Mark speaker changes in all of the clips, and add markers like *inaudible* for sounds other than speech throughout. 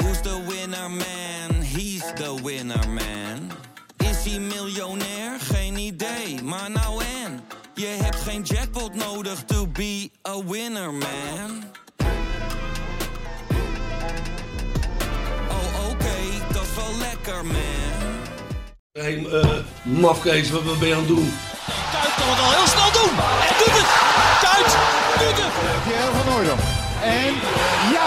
Speaker 1: Who's the winner man? He's the winner man. Is hij miljonair? Geen idee, maar nou en. Je hebt geen jackpot nodig to be a winner man. Oh oké, dat is wel lekker man.
Speaker 2: Hé, eh, mafkees, wat wat ben je aan het doen?
Speaker 3: Kuit kan het al heel snel doen. En doet het. Kuit doet het.
Speaker 4: Pierre van Hooydonk. En ja,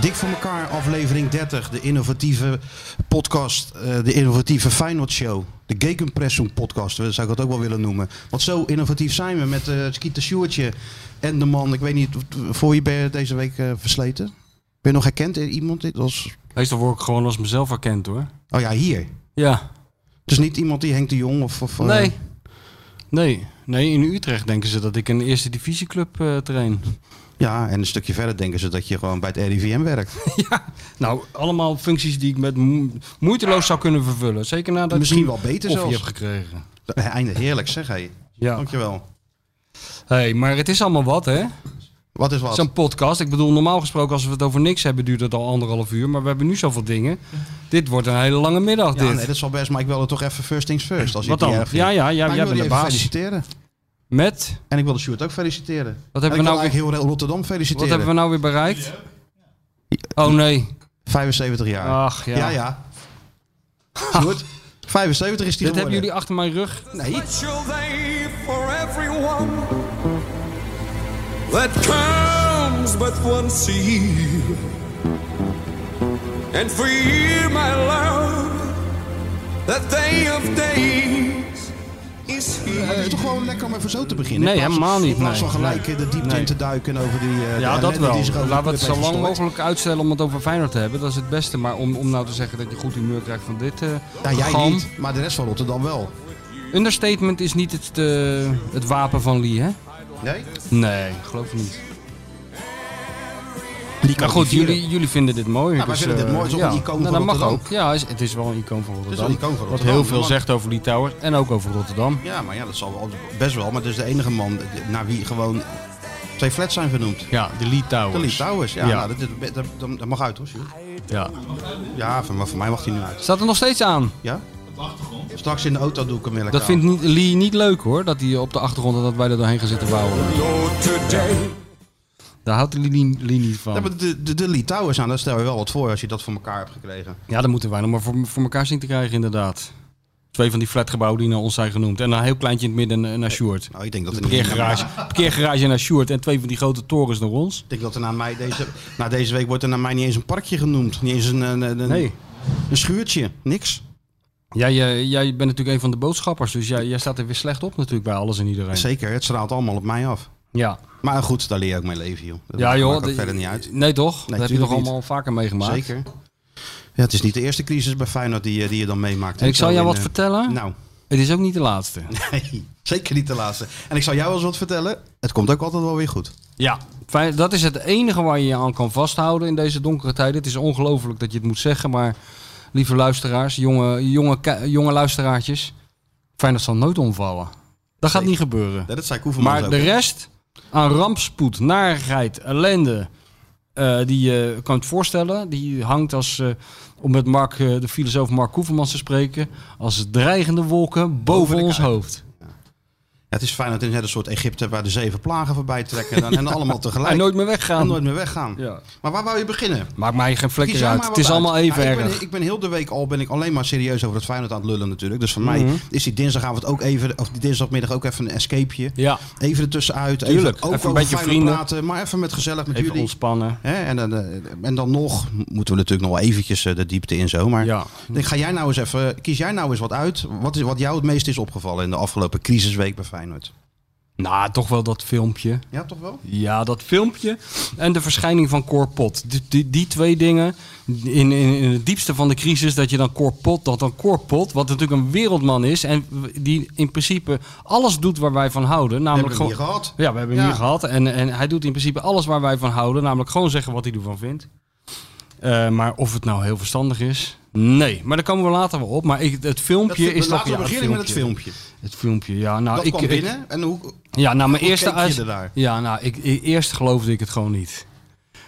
Speaker 5: Dik voor elkaar, aflevering 30. De innovatieve podcast, eh, de innovatieve Feyenoord Show. De Gegenpressung podcast, eh, zou ik dat ook wel willen noemen. Want zo innovatief zijn we met eh Skeeter Sjoertje en de man, ik weet niet, voor je ben je deze week eh, versleten? Ben je nog herkend in iemand? Dit was,
Speaker 6: Meestal word ik gewoon als mezelf herkend hoor.
Speaker 5: oh ja, hier.
Speaker 6: Ja.
Speaker 5: Dus niet iemand die Henk de Jong of... of eh,
Speaker 6: Nee. Nee. Nee, in Utrecht denken ze dat ik een eerste divisieclub eh, train.
Speaker 5: ja, en een stukje verder denken ze dat je gewoon bij het RIVM werkt.
Speaker 6: ja. Nou, allemaal functies die ik met mo- moeiteloos zou kunnen vervullen. Zeker nadat
Speaker 5: Misschien
Speaker 6: ik
Speaker 5: wel beter
Speaker 6: koffie
Speaker 5: zelfs.
Speaker 6: heb gekregen.
Speaker 5: Einde, heerlijk zeg hé.
Speaker 6: Ja.
Speaker 5: Dankjewel.
Speaker 6: Hey, maar het is allemaal wat hè.
Speaker 5: Wat is wat?
Speaker 6: Zo'n podcast. Ik bedoel, normaal gesproken als we het over niks hebben duurt het al anderhalf uur. Maar we hebben nu zoveel dingen. Dit wordt een hele lange middag
Speaker 5: ja,
Speaker 6: dit.
Speaker 5: nee, dat zal best, maar ik wilde toch even first things first. Als je het
Speaker 6: Wat dan?
Speaker 5: niet erg vindt.
Speaker 6: Ja, ja, ja,
Speaker 5: Maar
Speaker 6: jij
Speaker 5: ik wil
Speaker 6: bent
Speaker 5: je
Speaker 6: de
Speaker 5: even
Speaker 6: baas.
Speaker 5: feliciteren.
Speaker 6: Met,
Speaker 5: En ik wil de Sjoerd ook feliciteren. En
Speaker 6: Wat hebben
Speaker 5: ik
Speaker 6: we
Speaker 5: wil
Speaker 6: nou-
Speaker 5: eigenlijk heel Rotterdam
Speaker 6: wat
Speaker 5: feliciteren.
Speaker 6: hebben we nou weer bereikt? Oh nee.
Speaker 5: 75 jaar.
Speaker 6: Ach ja.
Speaker 5: ja, ja. Sjoerd, 75 is die
Speaker 6: Dit
Speaker 5: geworden.
Speaker 6: hebben jullie achter mijn rug
Speaker 5: Nee,
Speaker 1: Special day for everyone that comes but once a year. And for you, my love, that day of days is
Speaker 5: het
Speaker 1: here.
Speaker 5: is toch gewoon lekker om even zo te beginnen?
Speaker 6: Nee,
Speaker 5: In plaats-
Speaker 6: helemaal niet,
Speaker 5: In plaats
Speaker 6: nee.
Speaker 5: van gelijk eh, de diepte in
Speaker 6: Nee.
Speaker 5: te duiken en over die... eh, de
Speaker 6: Ja, dat
Speaker 5: ellende
Speaker 6: wel.
Speaker 5: die zich over de
Speaker 6: Laten we het
Speaker 5: club
Speaker 6: zo
Speaker 5: heeft
Speaker 6: lang
Speaker 5: verstoord.
Speaker 6: mogelijk uitstellen om het over Feyenoord te hebben. Dat is het beste. Maar om, om nou te zeggen dat je goed humeur krijgt van dit... eh
Speaker 5: Ja, Nou, jij
Speaker 6: gam.
Speaker 5: niet, maar de rest van Rotterdam wel.
Speaker 6: Understatement is niet het, eh, het wapen van Lee, hè?
Speaker 5: Nee?
Speaker 6: Nee, geloof ik niet. Maar goed, jullie, jullie vinden dit
Speaker 5: Ja,
Speaker 6: mooi.
Speaker 5: Nou, wij
Speaker 6: dus,
Speaker 5: vinden dit
Speaker 6: eh,
Speaker 5: mooi. Het is ook
Speaker 6: ja.
Speaker 5: een icoon
Speaker 6: Nou,
Speaker 5: van
Speaker 6: dat mag
Speaker 5: Rotterdam.
Speaker 6: ook. Ja, is- het is wel een icoon van Rotterdam.
Speaker 5: wel een icoon van
Speaker 6: Wat
Speaker 5: Rotterdam,
Speaker 6: heel veel
Speaker 5: maar-
Speaker 6: zegt over Lee Towers en ook over Rotterdam.
Speaker 5: Ja, maar ja, dat zal wel best wel. Maar het is de enige man naar wie gewoon twee flats zijn vernoemd.
Speaker 6: Ja, de Lee Towers.
Speaker 5: De Lee Towers. Ja,
Speaker 6: Ja.
Speaker 5: nou, dat, dat- dat- dat- dat mag uit hoor, Sjoerd.
Speaker 6: Ja.
Speaker 5: Ja, van, maar voor mij mag hij nu uit.
Speaker 6: Staat er nog steeds aan.
Speaker 5: Ja? Straks in de auto doe ik hem weer
Speaker 6: Dat vindt niet, Lee niet leuk hoor, dat hij op de achtergrond dat wij er doorheen gaan zitten bouwen. Daar houdt Lee, Lee- Lee niet
Speaker 5: Ja,
Speaker 6: van.
Speaker 5: maar de, de, de Lee Towers aan, daar stel je wel wat voor als je dat voor elkaar hebt gekregen.
Speaker 6: Ja, dat moeten wij nog maar voor, voor elkaar zien te krijgen, inderdaad. Twee van die flatgebouwen die naar ons zijn genoemd. En een heel kleintje in het midden eh, naar Sjoerd.
Speaker 5: Nou, ik denk dat
Speaker 6: Een
Speaker 5: er, niet-
Speaker 6: parkeergarage, parkeergarage naar Sjoerd en twee van die grote torens naar ons.
Speaker 5: ik denk dat er na, mij deze, na deze week wordt er naar mij niet eens een parkje genoemd. Niet eens een, een, een,
Speaker 6: Nee.
Speaker 5: een schuurtje. Niks.
Speaker 6: Jij, eh, jij bent natuurlijk een van de boodschappers, dus jij, jij staat er weer slecht op natuurlijk bij alles en iedereen.
Speaker 5: Zeker, het straalt allemaal op mij af.
Speaker 6: Ja,
Speaker 5: Maar goed, daar leer je ook mee leven, joh. Dat
Speaker 6: ja joh.
Speaker 5: maakt ook
Speaker 6: de-
Speaker 5: verder niet uit.
Speaker 6: Nee toch? dat heb je
Speaker 5: tuurlijk
Speaker 6: toch
Speaker 5: niet.
Speaker 6: allemaal vaker meegemaakt?
Speaker 5: Zeker. Ja, het is niet de eerste crisis bij Feyenoord die, je- die je dan meemaakt.
Speaker 6: En ik zal
Speaker 5: Zo
Speaker 6: jou
Speaker 5: in,
Speaker 6: wat
Speaker 5: eh,
Speaker 6: vertellen.
Speaker 5: Nou,
Speaker 6: Het is ook niet de laatste.
Speaker 5: nee, zeker niet de laatste. En ik zal jou eens wat vertellen. Het komt ook altijd wel weer goed.
Speaker 6: Ja, fijn- dat is het enige waar je je aan kan vasthouden in deze donkere tijden. Het is ongelooflijk dat je het moet zeggen, maar lieve luisteraars, jonge, jonge, ki- jonge luisteraartjes, Feyenoord zal nooit omvallen. Dat gaat
Speaker 5: Zeker.
Speaker 6: niet gebeuren.
Speaker 5: Ja, dat zei Koevermans
Speaker 6: Maar
Speaker 5: ook.
Speaker 6: de rest aan rampspoed, narigheid, ellende, eh, die je kunt voorstellen, die hangt als, eh, om met Mark, eh, de filosoof Mark Koevermans te spreken, als dreigende wolken boven,
Speaker 5: Boven de
Speaker 6: ons
Speaker 5: kijk.
Speaker 6: hoofd.
Speaker 5: Ja, het is fijn dat het net een soort Egypte waar de zeven plagen voorbij trekken en, dan- en allemaal
Speaker 6: *laughs*
Speaker 5: tegelijk.
Speaker 6: En nooit meer
Speaker 5: en
Speaker 6: weggaan.
Speaker 5: nooit meer weggaan.
Speaker 6: Ja.
Speaker 5: Maar waar wou je beginnen?
Speaker 6: Maakt mij geen
Speaker 5: Kies
Speaker 6: vlekken
Speaker 5: jij
Speaker 6: uit.
Speaker 5: maar
Speaker 6: Het
Speaker 5: wat
Speaker 6: is
Speaker 5: uit.
Speaker 6: allemaal even
Speaker 5: Nou, ik
Speaker 6: erg.
Speaker 5: Ben, ik ben heel de week al ben ik alleen maar serieus over het Feyenoord aan het lullen natuurlijk. Dus voor
Speaker 6: Mhm.
Speaker 5: mij is die dinsdagavond ook even, of die dinsdagmiddag ook even een escapeje.
Speaker 6: Ja,
Speaker 5: Even ertussenuit.
Speaker 6: Tuurlijk,
Speaker 5: Even, ook
Speaker 6: even een
Speaker 5: over
Speaker 6: beetje
Speaker 5: Feyenoord
Speaker 6: vrienden.
Speaker 5: praten, maar even met gezellig met
Speaker 6: even
Speaker 5: jullie.
Speaker 6: ontspannen.
Speaker 5: Hè, en, dan, eh, en dan nog moeten we natuurlijk nog wel eventjes eh, de diepte in zo. Maar
Speaker 6: Ja.
Speaker 5: ik denk, ga jij nou eens even, kies jij nou eens wat uit. Wat, is, wat jou het meest is opgevallen in de afgelopen crisisweek bij Feyenoord?
Speaker 6: Nou, toch wel dat filmpje.
Speaker 5: Ja, toch wel?
Speaker 6: Ja, dat filmpje en de verschijning van Corpot. Die, die, die twee dingen in, in, in het diepste van de crisis, dat je dan Corpot, dat dan Corpot, wat natuurlijk een wereldman is en die in principe alles doet waar wij van houden.
Speaker 5: Heb
Speaker 6: Namelijk
Speaker 5: ik niet
Speaker 6: gewoon-
Speaker 5: gehad.
Speaker 6: Ja, we hebben hem
Speaker 5: Ja.
Speaker 6: hier gehad en, en hij doet in principe alles waar wij van houden, namelijk gewoon zeggen wat hij ervan vindt. Eh, maar of het nou heel verstandig is, nee. Maar daar komen we later wel op. Maar ik, het filmpje
Speaker 5: Dat-
Speaker 6: is toch...
Speaker 5: Laten we
Speaker 6: ja,
Speaker 5: beginnen met het filmpje.
Speaker 6: Het filmpje, ja. Nou,
Speaker 5: dat
Speaker 6: ik,
Speaker 5: kwam
Speaker 6: ik-
Speaker 5: binnen. En hoe,
Speaker 6: ja, nou, mijn
Speaker 5: Hoe
Speaker 6: eerste
Speaker 5: keek je
Speaker 6: uit-
Speaker 5: ernaar?
Speaker 6: Ja, nou, ik, i- eerst geloofde ik het gewoon niet.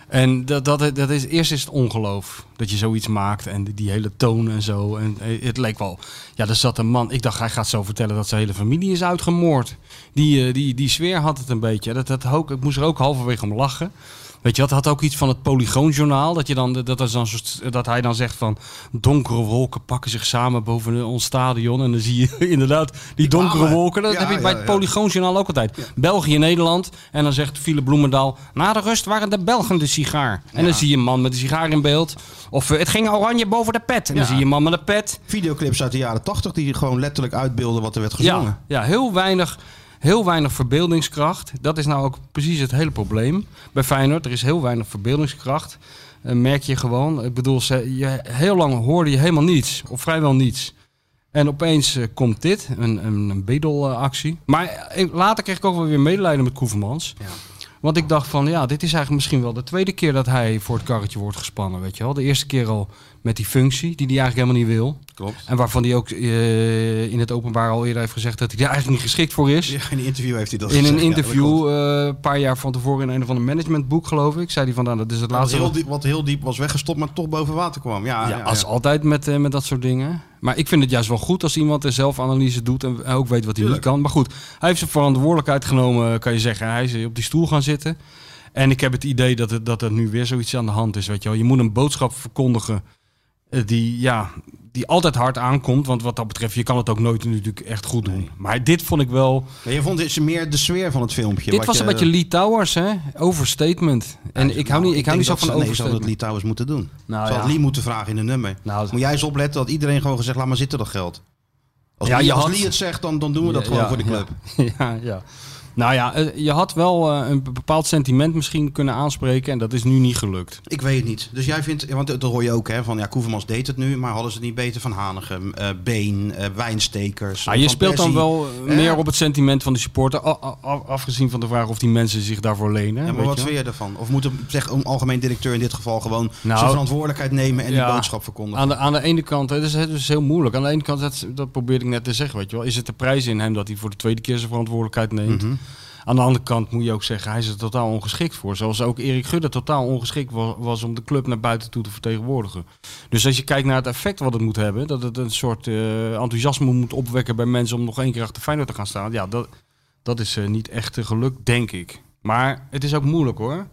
Speaker 6: En dat, dat, dat is, eerst is het ongeloof dat je zoiets maakt en die, die hele toon en zo. En eh, het leek wel, ja, er zat een man. Ik dacht, hij gaat zo vertellen dat zijn hele familie is uitgemoord. Die, eh, die, die sfeer had het een beetje. Dat, dat ook, ik moest er ook halverwege om lachen. Weet je, dat had ook iets van het Polygoonjournaal. Dat, je dan, dat, is dan zo- dat hij dan zegt van donkere wolken pakken zich samen boven ons stadion. En dan zie je *laughs* inderdaad die, donkere
Speaker 5: kwamen.
Speaker 6: wolken. Dat
Speaker 5: Ja,
Speaker 6: heb ik bij
Speaker 5: ja,
Speaker 6: het
Speaker 5: ja.
Speaker 6: Polygoonjournaal ook altijd. België, Nederland. En dan zegt Philip Bloemendaal. Na de rust waren de Belgen de sigaar. En dan zie je een man met een sigaar in beeld. Of eh, het ging oranje boven de pet. En dan
Speaker 5: Ja.
Speaker 6: zie je een man met een pet.
Speaker 5: videoclips uit de jaren 80 die gewoon letterlijk uitbeelden wat er werd gezongen.
Speaker 6: Ja, ja heel, weinig, heel weinig verbeeldingskracht. Dat is nou ook precies het hele probleem bij Feyenoord. Er is heel weinig verbeeldingskracht. Eh, merk je gewoon. Ik bedoel, ze, je, heel lang hoorde je helemaal niets. Of vrijwel niets. En opeens eh, komt dit, een, een, een bedelactie. Maar eh, later kreeg ik ook wel weer medelijden met Koevermans. Want ik dacht van, ja, dit is eigenlijk misschien wel de tweede keer dat hij voor het karretje wordt gespannen, weet je wel. De eerste keer al met die functie, die hij eigenlijk helemaal niet wil.
Speaker 5: Klopt.
Speaker 6: En waarvan hij ook eh, in het openbaar al eerder heeft gezegd dat hij daar eigenlijk niet geschikt voor is.
Speaker 5: Ja, in een interview heeft hij dat
Speaker 6: In
Speaker 5: gezegd. *laughs*
Speaker 6: een
Speaker 5: ja, dat klopt.
Speaker 6: interview eh, een paar jaar van tevoren in een of ander managementboek, geloof ik, zei hij van, nou, dat is het
Speaker 5: Wat
Speaker 6: laatste.
Speaker 5: heel,
Speaker 6: wat-
Speaker 5: diep, wat heel diep was weggestopt, maar toch boven water kwam. Ja,
Speaker 6: ja,
Speaker 5: Ah, ja,
Speaker 6: als
Speaker 5: ja.
Speaker 6: altijd met, eh, met dat soort dingen. Maar ik vind het juist wel goed als iemand er zelf analyse doet en ook weet wat hij niet kan. Maar goed, hij heeft zijn verantwoordelijkheid genomen, eh, kan je zeggen. Hij is op die stoel gaan zitten. En ik heb het idee dat, het, dat er nu weer zoiets aan de hand is. Weet je, wel. je moet een boodschap verkondigen eh, die, ja, die altijd hard aankomt. Want wat dat betreft, je kan het ook nooit natuurlijk echt goed doen. Maar dit vond ik wel...
Speaker 5: Maar je vond het meer de sfeer van het filmpje.
Speaker 6: dit
Speaker 5: wat
Speaker 6: was
Speaker 5: je-
Speaker 6: een beetje Lee Towers, hè? Overstatement. En ik hou niet,
Speaker 5: Nou, denk
Speaker 6: ik hou niet zo
Speaker 5: dat
Speaker 6: van
Speaker 5: ze- Nee, ze hadden het
Speaker 6: overstatement.
Speaker 5: Lee Towers moeten doen.
Speaker 6: Nou,
Speaker 5: ze hadden
Speaker 6: ja.
Speaker 5: Lee moeten vragen in een nummer.
Speaker 6: Nou,
Speaker 5: Moet jij eens opletten dat iedereen gewoon gezegd, laat maar zitten dat geld. Als,
Speaker 6: Ja,
Speaker 5: Lee,
Speaker 6: je
Speaker 5: als
Speaker 6: had-
Speaker 5: Lee het zegt, dan, dan doen we dat
Speaker 6: Ja,
Speaker 5: gewoon
Speaker 6: ja,
Speaker 5: voor de club.
Speaker 6: *laughs* ja, ja. Nou ja, eh, je had wel eh, een bepaald sentiment misschien kunnen aanspreken en dat is nu niet gelukt.
Speaker 5: Ik weet het niet. Dus jij vindt, want dat hoor je ook hè, van ja, Koevermans deed het nu, maar hadden ze het niet beter van Hanegem, eh, Been, eh, Wijnstekers.
Speaker 6: Ah, je
Speaker 5: Van
Speaker 6: speelt dan
Speaker 5: Persie?
Speaker 6: wel eh,
Speaker 5: Eh?
Speaker 6: meer op het sentiment van de supporter, a- a- a- afgezien van de vraag of die mensen zich daarvoor lenen.
Speaker 5: Ja, maar
Speaker 6: weet
Speaker 5: wat
Speaker 6: je
Speaker 5: vind
Speaker 6: wel.
Speaker 5: je ervan? Of moet een, zeg, een algemeen directeur in dit geval gewoon
Speaker 6: Nou,
Speaker 5: zijn verantwoordelijkheid nemen en
Speaker 6: ja,
Speaker 5: die boodschap verkondigen?
Speaker 6: aan de, aan de ene kant, het is, het is heel moeilijk. Aan de ene kant, dat, dat probeerde ik net te zeggen, weet je wel. Is het de prijs in hem dat hij voor de tweede keer zijn verantwoordelijkheid neemt?
Speaker 5: Mhm.
Speaker 6: Aan de andere kant moet je ook zeggen, hij is er totaal ongeschikt voor. Zoals ook Erik Gudde totaal ongeschikt wa- was om de club naar buiten toe te vertegenwoordigen. Dus als je kijkt naar het effect wat het moet hebben, dat het een soort eh, enthousiasme moet opwekken bij mensen om nog één keer achter Feyenoord te gaan staan. Ja, dat, dat is eh, niet echt eh, gelukt, denk ik. Maar het is ook moeilijk hoor.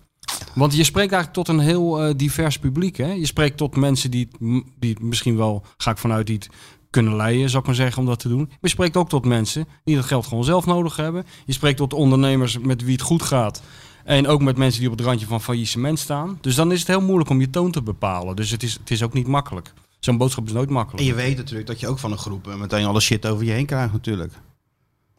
Speaker 6: Want je spreekt eigenlijk tot een heel eh, divers publiek. Hè? Je spreekt tot mensen die, het m- die het misschien wel, ga ik vanuit, die het kunnen leiden, zou ik maar zeggen, om dat te doen. Maar je spreekt ook tot mensen die dat geld gewoon zelf nodig hebben. Je spreekt tot ondernemers met wie het goed gaat. En ook met mensen die op het randje van faillissement staan. Dus dan is het heel moeilijk om je toon te bepalen. Dus het is, het is ook niet makkelijk. Zo'n boodschap is nooit
Speaker 5: En
Speaker 6: makkelijk.
Speaker 5: je weet natuurlijk dat je ook van een groep eh, meteen alle shit over je heen krijgt natuurlijk.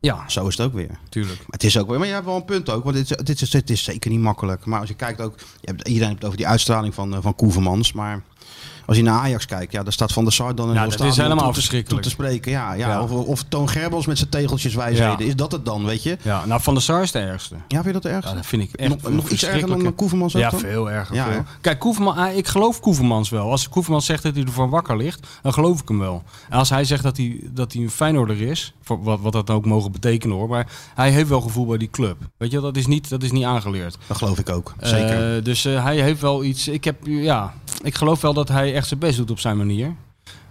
Speaker 6: Ja,
Speaker 5: Zo is het ook weer.
Speaker 6: natuurlijk.
Speaker 5: Maar het is ook weer, maar je hebt wel een punt ook, want dit, is- dit, is, dit is zeker niet makkelijk. Maar als je kijkt ook, je hebt, iedereen heeft het over die uitstraling van, eh, van Koevermans, maar als je naar Ajax kijkt, ja, daar staat Van der Sar dan een
Speaker 6: Ja,
Speaker 5: heel
Speaker 6: dat
Speaker 5: stadion
Speaker 6: is helemaal
Speaker 5: toe te-
Speaker 6: verschrikkelijk.
Speaker 5: Toe te spreken, ja. ja,
Speaker 6: Ja.
Speaker 5: Of, of Toon Gerbels met zijn tegeltjes wijsheden,
Speaker 6: Ja.
Speaker 5: is dat het dan, weet je?
Speaker 6: Ja, nou, Van der Sar is de ergste.
Speaker 5: Ja, vind je dat erg?
Speaker 6: Ja, dat vind ik echt
Speaker 5: nog, nog iets erger dan
Speaker 6: verschrikkelijke-
Speaker 5: eh, Koevermans ook
Speaker 6: Ja,
Speaker 5: dan?
Speaker 6: veel erger.
Speaker 5: Ja,
Speaker 6: veel.
Speaker 5: hè?
Speaker 6: Kijk, Koeverman, ah, ik geloof Koevermans wel. Als Koeverman zegt dat hij ervan wakker ligt, dan geloof ik hem wel. En als hij zegt dat hij, dat hij een Feyenoorder is, voor wat, wat dat ook mogen betekenen hoor, maar hij heeft wel gevoel bij die club. Weet je, dat is niet, dat is niet aangeleerd.
Speaker 5: Dat geloof ik ook, zeker.
Speaker 6: Eh, dus eh, hij heeft wel iets. Ik, heb, ja, ik geloof wel dat hij echt zijn best doet op zijn manier.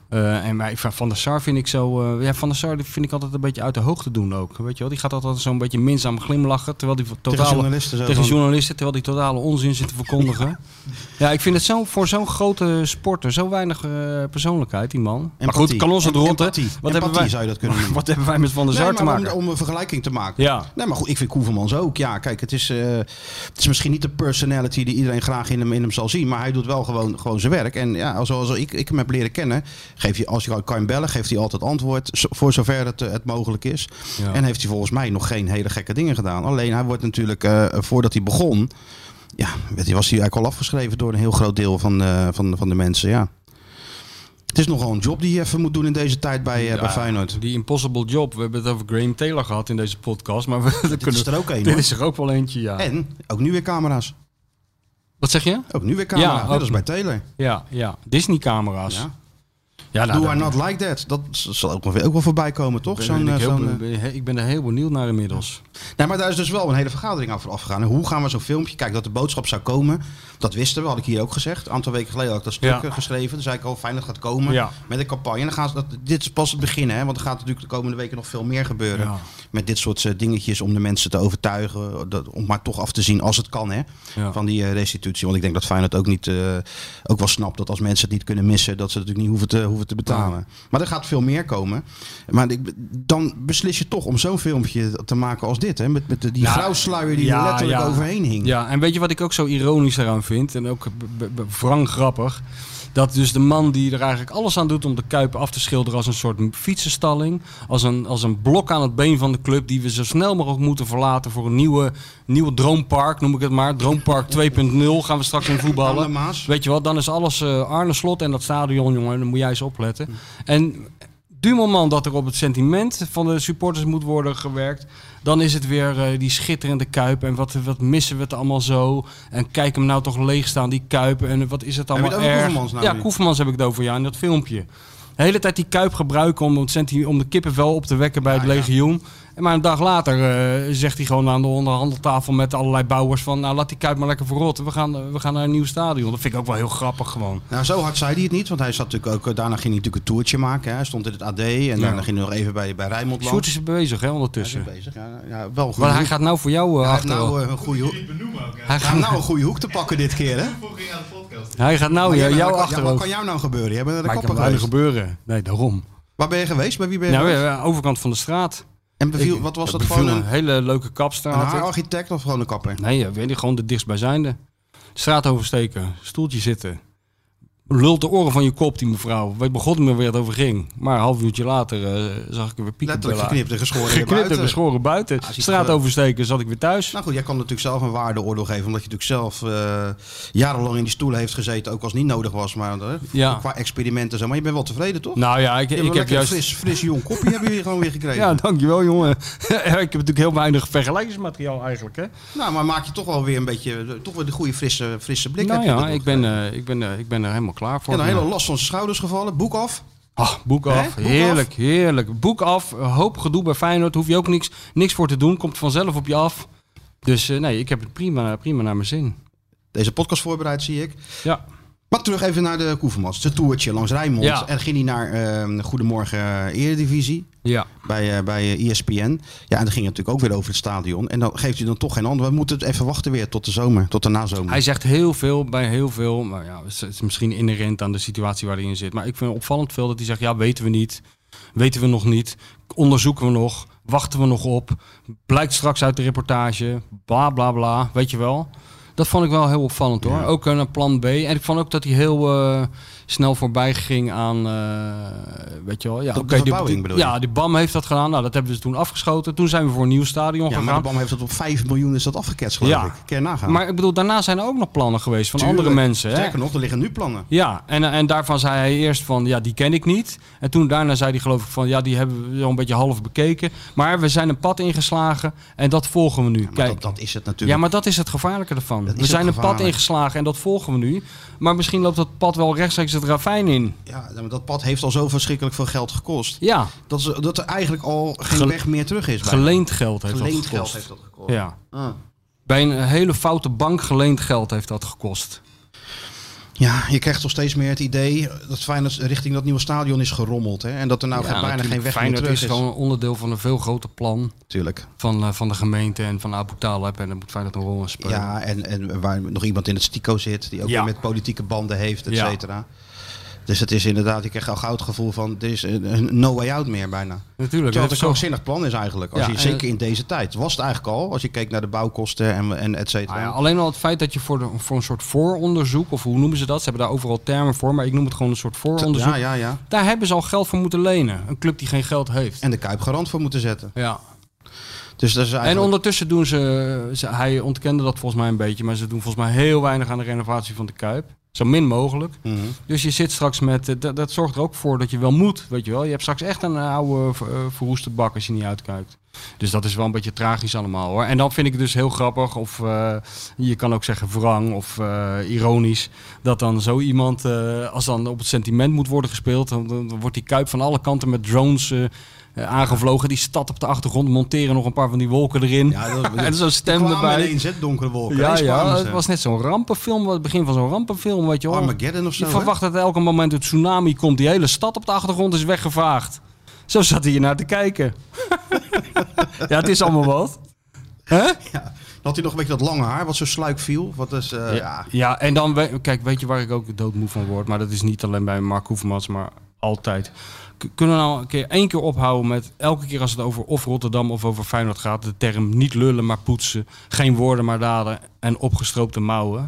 Speaker 6: Eh, en maar ik- van der Sar vind ik zo. eh, ja, van der Sar die vind ik altijd een beetje uit de hoogte doen ook. Weet je wel? Die gaat altijd zo'n beetje minzaam glimlachen. Terwijl die
Speaker 5: tegen
Speaker 6: totale,
Speaker 5: journalisten zo
Speaker 6: tegen
Speaker 5: van-
Speaker 6: journalisten, terwijl die totale onzin zitten verkondigen.
Speaker 5: *laughs*
Speaker 6: Ja, ik vind het zo, voor zo'n grote sporter, zo weinig eh, persoonlijkheid, die man. maar goed,
Speaker 5: Empathie.
Speaker 6: kan ons het
Speaker 5: Em-
Speaker 6: rond, hè?
Speaker 5: empathie.
Speaker 6: Wat, hebben
Speaker 5: Empathie
Speaker 6: wij-
Speaker 5: zou je dat
Speaker 6: *laughs*
Speaker 5: kunnen noemen.
Speaker 6: wat hebben wij met Van der Sar
Speaker 5: Nee,
Speaker 6: te
Speaker 5: maar
Speaker 6: maken?
Speaker 5: Om, om een vergelijking te maken.
Speaker 6: Ja.
Speaker 5: Nee, maar goed, ik vind Koevermans ook. Ja, kijk, het is, eh, het is misschien niet de personality die iedereen graag in hem, in hem zal zien. Maar hij doet wel gewoon, gewoon zijn werk. En ja, zoals ik, ik hem heb leren kennen, Geef je, als je kan hem bellen, geeft hij altijd antwoord. zo- Voor zover het, eh, het mogelijk is.
Speaker 6: Ja.
Speaker 5: En heeft hij volgens mij nog geen hele gekke dingen gedaan. Alleen hij wordt natuurlijk, eh, voordat hij begon. Ja, weet je, was hij eigenlijk al afgeschreven door een heel groot deel van, eh, van, van de mensen. Ja. Het is nogal een job die je even moet doen in deze tijd bij, eh, bij Feyenoord.
Speaker 6: Die impossible job. We hebben het over Graham Taylor gehad in deze podcast. Maar we, dit
Speaker 5: is er ook een,
Speaker 6: *laughs* Dit
Speaker 5: hoor.
Speaker 6: is er ook wel eentje, ja.
Speaker 5: En ook nu weer camera's.
Speaker 6: Wat zeg je?
Speaker 5: Ook nu weer camera's.
Speaker 6: Ja,
Speaker 5: Net
Speaker 6: ook.
Speaker 5: als bij Taylor.
Speaker 6: Ja, ja. Disney-camera's.
Speaker 5: Ja.
Speaker 6: Ja. nou,
Speaker 5: Do
Speaker 6: daar-
Speaker 5: I not like that? Dat zal ook wel, ook wel voorbij komen, toch?
Speaker 6: ben-
Speaker 5: Zo'n,
Speaker 6: ben
Speaker 5: eh,
Speaker 6: ik, heel
Speaker 5: zo'n,
Speaker 6: be-
Speaker 5: eh,
Speaker 6: ben- he- ik ben er heel benieuwd naar inmiddels.
Speaker 5: Nee, maar daar is dus wel een hele vergadering aan vooraf gegaan. En hoe gaan we zo'n filmpje... Kijk, dat de boodschap zou komen, dat wisten we, had ik hier ook gezegd. Een aantal weken geleden had ik dat stuk
Speaker 6: Ja.
Speaker 5: eh, geschreven. Toen zei ik al, fijn dat het gaat komen
Speaker 6: Ja.
Speaker 5: met een campagne. En dan gaan ze dat, dit is pas het begin, hè. Want er gaat natuurlijk de komende weken nog veel meer gebeuren.
Speaker 6: Ja.
Speaker 5: Met dit soort eh, dingetjes om de mensen te overtuigen. Dat, om maar toch af te zien, als het kan, hè.
Speaker 6: Ja.
Speaker 5: Van die eh, restitutie. Want ik denk dat Feyenoord ook, niet, eh, ook wel snapt dat als mensen het niet kunnen missen... dat ze het natuurlijk niet hoeven te, hoeven te betalen. Maar er gaat veel meer komen. Maar ik- dan beslis je toch om zo'n filmpje te maken als dit. Hè? Met, met die
Speaker 6: Ja.
Speaker 5: grauwsluier die er
Speaker 6: Ja,
Speaker 5: letterlijk
Speaker 6: ja.
Speaker 5: overheen hing.
Speaker 6: Ja, en weet je wat ik ook zo ironisch eraan vind? En ook b- b- wrang grappig. Dat dus de man die er eigenlijk alles aan doet om de Kuip af te schilderen als een soort fietsenstalling. Als een, als een blok aan het been van de club die we zo snel mogelijk moeten verlaten voor een nieuwe, nieuwe droompark, noem ik het maar. Droompark
Speaker 5: *laughs*
Speaker 6: 2.0 gaan we straks in
Speaker 5: Aan de
Speaker 6: voetballen.
Speaker 5: Maas.
Speaker 6: Weet je wat, dan is alles eh Arne Slot en dat stadion, jongen. Dan moet jij eens opletten.
Speaker 5: Hm.
Speaker 6: En du moment dat er op het sentiment van de supporters moet worden gewerkt... dan is het weer eh, die schitterende Kuip. En wat, wat missen we het allemaal zo? En kijk hem nou toch leegstaan, die Kuip. En wat is het
Speaker 5: je
Speaker 6: allemaal
Speaker 5: het over
Speaker 6: erg?
Speaker 5: Koevermans nou
Speaker 6: ja,
Speaker 5: nu?
Speaker 6: Koevermans heb ik het over, ja, in dat filmpje. De hele tijd die Kuip gebruiken om, het senti- om de kippenvel op te wekken bij het legioen. En Maar een dag later eh, zegt hij gewoon aan de onderhandeltafel met allerlei bouwers van... nou, laat die Kuip maar lekker verrotten. We gaan, eh, we gaan naar een nieuw stadion. Dat vind ik ook wel heel grappig gewoon.
Speaker 5: Nou, zo hard zei hij het niet. Want hij zat natuurlijk ook, eh, daarna ging hij natuurlijk een toertje maken. Hè. Hij stond in het AD en daarna ging hij nog even bij, bij Rijnmond
Speaker 6: Sjoerd is er bezig, hè, ondertussen.
Speaker 5: bezig. Ja, ja, wel goed.
Speaker 6: Maar hij gaat nou voor jou eh,
Speaker 5: Hij heeft
Speaker 6: achter.
Speaker 5: nou, eh, een goede hoek.
Speaker 6: hij,
Speaker 5: Hij
Speaker 6: gaat,
Speaker 5: heeft nou een goede hoek te pakken dit keer, hè?
Speaker 6: Oh, hij gaat nou
Speaker 5: Maar jij
Speaker 6: jou,
Speaker 5: bent-
Speaker 6: jou
Speaker 5: wat- ja, wat
Speaker 6: achterover.
Speaker 5: kan jou nou gebeuren? Jij bent naar de
Speaker 6: maar ik
Speaker 5: kapper
Speaker 6: kan weinig
Speaker 5: geweest.
Speaker 6: gebeuren. Nee, daarom.
Speaker 5: Waar ben je geweest? Bij wie ben je
Speaker 6: Nou,
Speaker 5: geweest?
Speaker 6: eh, overkant van de straat.
Speaker 5: En beviel,
Speaker 6: Ik-
Speaker 5: wat was dat?
Speaker 6: beviel
Speaker 5: Gewoon een,
Speaker 6: een hele leuke
Speaker 5: een
Speaker 6: kapstraat.
Speaker 5: haararchitect of gewoon een kapper?
Speaker 6: Nee, eh, weet ik gewoon de dichtstbijzijnde. Straat oversteken, stoeltje zitten. Lult de oren van je kop, die mevrouw. We begonnen me weer het over ging. Maar een half uurtje later eh, zag ik er weer pieken.
Speaker 5: Letterlijk geknipt en geschoren
Speaker 6: Geknipt
Speaker 5: erbuiten.
Speaker 6: en geschoren buiten.
Speaker 5: ziet er
Speaker 6: Straat
Speaker 5: wel-
Speaker 6: oversteken zat ik weer thuis.
Speaker 5: Nou goed, jij kan natuurlijk zelf een waardeoordeel geven. Omdat je natuurlijk zelf eh, jarenlang in die stoelen heeft gezeten. Ook als het niet nodig was. Maar eh,
Speaker 6: Ja.
Speaker 5: qua experimenten en zo. Maar je bent wel tevreden, toch?
Speaker 6: Nou ja,
Speaker 5: je
Speaker 6: ik,
Speaker 5: hebt
Speaker 6: ik
Speaker 5: een
Speaker 6: heb
Speaker 5: lekker
Speaker 6: juist...
Speaker 5: fris, fris jong kopje hebben jullie
Speaker 6: *laughs*
Speaker 5: gewoon weer gekregen.
Speaker 6: Ja, dankjewel jongen. *laughs* ik heb natuurlijk heel weinig vergelijkingsmateriaal eigenlijk. Hè?
Speaker 5: Nou, maar maak je toch wel weer een beetje... eh, Toch weer de goede frisse, frisse blik.
Speaker 6: nou
Speaker 5: heb je
Speaker 6: ja,
Speaker 5: erdoor
Speaker 6: ik ben,
Speaker 5: gekregen.
Speaker 6: eh, ik, ben, eh, ik ben er helemaal klaar
Speaker 5: Ik
Speaker 6: voor.
Speaker 5: heb een hele last van zijn schouders gevallen. Boek af.
Speaker 6: Ah, boek
Speaker 5: Hè?
Speaker 6: af.
Speaker 5: Boek
Speaker 6: heerlijk, heerlijk. Boek af. Een hoop gedoe bij Feyenoord. Hoef je ook niks, niks voor te doen. Komt vanzelf op je af. Dus eh, nee, ik heb het prima, prima naar mijn zin.
Speaker 5: Deze podcast voorbereid, zie ik.
Speaker 6: Ja.
Speaker 5: Maar terug even naar de Koevermans. Zijn toertje langs Rijnmond.
Speaker 6: Ja.
Speaker 5: En ging hij naar eh, Goedemorgen eh, Eredivisie.
Speaker 6: Ja.
Speaker 5: bij, eh bij eh, ESPN. Ja, en dan ging het natuurlijk ook weer over het stadion. En dan geeft hij dan toch geen antwoord. We moeten het even wachten weer tot de zomer, tot de nazomer.
Speaker 6: Hij zegt heel veel bij heel veel. Maar ja, het is- het is misschien inherent aan de situatie waar hij in zit. Maar ik vind opvallend veel dat hij zegt: ja, weten we niet. Weten we nog niet. Onderzoeken we nog. Wachten we nog op. Blijkt straks uit de reportage. Bla bla bla. Weet je wel. Dat vond ik wel heel opvallend hoor. Ook eh, een plan B. En ik vond ook dat hij heel eh, snel voorbij ging aan. eh, weet je wel. Ja,
Speaker 5: de
Speaker 6: oké, die-
Speaker 5: verbouwing
Speaker 6: die-
Speaker 5: bedoel je?
Speaker 6: Ja, die BAM heeft dat gedaan. Nou, dat hebben we dus toen afgeschoten. Toen zijn we voor een nieuw stadion
Speaker 5: ja, maar de
Speaker 6: gegaan.
Speaker 5: BAM heeft dat op 5 miljoen is dat afgeketst, geloof
Speaker 6: Ja.
Speaker 5: ik. Kun je nagaan.
Speaker 6: Maar ik bedoel, daarna zijn er ook nog plannen geweest van
Speaker 5: Tuurlijk.
Speaker 6: andere mensen. Hè?
Speaker 5: Sterker nog, er liggen nu plannen.
Speaker 6: Ja, en, eh, en daarvan zei hij eerst van, ja, die ken ik niet. En toen daarna zei hij geloof ik van, ja, die hebben we zo'n beetje half bekeken. Maar we zijn een pad ingeslagen en dat volgen we nu.
Speaker 5: Maar
Speaker 6: Kijk,
Speaker 5: dat, dat is het
Speaker 6: ja,
Speaker 5: natuurlijk.
Speaker 6: maar dat is het gevaarlijke ervan.
Speaker 5: Dat is
Speaker 6: We zijn
Speaker 5: het
Speaker 6: een pad
Speaker 5: gevaarlijk.
Speaker 6: ingeslagen en dat volgen we nu. Maar misschien loopt dat pad wel rechtstreeks het ravijn in.
Speaker 5: Ja, maar dat pad heeft al zo verschrikkelijk veel geld gekost.
Speaker 6: Ja,
Speaker 5: Dat, ze, dat er eigenlijk al geen
Speaker 6: Gele-
Speaker 5: weg meer terug is. bijna.
Speaker 6: geleend geld heeft
Speaker 5: Geleend
Speaker 6: dat gekost.
Speaker 5: geld heeft dat gekost.
Speaker 6: Ja.
Speaker 5: Ah.
Speaker 6: Bij een hele foute bank geleend geld heeft dat gekost.
Speaker 5: Ja, je krijgt toch steeds meer het idee dat Feyenoord richting dat nieuwe stadion is gerommeld. Hè? En dat er nou
Speaker 6: Ja,
Speaker 5: geen- bijna
Speaker 6: natuurlijk,
Speaker 5: geen weg
Speaker 6: Feyenoord
Speaker 5: meer terug
Speaker 6: is
Speaker 5: is.
Speaker 6: gewoon een onderdeel van een veel groter plan
Speaker 5: Tuurlijk.
Speaker 6: van, eh, van de gemeente en van Abu Talib. En daar moet Feyenoord een rol in spelen.
Speaker 5: Ja, en, en waar nog iemand in het stico zit, die ook
Speaker 6: Ja.
Speaker 5: weer met politieke banden heeft, et
Speaker 6: Ja.
Speaker 5: cetera. Dus het is inderdaad, ik krijg al gauw het gevoel van, er is een, een no way out meer bijna.
Speaker 6: Natuurlijk.
Speaker 5: Terwijl het een
Speaker 6: dat is zo-
Speaker 5: krankzinnig plan is eigenlijk. Als
Speaker 6: Ja,
Speaker 5: je,
Speaker 6: en
Speaker 5: zeker
Speaker 6: het-
Speaker 5: in deze tijd. Was het eigenlijk al, als je keek naar de bouwkosten en, en et cetera.
Speaker 6: Nou ja, alleen al het feit dat je voor, de, voor een soort vooronderzoek, of hoe noemen ze dat? Ze hebben daar overal termen voor, maar ik noem het gewoon een soort vooronderzoek.
Speaker 5: ja, ja, ja.
Speaker 6: Daar hebben ze al geld voor moeten lenen. Een club die geen geld heeft.
Speaker 5: En de Kuip garant voor moeten zetten.
Speaker 6: ja.
Speaker 5: Dus dat is
Speaker 6: En
Speaker 5: eigenlijk...
Speaker 6: ondertussen doen ze, ze- hij ontkende dat volgens mij een beetje, maar ze doen volgens mij heel weinig aan de renovatie van de Kuip. Zo min mogelijk.
Speaker 5: Mhm.
Speaker 6: Dus je zit straks met, eh, dat, dat zorgt er ook voor dat je wel moet, weet je wel. Je hebt straks echt een oude ver- eh, verroeste bak als je niet uitkijkt. Dus dat is wel een beetje tragisch allemaal hoor. En dan vind ik het dus heel grappig, of eh, je kan ook zeggen wrang of eh, ironisch, dat dan zo iemand, eh, als dan op het sentiment moet worden gespeeld, dan, dan wordt die kuip van alle kanten met drones eh, eh, aangevlogen. Die stad op de achtergrond, monteren nog een paar van die wolken erin.
Speaker 5: Ja, dat,
Speaker 6: *laughs* en zo'n stem erbij.
Speaker 5: ineens, hè, donkere wolken.
Speaker 6: Ja,
Speaker 5: Ineens kwamen
Speaker 6: ja,
Speaker 5: ze.
Speaker 6: het was net zo'n rampenfilm, het begin van zo'n rampenfilm, weet je wel.
Speaker 5: Armageddon of zo.
Speaker 6: Je
Speaker 5: hè?
Speaker 6: Oh. verwacht dat elke moment een tsunami komt. Die hele stad op de achtergrond is weggevaagd. Zo zat hij hier naar te kijken. *laughs* ja, het is allemaal wat. Hè?
Speaker 5: Dan Had hij nog een beetje dat lange haar, wat zo sluik viel. Wat is, eh, ja.
Speaker 6: Ja, en dan, we- kijk, weet je waar ik ook doodmoe van word? Maar dat is niet alleen bij Mark Hoefmans, maar altijd. K- kunnen we nou een keer, één keer ophouden met elke keer als het over of Rotterdam of over Feyenoord gaat, de term niet lullen, maar poetsen. Geen woorden, maar daden. En opgestroopte mouwen.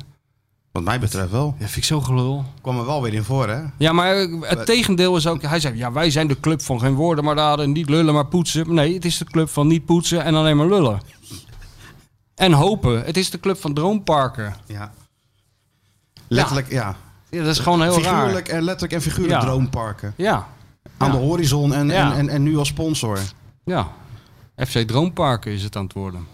Speaker 5: Wat mij betreft wel.
Speaker 6: Dat vind ik zo gelul.
Speaker 5: Kwam er wel weer in voor, hè?
Speaker 6: Ja, maar het tegendeel is ook. Hij zei: ja, wij zijn de club van geen woorden, maar daden. Niet lullen, maar poetsen. Nee, het is de club van niet poetsen en alleen maar lullen. En hopen. Het is de club van droomparken.
Speaker 5: Ja. Letterlijk, ja.
Speaker 6: Ja, dat is gewoon heel raar.
Speaker 5: figuurlijk en letterlijk en figuurlijk
Speaker 6: Ja.
Speaker 5: droomparken.
Speaker 6: Ja,
Speaker 5: Aan
Speaker 6: Ja.
Speaker 5: de horizon en,
Speaker 6: Ja.
Speaker 5: en, en, en nu als sponsor.
Speaker 6: ja. FC Droomparken is het aan het worden.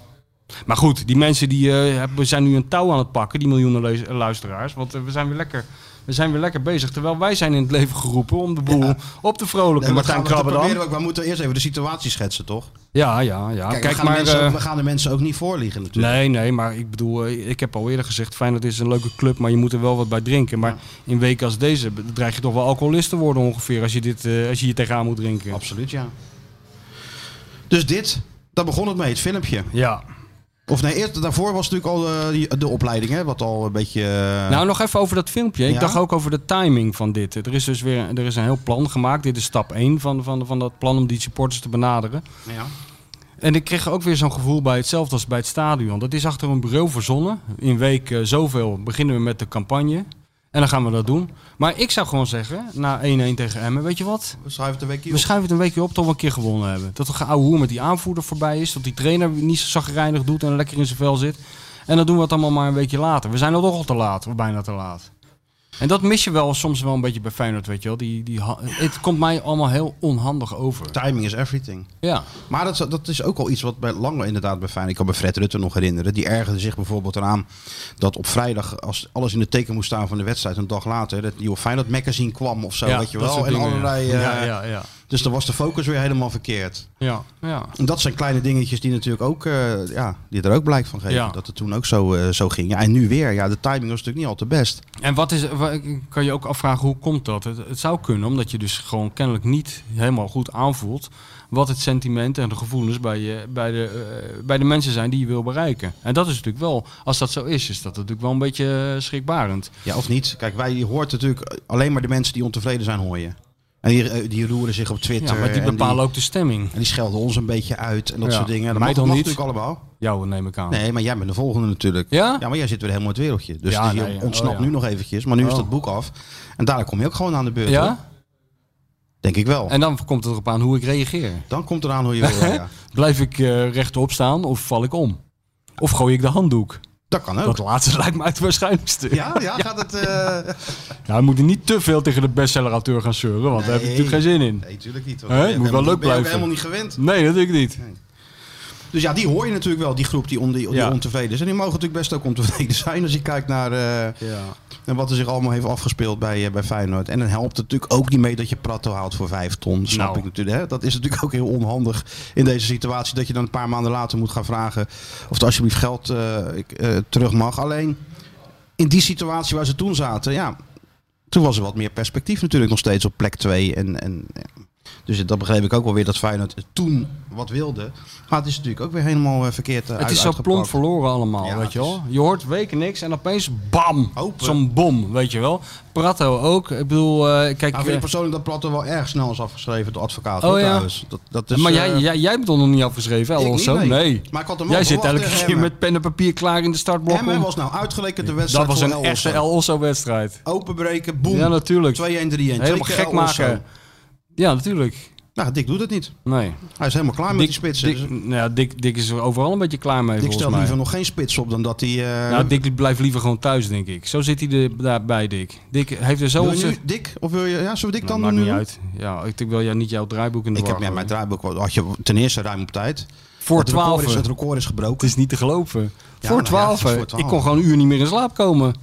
Speaker 6: Maar goed, die mensen die, eh, hebben- zijn nu een touw aan het pakken, die miljoenen leus- luisteraars. Want eh, we, zijn weer lekker, we zijn weer lekker bezig. Terwijl wij zijn in het leven geroepen om de boel op te vrolijken.
Speaker 5: En we,
Speaker 6: Martijn
Speaker 5: gaan, dat
Speaker 6: Krabbe dan.
Speaker 5: proberen we ook, maar we moeten eerst even de situatie schetsen, toch?
Speaker 6: Ja, ja, ja. Kijk,
Speaker 5: we, gaan de
Speaker 6: maar.
Speaker 5: mensen,
Speaker 6: eh,
Speaker 5: ook- we gaan de mensen ook niet voorliegen natuurlijk.
Speaker 6: Nee, nee, maar ik bedoel, eh, ik heb al eerder gezegd, Feyenoord is een leuke club, maar je moet er wel wat bij drinken. Maar in weken als deze be- dreig je toch wel alcoholist te worden ongeveer als je, dit, eh, als je hier tegenaan moet drinken.
Speaker 5: Absoluut, ja. Dus dit, daar begon het mee, het filmpje.
Speaker 6: Ja.
Speaker 5: Of nee, eerst daarvoor was natuurlijk al eh, die- de, opleiding, hè? Wat al een beetje... eh,
Speaker 6: Nou, nog even over dat filmpje. Ik
Speaker 5: Ja?
Speaker 6: dacht ook over de timing van dit. Er is dus weer er is een heel plan gemaakt. Dit is stap 1 van, van, van dat plan om die supporters te benaderen.
Speaker 5: ja.
Speaker 6: En ik kreeg ook weer zo'n gevoel bij hetzelfde als bij het stadion. Dat is achter een bureau verzonnen. In week eh, zoveel beginnen we met de campagne. En dan gaan we dat doen. Maar ik zou gewoon zeggen, na 1-1 tegen Emmen, weet je wat?
Speaker 5: We schrijven het een weekje
Speaker 6: We
Speaker 5: op.
Speaker 6: schuiven het een weekje op tot we een keer gewonnen hebben. Dat de oude hoer met die aanvoerder voorbij is. Dat die trainer niet zo zagrijnig doet en lekker in zijn vel zit. En dan doen we het allemaal maar een weekje later. We zijn al toch al te laat, of bijna te laat. En dat mis je wel soms wel een beetje bij Feyenoord, weet je wel. Die, die, ha- het komt mij allemaal heel onhandig over.
Speaker 5: Timing is everything.
Speaker 6: Ja,
Speaker 5: Maar dat, is- dat is ook al iets wat bij Lange inderdaad bij Feyenoord... Ik kan me Fred Rutte nog herinneren. Die ergerde zich bijvoorbeeld eraan dat op vrijdag... als alles in het teken moest staan van de wedstrijd... een dag later dat nieuwe Feyenoord magazine kwam of zo.
Speaker 6: ja
Speaker 5: weet je
Speaker 6: dat
Speaker 5: wel.
Speaker 6: soort
Speaker 5: En
Speaker 6: dingen, ja.
Speaker 5: allerlei... eh,
Speaker 6: ja, ja, ja.
Speaker 5: Dus dan was de focus weer helemaal verkeerd.
Speaker 6: Ja, ja.
Speaker 5: En dat zijn kleine dingetjes die natuurlijk ook... eh, ja, die er ook blijk van geven.
Speaker 6: Ja.
Speaker 5: Dat het toen ook zo, eh, zo ging. Ja, en nu weer. Ja, de timing was natuurlijk niet al te best.
Speaker 6: En wat is, wa- kan je ook afvragen hoe komt dat? Het, het zou kunnen omdat je dus gewoon kennelijk niet helemaal goed aanvoelt wat het sentiment en de gevoelens bij, je, bij, de, eh, bij de mensen zijn die je wil bereiken. En dat is natuurlijk wel, als dat zo is, is dat natuurlijk wel een beetje eh, schrikbarend.
Speaker 5: Ja, of niet. Kijk, wij je hoort natuurlijk alleen maar de mensen die ontevreden zijn hoor je. En die, eh, die roeren zich op Twitter.
Speaker 6: Ja, maar die
Speaker 5: en
Speaker 6: bepalen ook de stemming.
Speaker 5: En die schelden ons een beetje uit en dat
Speaker 6: Ja,
Speaker 5: soort dingen. Dat
Speaker 6: mij
Speaker 5: mag,
Speaker 6: dan
Speaker 5: mag
Speaker 6: niet.
Speaker 5: natuurlijk allemaal.
Speaker 6: Jou neem ik aan.
Speaker 5: Nee, maar jij bent de volgende natuurlijk.
Speaker 6: Ja?
Speaker 5: maar jij zit weer helemaal in het wereldje. Dus
Speaker 6: Ja,
Speaker 5: die
Speaker 6: nee,
Speaker 5: ontsnapt
Speaker 6: oh ja.
Speaker 5: nu nog eventjes. Maar nu is
Speaker 6: Oh.
Speaker 5: dat boek af. En daar kom je ook gewoon aan de beurt. hoor.
Speaker 6: Ja?
Speaker 5: Denk ik wel.
Speaker 6: En dan komt het erop aan hoe ik reageer.
Speaker 5: Dan komt eraan hoe je wil.
Speaker 6: *laughs*
Speaker 5: Ja.
Speaker 6: Blijf ik eh, rechtop staan of val ik om? Of gooi ik de handdoek?
Speaker 5: Dat kan ook.
Speaker 6: Dat laatste *laughs* lijkt me het waarschijnlijkste.
Speaker 5: Ja, ja, gaat het...
Speaker 6: *laughs*
Speaker 5: eh,
Speaker 6: Nou, we moeten niet te veel tegen de bestsellerauteur gaan zeuren, want daar heb ik
Speaker 5: Nee.
Speaker 6: natuurlijk geen zin in.
Speaker 5: Nee, tuurlijk niet. hoor.
Speaker 6: Hè?
Speaker 5: Ben
Speaker 6: Moet
Speaker 5: helemaal-
Speaker 6: wel leuk
Speaker 5: ben je ook
Speaker 6: blijven.
Speaker 5: helemaal niet gewend.
Speaker 6: Nee, dat denk ik niet.
Speaker 5: Dus ja, die hoor je natuurlijk wel, die groep die, on, die, die
Speaker 6: Ja.
Speaker 5: ontevreden is. En die mogen natuurlijk best ook ontevreden zijn als je kijkt naar... eh,
Speaker 6: Ja.
Speaker 5: En wat er zich allemaal heeft afgespeeld bij, eh, bij Feyenoord. En dan helpt het natuurlijk ook niet mee dat je Prato haalt voor vijf ton. Snap
Speaker 6: Nou.
Speaker 5: ik natuurlijk. Hè? Dat is natuurlijk ook heel onhandig in deze situatie. Dat je dan een paar maanden later moet gaan vragen of er alsjeblieft geld eh, ik, eh, terug mag. Alleen in die situatie waar ze toen zaten, ja, toen was er wat meer perspectief natuurlijk nog steeds op plek 2. En, en, ja. Dus dat begreep ik ook wel weer dat Feyenoord toen wat wilde. Maar het is natuurlijk ook weer helemaal eh, verkeerd
Speaker 6: Het is zo plomp verloren allemaal,
Speaker 5: Ja,
Speaker 6: weet je
Speaker 5: het
Speaker 6: wel. Je hoort weken niks en opeens bam,
Speaker 5: Hopen.
Speaker 6: zo'n bom, weet je wel. Prato ook, ik bedoel, eh, kijk...
Speaker 5: Nou, vind
Speaker 6: eh,
Speaker 5: ik persoonlijk dat Platte wel erg snel is afgeschreven door advocaat.
Speaker 6: Oh
Speaker 5: hoor,
Speaker 6: ja.
Speaker 5: trouwens. Dat, dat is,
Speaker 6: maar jij,
Speaker 5: eh,
Speaker 6: jij, jij bent nog niet afgeschreven,
Speaker 5: ik
Speaker 6: hè,
Speaker 5: niet, nee.
Speaker 6: Alonso? Nee.
Speaker 5: Maar ik had hem wel
Speaker 6: jij zit
Speaker 5: verwacht
Speaker 6: elke
Speaker 5: tegen
Speaker 6: keer
Speaker 5: Emmen.
Speaker 6: met pen en papier klaar in de startblok.
Speaker 5: Emmen
Speaker 6: om-
Speaker 5: was nou uitgelekerd de
Speaker 6: Dat
Speaker 5: wedstrijd
Speaker 6: was
Speaker 5: van
Speaker 6: een
Speaker 5: El
Speaker 6: echte
Speaker 5: Osso.
Speaker 6: El Osso-wedstrijd.
Speaker 5: Openbreken, boem.
Speaker 6: Ja, natuurlijk.
Speaker 5: 2-1, 3-1. Twee
Speaker 6: Helemaal
Speaker 5: keer
Speaker 6: gek
Speaker 5: El Osso.
Speaker 6: maken. Ja, natuurlijk.
Speaker 5: Nou, Dick doet het niet.
Speaker 6: Nee.
Speaker 5: Hij is helemaal klaar met die spitsen.
Speaker 6: Dick,
Speaker 5: Dus
Speaker 6: nou ja, Dick, Dick is er overal een beetje klaar mee,
Speaker 5: Dick
Speaker 6: volgens
Speaker 5: stelt
Speaker 6: mij.
Speaker 5: liever nog geen spits op dan dat hij... eh,
Speaker 6: Nou, Dick blijft liever gewoon thuis, denk ik. Zo zit hij er daarbij, Dick. Dick heeft er zo...
Speaker 5: wil je
Speaker 6: ontzettend-
Speaker 5: nu Dick? Of wil je... Ja, zullen we Dick dan
Speaker 6: Nou, maakt
Speaker 5: doen
Speaker 6: niet
Speaker 5: nu?
Speaker 6: uit. Ja, ik denk wel ja, niet jouw draaiboek in de
Speaker 5: Ik
Speaker 6: war
Speaker 5: heb met
Speaker 6: gooien.
Speaker 5: mijn draaiboek... Had je ten eerste ruim op tijd.
Speaker 6: Voor
Speaker 5: Het record is-
Speaker 6: 12.
Speaker 5: Het record is
Speaker 6: Het
Speaker 5: gebroken.
Speaker 6: is niet te geloven.
Speaker 5: Ja,
Speaker 6: voor
Speaker 5: nou ja, het is
Speaker 6: 12.
Speaker 5: voor 12.
Speaker 6: ik kon gewoon een uur niet meer in slaap komen. Ik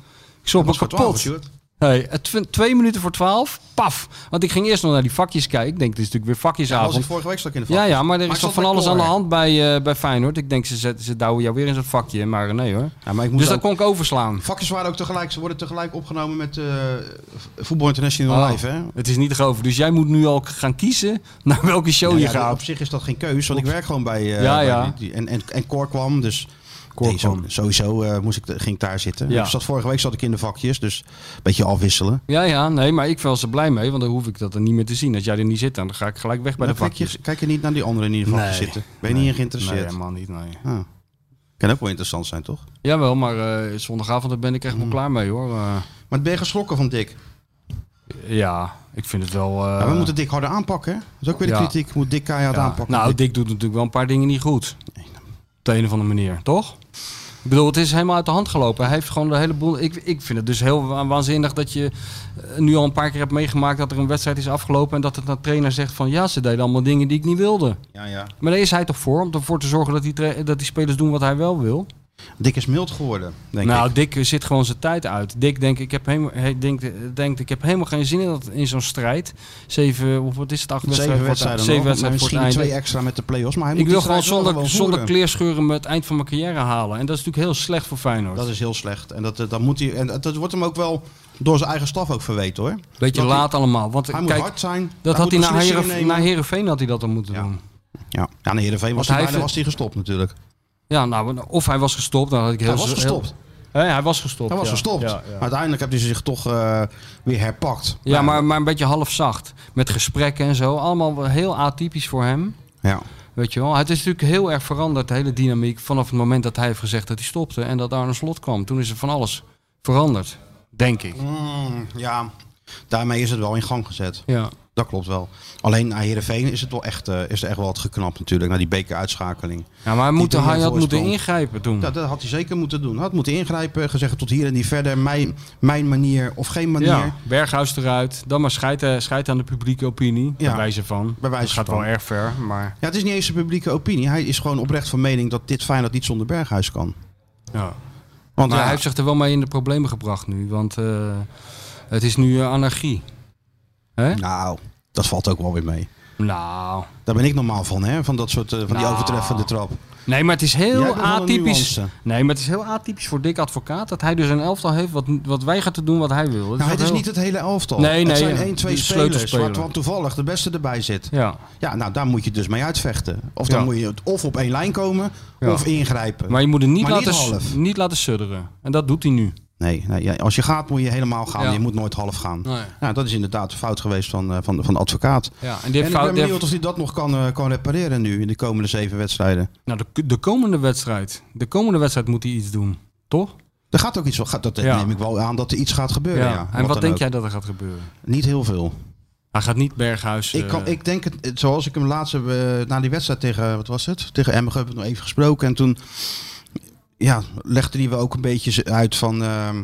Speaker 6: schrok me
Speaker 5: was voor 12,
Speaker 6: kapot.
Speaker 5: Sjoerd.
Speaker 6: Hey, het tw- twee minuten voor 12. Paf. Want ik ging eerst nog naar die vakjes kijken. Ik denk, het is natuurlijk weer
Speaker 5: Ja, was ik
Speaker 6: vakjesavond.
Speaker 5: vorige week stak in de
Speaker 6: Ja,
Speaker 5: vak.
Speaker 6: ja,
Speaker 5: Maar
Speaker 6: maar er is
Speaker 5: ik
Speaker 6: toch
Speaker 5: zat
Speaker 6: van alles
Speaker 5: bij
Speaker 6: aan de
Speaker 5: Cor.
Speaker 6: hand bij, eh, bij Feyenoord. Ik denk, ze, zetten, ze douwen jou weer in zo'n vakje. Maar nee hoor.
Speaker 5: Ja, maar ik moest
Speaker 6: Dus dat
Speaker 5: ook-
Speaker 6: kon ik overslaan.
Speaker 5: Vakjes waren ook tegelijk, ze worden tegelijk opgenomen met eh Voetbal International
Speaker 6: Oh,
Speaker 5: Live. Hè?
Speaker 6: Het is niet te geloven. Dus jij moet nu al gaan kiezen naar welke show
Speaker 5: Nou
Speaker 6: je
Speaker 5: ja,
Speaker 6: gaat.
Speaker 5: Op zich is dat geen keus, want ik werk gewoon bij. eh,
Speaker 6: Ja,
Speaker 5: bij
Speaker 6: ja.
Speaker 5: die- die- en, en, en Cor kwam, dus.
Speaker 6: Cor
Speaker 5: nee, zo-
Speaker 6: kwam.
Speaker 5: sowieso eh, moest ik, ging ik daar zitten.
Speaker 6: Ja.
Speaker 5: Ik zat, vorige week zat ik in de vakjes, dus een beetje afwisselen.
Speaker 6: Ja, ja, nee, maar ik was er blij mee, want dan hoef ik dat er niet meer te zien. Als jij er niet zit, dan ga ik gelijk weg bij
Speaker 5: Maar
Speaker 6: de
Speaker 5: kijk,
Speaker 6: vakjes.
Speaker 5: je, kijk je niet naar die anderen in ieder geval
Speaker 6: Nee.
Speaker 5: zitten. Ben je niet in geïnteresseerd?
Speaker 6: Nee, helemaal niet, nee.
Speaker 5: Ah. Kan ook wel interessant zijn, toch?
Speaker 6: Jawel, maar eh, zondagavond daar ben ik
Speaker 5: Mm.
Speaker 6: echt wel klaar mee, hoor. Eh,
Speaker 5: Maar ben je geschrokken van Dick?
Speaker 6: ja, ik vind het wel... eh,
Speaker 5: Ja, we moeten Dick harder aanpakken. hè? Dat is ook weer de
Speaker 6: ja.
Speaker 5: kritiek. Moet Dick keihard
Speaker 6: ja.
Speaker 5: aanpakken.
Speaker 6: Nou, Dick doet natuurlijk wel een paar dingen niet goed. Op de een of andere manier, toch? Ik bedoel, het is helemaal uit de hand gelopen. Hij heeft gewoon de hele boel... Ik, ik vind het dus heel wa- waanzinnig dat je eh, nu al een paar keer hebt meegemaakt... dat er een wedstrijd is afgelopen en dat het de trainer zegt van... ja, ze deden allemaal dingen die ik niet wilde.
Speaker 5: Ja, ja.
Speaker 6: Maar daar is hij toch voor, om ervoor te zorgen dat die, tra- dat die spelers doen wat hij wel wil.
Speaker 5: Dick is mild geworden, denk
Speaker 6: nou,
Speaker 5: ik.
Speaker 6: Dick zit gewoon zijn tijd uit. Dick denkt, ik heb helemaal, hij denkt, eh, denkt, ik heb helemaal geen zin in, dat, in zo'n strijd. Zeven, of wat is het, acht
Speaker 5: Zeven
Speaker 6: wedstrijden voor het,
Speaker 5: wedstrijden
Speaker 6: zeven
Speaker 5: nog, maar
Speaker 6: wedstrijden voor het
Speaker 5: misschien twee
Speaker 6: einde.
Speaker 5: extra met de play-offs. Maar hij
Speaker 6: Ik
Speaker 5: moet
Speaker 6: wil
Speaker 5: die
Speaker 6: gewoon
Speaker 5: strijd wel
Speaker 6: zonder,
Speaker 5: gewoon
Speaker 6: zonder
Speaker 5: voeren.
Speaker 6: kleerscheuren me het eind van mijn carrière halen. En dat is natuurlijk heel slecht voor Feyenoord.
Speaker 5: Dat is heel slecht. En dat, dat, moet hij, en dat, dat wordt hem ook wel door zijn eigen staf ook verweten hoor.
Speaker 6: Beetje
Speaker 5: dat
Speaker 6: laat allemaal. Want
Speaker 5: Hij moet
Speaker 6: kijk,
Speaker 5: hard zijn.
Speaker 6: dat had hij
Speaker 5: moet
Speaker 6: naar,
Speaker 5: beslissingen
Speaker 6: Heeren,
Speaker 5: nemen.
Speaker 6: naar Heerenveen had hij dat dan moeten
Speaker 5: Ja.
Speaker 6: doen.
Speaker 5: Ja, ja naar Heerenveen was
Speaker 6: Want
Speaker 5: hij bijna
Speaker 6: hij heeft-
Speaker 5: was hij gestopt natuurlijk.
Speaker 6: Ja, nou, of hij was gestopt. Dan had ik heel,
Speaker 5: Hij was
Speaker 6: heel-
Speaker 5: gestopt.
Speaker 6: Hè, hij was gestopt.
Speaker 5: Hij was
Speaker 6: ja.
Speaker 5: gestopt.
Speaker 6: Ja, ja.
Speaker 5: Maar uiteindelijk heeft hij zich toch eh, weer herpakt.
Speaker 6: Ja, maar, maar een beetje halfzacht. Met gesprekken en zo. Allemaal wel heel atypisch voor hem.
Speaker 5: Ja.
Speaker 6: Weet je wel. Het is natuurlijk heel erg veranderd, de hele dynamiek. Vanaf het moment dat hij heeft gezegd dat hij stopte. En dat Arne Slot kwam. Toen is er van alles veranderd. Denk ik.
Speaker 5: Mm, ja, daarmee is het wel in gang gezet.
Speaker 6: Ja.
Speaker 5: Dat klopt wel. Alleen naar Heerenveen is, het wel echt, eh, is er echt wel wat geknapt natuurlijk. Naar die bekeruitschakeling.
Speaker 6: ja maar hij, moet,
Speaker 5: drie
Speaker 6: hij had
Speaker 5: voorsprong.
Speaker 6: moeten ingrijpen toen.
Speaker 5: Ja, dat had hij zeker moeten doen. Had moeten ingrijpen, gezegd tot hier en niet verder. Mijn, mijn manier of geen manier.
Speaker 6: ja, Berghuis eruit. Dan maar scheid, eh, scheid aan de publieke opinie.
Speaker 5: Ja.
Speaker 6: Bij wijze van.
Speaker 5: Bij wijze
Speaker 6: dat gaat
Speaker 5: van.
Speaker 6: wel erg ver. Maar
Speaker 5: Ja, het is niet eens een publieke opinie. Hij is gewoon oprecht van mening dat dit Feyenoord niet zonder Berghuis kan.
Speaker 6: ja.
Speaker 5: Want
Speaker 6: Maar
Speaker 5: ja,
Speaker 6: hij heeft zich er wel mee in de problemen gebracht nu. Want eh, het is nu eh, anarchie. Hè?
Speaker 5: Nou, dat valt ook wel weer mee.
Speaker 6: Nou.
Speaker 5: Daar ben ik normaal van, hè? Van dat soort eh, van die
Speaker 6: Nou.
Speaker 5: overtreffende trap.
Speaker 6: Nee, maar het is
Speaker 5: Jij
Speaker 6: heel
Speaker 5: bent wel een
Speaker 6: atypisch.
Speaker 5: nuance.
Speaker 6: Nee, maar het is heel atypisch voor Dick Advocaat dat hij dus een elftal heeft wat, wat weigert te doen wat hij wil. Dat
Speaker 5: Nou, het
Speaker 6: wel
Speaker 5: is
Speaker 6: heel-
Speaker 5: niet het hele elftal.
Speaker 6: Nee,
Speaker 5: het
Speaker 6: nee,
Speaker 5: zijn
Speaker 6: ja.
Speaker 5: één, twee
Speaker 6: De
Speaker 5: spelers
Speaker 6: sleutelspeler.
Speaker 5: waar dan toevallig de beste erbij zit. Ja.
Speaker 6: Ja,
Speaker 5: nou daar moet je dus mee uitvechten. Of dan
Speaker 6: Ja.
Speaker 5: moet je het of op één lijn komen
Speaker 6: Ja.
Speaker 5: of ingrijpen.
Speaker 6: maar je moet het niet,
Speaker 5: Maar niet
Speaker 6: laten, s-
Speaker 5: half.
Speaker 6: niet laten sudderen. En dat doet hij nu.
Speaker 5: Nee, nee, ja, als je gaat moet je helemaal gaan.
Speaker 6: Ja.
Speaker 5: Je moet nooit half gaan.
Speaker 6: Nee.
Speaker 5: Nou, dat is inderdaad de fout geweest van, eh, van, van de advocaat.
Speaker 6: Ja, en die
Speaker 5: en
Speaker 6: heeft
Speaker 5: ik ben
Speaker 6: fout. die
Speaker 5: benieuwd
Speaker 6: heeft-
Speaker 5: of hij dat nog kan, eh, kan repareren nu in de komende zeven wedstrijden.
Speaker 6: Nou, de, de komende wedstrijd. De komende wedstrijd moet hij iets doen, toch?
Speaker 5: Er gaat ook iets wel. gaat- Dat
Speaker 6: Ja.
Speaker 5: neem ik wel aan dat er iets gaat
Speaker 6: Ja.
Speaker 5: gebeuren. Ja.
Speaker 6: En wat
Speaker 5: dan
Speaker 6: denk
Speaker 5: ook.
Speaker 6: jij dat er gaat gebeuren?
Speaker 5: Niet heel veel.
Speaker 6: Hij gaat niet Berghuis.
Speaker 5: Ik, kan,
Speaker 6: eh,
Speaker 5: ik denk het, het- zoals ik hem laatst heb, eh, na die wedstrijd tegen, wat was het? Tegen Emmen heb ik nog even gesproken. En toen ja, legde hij wel ook een beetje z- uit van ehm,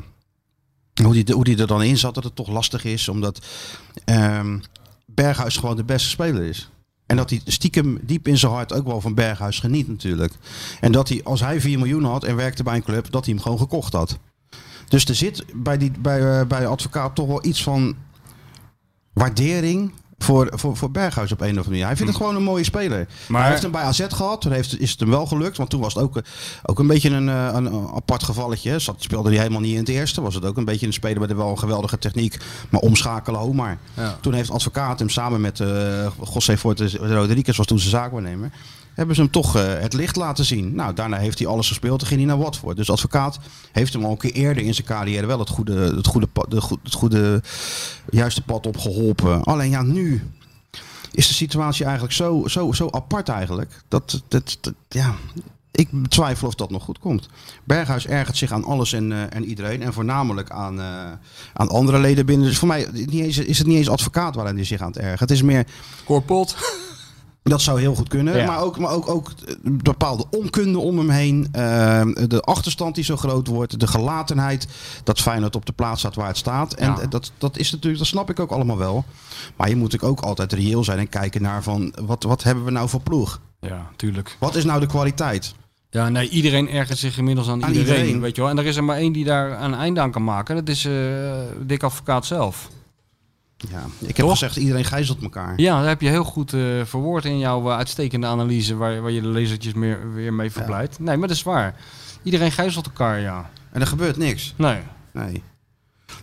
Speaker 5: hoe, die, hoe die er dan in zat. Dat het toch lastig is, omdat ehm, Berghuis gewoon de beste speler is. En dat hij stiekem diep in zijn hart ook wel van Berghuis geniet natuurlijk. En dat hij, als hij 4 miljoen had en werkte bij een club, dat hij hem gewoon gekocht had. Dus er zit bij, die, bij, eh, bij de advocaat toch wel iets van waardering voor, voor, voor Berghuis op een of andere manier. Hij vindt het gewoon een mooie speler.
Speaker 6: Maar-
Speaker 5: Hij heeft hem bij AZ gehad, toen heeft, is het hem wel gelukt. Want toen was het ook, eh, ook een beetje een, eh, een eh, apart gevalletje. hè. Zat, speelde hij helemaal niet in het eerste. Was het ook een beetje een speler met wel een geweldige techniek. Maar omschakelen ook maar.
Speaker 6: Ja.
Speaker 5: Toen heeft Advocaat hem samen met eh José Fortes Rodriguez, was toen zijn zaakwaarnemer. Hebben ze hem toch eh, het licht laten zien. Nou, daarna heeft hij alles gespeeld. Toen ging hij naar Watford. Dus advocaat heeft hem al een keer eerder in zijn carrière wel het goede, het goede, pa- de, goe- het goede juiste pad op geholpen. Alleen ja, nu is de situatie eigenlijk zo, zo, zo apart eigenlijk. Dat, dat, dat- ja, ik twijfel of dat nog goed komt. Berghuis ergert zich aan alles en, eh, en iedereen. En voornamelijk aan, eh, aan andere leden binnen. Dus voor mij niet eens, is het niet eens advocaat waarin hij zich aan het ergert. Het is meer
Speaker 6: Korpot.
Speaker 5: *laughs* dat zou heel goed kunnen.
Speaker 4: Ja.
Speaker 5: Maar, ook, maar ook, ook een bepaalde onkunde om hem heen. eh, de achterstand die zo groot wordt. De gelatenheid. Dat Feyenoord op de plaats staat waar het staat. En
Speaker 6: Ja.
Speaker 5: dat, dat is natuurlijk, dat snap ik ook allemaal wel. Maar je moet ook altijd reëel zijn en kijken naar van wat, wat hebben we nou voor ploeg?
Speaker 6: Ja, tuurlijk.
Speaker 5: Wat is nou de kwaliteit?
Speaker 6: Ja, nee, iedereen ergert zich inmiddels aan,
Speaker 5: Aan
Speaker 6: iedereen,
Speaker 5: iedereen.
Speaker 6: Weet je wel. En er is er maar één die daar een einde aan kan maken. Dat is eh Dick Advocaat zelf.
Speaker 5: Ja, ik heb
Speaker 6: Toch?
Speaker 5: gezegd, iedereen gijzelt elkaar.
Speaker 6: Ja, dat heb je heel goed eh, verwoord in jouw eh, uitstekende analyse. Waar, waar je de lezertjes meer, weer mee verblijft. Nee, maar dat is waar. Iedereen gijzelt elkaar, ja.
Speaker 5: En er gebeurt niks.
Speaker 6: Nee.
Speaker 5: Nee.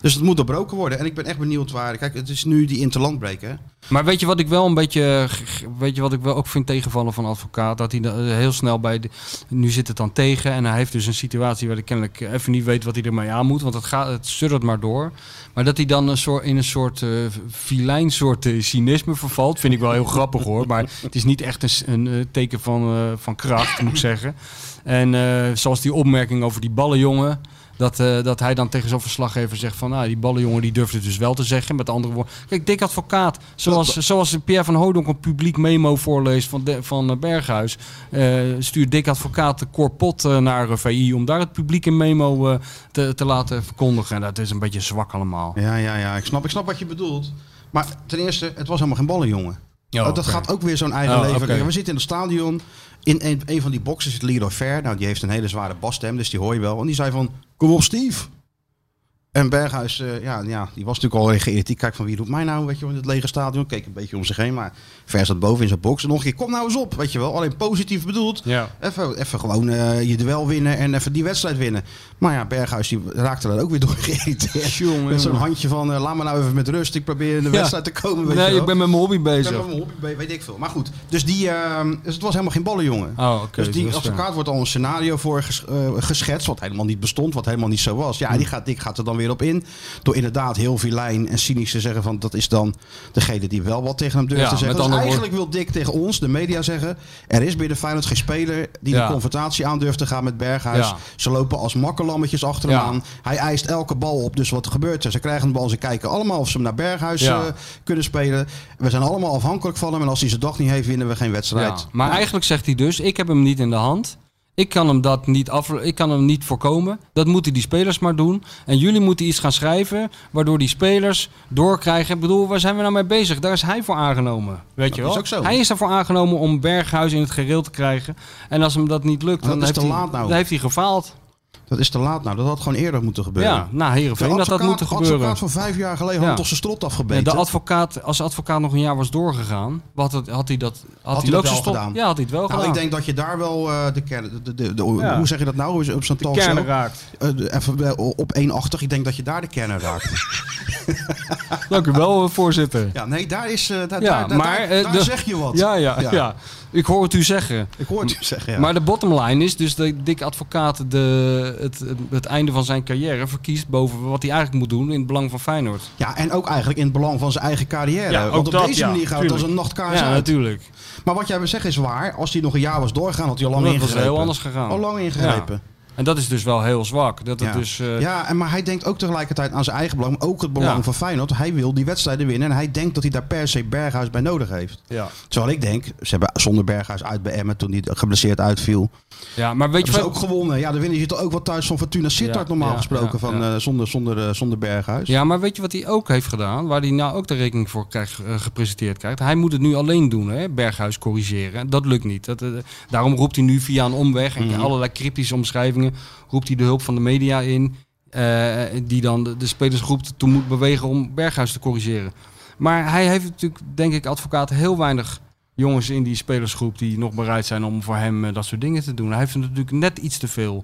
Speaker 5: Dus het moet doorbroken worden. En ik ben echt benieuwd waar. Kijk, het is nu die interlandbreken. hè.
Speaker 6: Maar weet je wat ik wel een beetje. eh, g- Weet je wat ik wel ook vind tegenvallen van advocaat? Dat hij da- heel snel bij. De, nu zit het dan tegen. En hij heeft dus een situatie waar hij kennelijk even niet weet wat hij ermee aan moet. Want het, gaat, het surrt maar door. Maar dat hij dan een soort, in een soort eh filijn soort eh, cynisme vervalt. Vind ik wel heel grappig hoor. Maar het is niet echt een, s- een eh, teken van, eh, van kracht, moet ik zeggen. En eh, zoals die opmerking over die ballenjongen. Dat, eh, dat hij dan tegen zo'n verslaggever zegt van... Nou, die ballenjongen die durft het dus wel te zeggen. Met andere woorden... Kijk, dik advocaat. Zoals, zoals Pierre van Houdonk een publiek memo voorleest van, de, van eh, Berghuis... eh, stuurt dik advocaat de korpot eh, naar eh, VI... om daar het publiek een memo eh, te, te laten verkondigen. En dat is een beetje zwak allemaal.
Speaker 5: Ja, ja, ja. Ik snap, ik snap wat je bedoelt. Maar ten eerste, het was helemaal geen ballen, jongen.
Speaker 6: Ja,
Speaker 5: dat
Speaker 6: Oh, oké.
Speaker 5: gaat ook weer zo'n eigen
Speaker 6: Oh,
Speaker 5: leven.
Speaker 6: oké.
Speaker 5: We zitten in het stadion. In een, een van die boxen zit Leroy Fair. Nou, die heeft een hele zware basstem, dus die hoor je wel. En die zei van, kom op Steve. En Berghuis, eh, ja, ja, die was natuurlijk al regeerd. Die kijkt van, wie roept mij nou, weet je wel, in het lege stadion. Keek een beetje om zich heen, maar Ver zat boven in zijn box. En nog een keer, kom nou eens op, weet je wel. Alleen positief bedoeld.
Speaker 6: Ja.
Speaker 5: Even, even gewoon eh, je duel winnen en even die wedstrijd winnen. Maar ja, Berghuis die raakte er ook weer door geïrriteerd.
Speaker 6: Jongen,
Speaker 5: met zo'n
Speaker 6: jongen.
Speaker 5: handje van, eh, laat me nou even met rust. Ik probeer in de
Speaker 6: Ja.
Speaker 5: wedstrijd te komen. Weet je
Speaker 6: Nee,
Speaker 5: wel.
Speaker 6: ik ben met mijn hobby
Speaker 5: Ik ben
Speaker 6: bezig.
Speaker 5: met mijn hobby bezig, weet ik veel. Maar goed, dus, die, ehm, dus het was helemaal geen ballen, jongen.
Speaker 6: Oh, oké.
Speaker 5: dus die
Speaker 6: dat is waar.
Speaker 5: advocaat wordt al een scenario voor ges- eh, geschetst, wat helemaal niet bestond, wat helemaal niet zo was.
Speaker 6: Hmm.
Speaker 5: Ja, die gaat, die gaat er dan weer op in. Door inderdaad heel vilijn en cynisch te zeggen van dat is dan degene die wel wat tegen hem durft
Speaker 6: Ja,
Speaker 5: te
Speaker 6: met
Speaker 5: zeggen. Dus
Speaker 6: andere
Speaker 5: eigenlijk wil Dick tegen ons, de media, zeggen er is binnen Feyenoord geen speler die
Speaker 6: Ja.
Speaker 5: de confrontatie aan durft te gaan met Berghuis.
Speaker 6: Ja.
Speaker 5: Ze lopen als makkelammetjes achter hem
Speaker 6: Ja.
Speaker 5: aan. Hij eist elke bal op, dus wat gebeurt er? Ze krijgen de bal, ze kijken allemaal of ze hem naar Berghuis
Speaker 6: Ja.
Speaker 5: eh, kunnen spelen. We zijn allemaal afhankelijk van hem en als hij zijn dag niet heeft, winnen we geen wedstrijd.
Speaker 6: Ja, maar eigenlijk zegt hij dus, ik heb hem niet in de hand. Ik kan hem dat niet af, ik kan hem niet voorkomen. Dat moeten die spelers maar doen. En jullie moeten iets gaan schrijven, waardoor die spelers doorkrijgen. Ik bedoel, waar zijn we nou mee bezig? Daar is hij voor aangenomen. Weet je
Speaker 5: is
Speaker 6: wel?
Speaker 5: ook zo.
Speaker 6: Hij is daarvoor aangenomen om Berghuis in het gereel te krijgen. En als hem dat niet lukt,
Speaker 5: Maar
Speaker 6: dan,
Speaker 5: dat is
Speaker 6: heeft,
Speaker 5: te
Speaker 6: hij,
Speaker 5: laat nou.
Speaker 6: dan heeft hij gefaald.
Speaker 5: Dat is te laat nou. Dat had gewoon eerder moeten gebeuren.
Speaker 6: Ja, nou Heerenveen dat dat moet gebeuren.
Speaker 5: advocaat van vijf jaar geleden
Speaker 6: Ja.
Speaker 5: had toch zijn strot
Speaker 6: Ja,
Speaker 5: afgebeten.
Speaker 6: de advocaat, als de advocaat nog een jaar was doorgegaan, wat had, had hij dat, had
Speaker 5: hij
Speaker 6: hij
Speaker 5: dat
Speaker 6: ook
Speaker 5: wel
Speaker 6: gestopt?
Speaker 5: gedaan?
Speaker 6: Ja, had hij het wel
Speaker 5: nou,
Speaker 6: gedaan.
Speaker 5: ik denk dat je daar wel eh, de kern... De, de, de-
Speaker 6: Ja.
Speaker 5: Hoe zeg je dat nou Is op zo'n
Speaker 6: de
Speaker 5: talkshow?
Speaker 6: kern raakt.
Speaker 5: Eh, de- even eh, op 1,80. Ik denk dat je daar de kern
Speaker 6: *laughs*
Speaker 5: raakt.
Speaker 6: Dank u wel, eh, voorzitter.
Speaker 5: ja, nee, daar is... eh, daar,
Speaker 6: Ja,
Speaker 5: daar, daar-
Speaker 6: maar, eh,
Speaker 5: daar
Speaker 6: de-
Speaker 5: zeg je wat.
Speaker 6: Ja, ja, ja,
Speaker 5: Ja.
Speaker 6: Ik hoor het u zeggen.
Speaker 5: Ik hoor het u zeggen, ja.
Speaker 6: Maar de bottom line is dus dat Dick Advocaat de, het, het, het einde van zijn carrière verkiest boven wat hij eigenlijk moet doen in het belang van Feyenoord.
Speaker 5: ja, en ook eigenlijk in het belang van zijn eigen carrière.
Speaker 6: Ja, ook
Speaker 5: Want op
Speaker 6: dat,
Speaker 5: deze
Speaker 6: ja,
Speaker 5: manier gaat het als
Speaker 6: tuurlijk.
Speaker 5: een nachtkaars uit.
Speaker 6: natuurlijk.
Speaker 5: Maar wat jij wil zeggen is waar. Als hij nog een jaar was doorgegaan, had hij al lang
Speaker 6: Dan was het
Speaker 5: ingegrepen.
Speaker 6: heel anders gegaan.
Speaker 5: Al lang ingegrepen.
Speaker 6: En dat is dus wel heel zwak. Dat het
Speaker 5: Ja,
Speaker 6: dus, eh,
Speaker 5: ja en maar hij denkt ook tegelijkertijd aan zijn eigen belang, maar ook het belang
Speaker 6: Ja.
Speaker 5: van Feyenoord. Hij wil die wedstrijden winnen en hij denkt dat hij daar per se Berghuis bij nodig heeft.
Speaker 6: ja.
Speaker 5: Terwijl ik denk, ze hebben zonder Berghuis uit bij Emmen toen hij geblesseerd uitviel.
Speaker 6: ja, maar weet je
Speaker 5: Hebben ze
Speaker 6: wat?
Speaker 5: ook gewonnen. Ja, dan winnen ze toch ook wat thuis van Fortuna Sittard
Speaker 6: Ja,
Speaker 5: normaal
Speaker 6: ja,
Speaker 5: gesproken
Speaker 6: ja,
Speaker 5: van,
Speaker 6: ja.
Speaker 5: eh, zonder, zonder, eh, zonder Berghuis.
Speaker 6: Ja, maar weet je wat hij ook heeft gedaan? Waar hij nou ook de rekening voor krijgt, eh, gepresenteerd krijgt. Hij moet het nu alleen doen, hè? Berghuis corrigeren. Dat lukt niet. Dat, eh, daarom roept hij nu via een omweg en allerlei cryptische omschrijvingen... roept hij de hulp van de media in... eh, die dan de, de spelersgroep toe moet bewegen om Berghuis te corrigeren. Maar hij heeft natuurlijk, denk ik, advocaat heel weinig jongens in die spelersgroep die nog bereid zijn om voor hem eh, dat soort dingen te doen. Hij heeft natuurlijk net iets te veel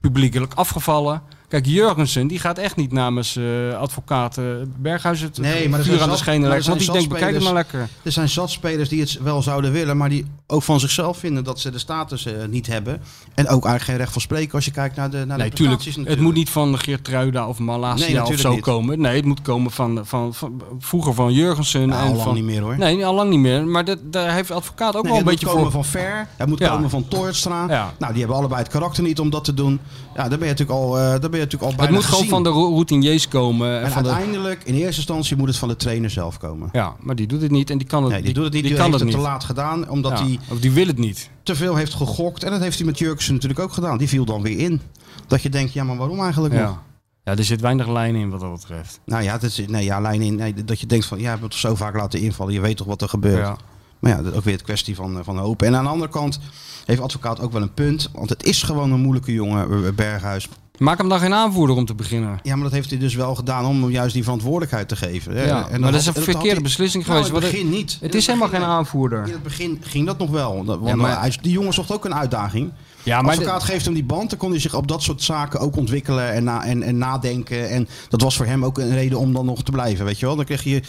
Speaker 6: publiekelijk afgevallen. Kijk, Jurgensen die gaat echt niet namens eh, advocaat eh, Berghuis het
Speaker 5: Nee, maar er zijn
Speaker 6: vuur aan de
Speaker 5: zat-
Speaker 6: schenen
Speaker 5: maar er
Speaker 6: leggen. Want
Speaker 5: zijn
Speaker 6: die denkt, bekijk het maar lekker.
Speaker 5: Er zijn zat spelers die het wel zouden willen, maar die ook van zichzelf vinden dat ze de status eh, niet hebben. En ook eigenlijk geen recht van spreken als je kijkt naar de, naar
Speaker 6: Nee,
Speaker 5: de
Speaker 6: tuurlijk.
Speaker 5: prestaties
Speaker 6: Het moet niet van Geertruida of
Speaker 5: Nee,
Speaker 6: Malasia of
Speaker 5: natuurlijk
Speaker 6: zo
Speaker 5: niet.
Speaker 6: komen. Nee, het moet komen van, van, van vroeger van Jurgensen.
Speaker 5: Nou,
Speaker 6: en
Speaker 5: al
Speaker 6: van,
Speaker 5: lang niet meer hoor.
Speaker 6: Nee, al lang niet meer. Maar dat, daar heeft advocaat ook
Speaker 5: Nee,
Speaker 6: wel
Speaker 5: het
Speaker 6: een beetje
Speaker 5: moet komen
Speaker 6: voor.
Speaker 5: van Ver, het moet
Speaker 6: Ja.
Speaker 5: komen van Toortstra.
Speaker 6: Ja.
Speaker 5: Nou, die hebben allebei het karakter niet om dat te doen. Ja, daar ben je natuurlijk al, eh daar ben je natuurlijk al bijna
Speaker 6: het moet gewoon
Speaker 5: gezien.
Speaker 6: van de ro- routiniers komen. En
Speaker 5: En
Speaker 6: van de,
Speaker 5: uiteindelijk, in eerste instantie, moet het van de trainer zelf komen.
Speaker 6: ja, maar die doet het niet. En die kan het,
Speaker 5: Nee, die, doet het niet. Die,
Speaker 6: kan
Speaker 5: heeft
Speaker 6: het
Speaker 5: het
Speaker 6: niet.
Speaker 5: te laat gedaan, omdat
Speaker 6: Ja,
Speaker 5: hij
Speaker 6: Of die wil het niet.
Speaker 5: te veel heeft gegokt. En dat heeft hij met Jurksen natuurlijk ook gedaan. Die viel dan weer in. Dat je denkt, ja, maar waarom eigenlijk nog?
Speaker 6: Ja. ja, er zit weinig lijn in wat dat betreft.
Speaker 5: Nou ja, dat is, nee, ja lijn in, nee, dat je denkt van, ja, je hebt het zo vaak laten invallen. Je weet toch wat er gebeurt.
Speaker 6: Ja.
Speaker 5: Maar ja, dat is ook weer het kwestie van, eh, van hopen. En aan de andere kant heeft advocaat ook wel een punt. Want het is gewoon een moeilijke jongen, eh, Berghuis.
Speaker 6: Maak hem dan geen aanvoerder om te beginnen.
Speaker 5: Ja, maar dat heeft hij dus wel gedaan om hem juist die verantwoordelijkheid te geven. hè.
Speaker 6: Ja,
Speaker 5: En
Speaker 6: maar dat is
Speaker 5: had-
Speaker 6: een
Speaker 5: had
Speaker 6: verkeerde
Speaker 5: hij-
Speaker 6: beslissing
Speaker 5: Nou,
Speaker 6: geweest,
Speaker 5: in het
Speaker 6: want
Speaker 5: begin niet.
Speaker 6: Het is helemaal geen
Speaker 5: aanvoerder. In
Speaker 6: aanvoerder.
Speaker 5: het begin ging dat nog wel. Dat- Want
Speaker 6: Ja, maar-
Speaker 5: hij- die jongen zocht ook een uitdaging.
Speaker 6: Ja, maar
Speaker 5: advocaat geeft hem die band, dan kon hij zich op dat soort zaken ook ontwikkelen en, na, en, en nadenken. En dat was voor hem ook een reden om dan nog te blijven, weet je wel. Dan kreeg je